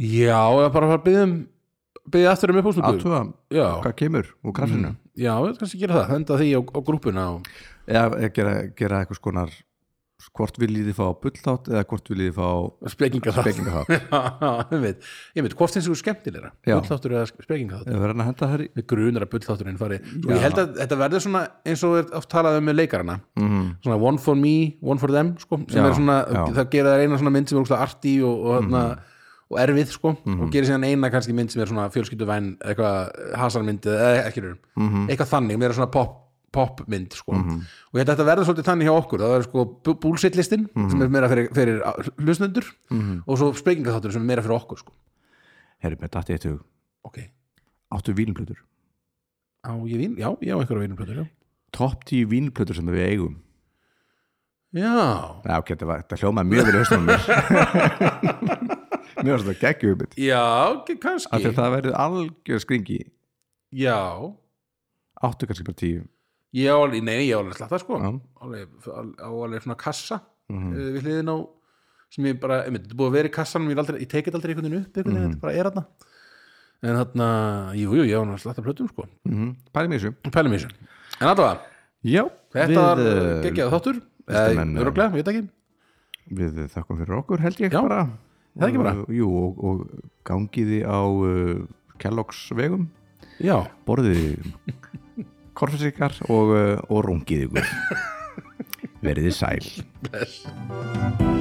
Já, eða bara að fara að byggja um byggja aftur um uppástungu
Aðtuga
Já.
hvað kemur úr krassinu
Já, við kannski gera það, henda því á, á grúpuna og...
Eða eða gera, gera eitthvað skonar hvort viljið þið fá bull þátt eða hvort viljið þið fá
Spekinga það
spekinga þátt
Ég veit, ég veit, hvort finnst þú skemmtilegra
Já.
Bullþáttur eða spekinga þáttur
Eða verðan að henda þær í
Við grunar að bullþátturinn fari Sko, ég held að þetta verður svona eins og er oft talað um með leikarana mm. Svona one for me, one for them sko, sem
Já,
er svona,
já.
það gera þær eina svona mynd sem er úkslega arti og, og, mm. og erfið sko, og gerir síðan eina kannski mynd sem er svona fjölskylduvæn eitthvað hasarmyndið, eða eh, ekki raunin eitthvað þannig, meira svona pop popmynd sko, og ég held að þetta verður svolítið þannig hjá okkur, það verður sko búlsittlistin mm sem er meira fyrir, fyrir hlusnendur og svo spekingaþáttur sem er meira fyrir okkur sko.
Herri, með dætti eitt hug
ok,
Áttu vínplötur
á ég vín, já, ég á einhverja vínumplötur já,
Topp 10 vínplötur sem við eigum
já
Já, ok, þetta, var, þetta hljómaði mjög vel höstum mér Mér var þetta geggjum mitt
Já, ge- kannski
Af því að það verið algjör skringi
Já,
Áttu kannski bara 10
ég á alveg, nei, ég á alveg slatta sko
Já. Mhm.
alveg, al- á alveg svona kassa mm við hliðin á sem ég bara, einmitt, þetta er búið að vera í kassanum ég, er aldrei, ég tekið aldrei einhvern veginn upp einhvern
Mhm.
veginn, þetta bara er þarna en þarna, jú, jú, ég á alveg slatta plötum sko
mm -hmm. Pæri mér í þessu
pælum í þessu, en allavega
Já,
þetta var
við, eh,
geggjað þáttur
listamenn, eh,
öruglega, ég veit ekki
Við þakkum fyrir okkur held ég
Já,
bara
það er ekki bara.
Og- Jú, og, og gangiði á uh, Kellogg's vegum
Já,
Borðiði korfisikar eh, og, uh, og rungiði ykkur Verðið sæl
bless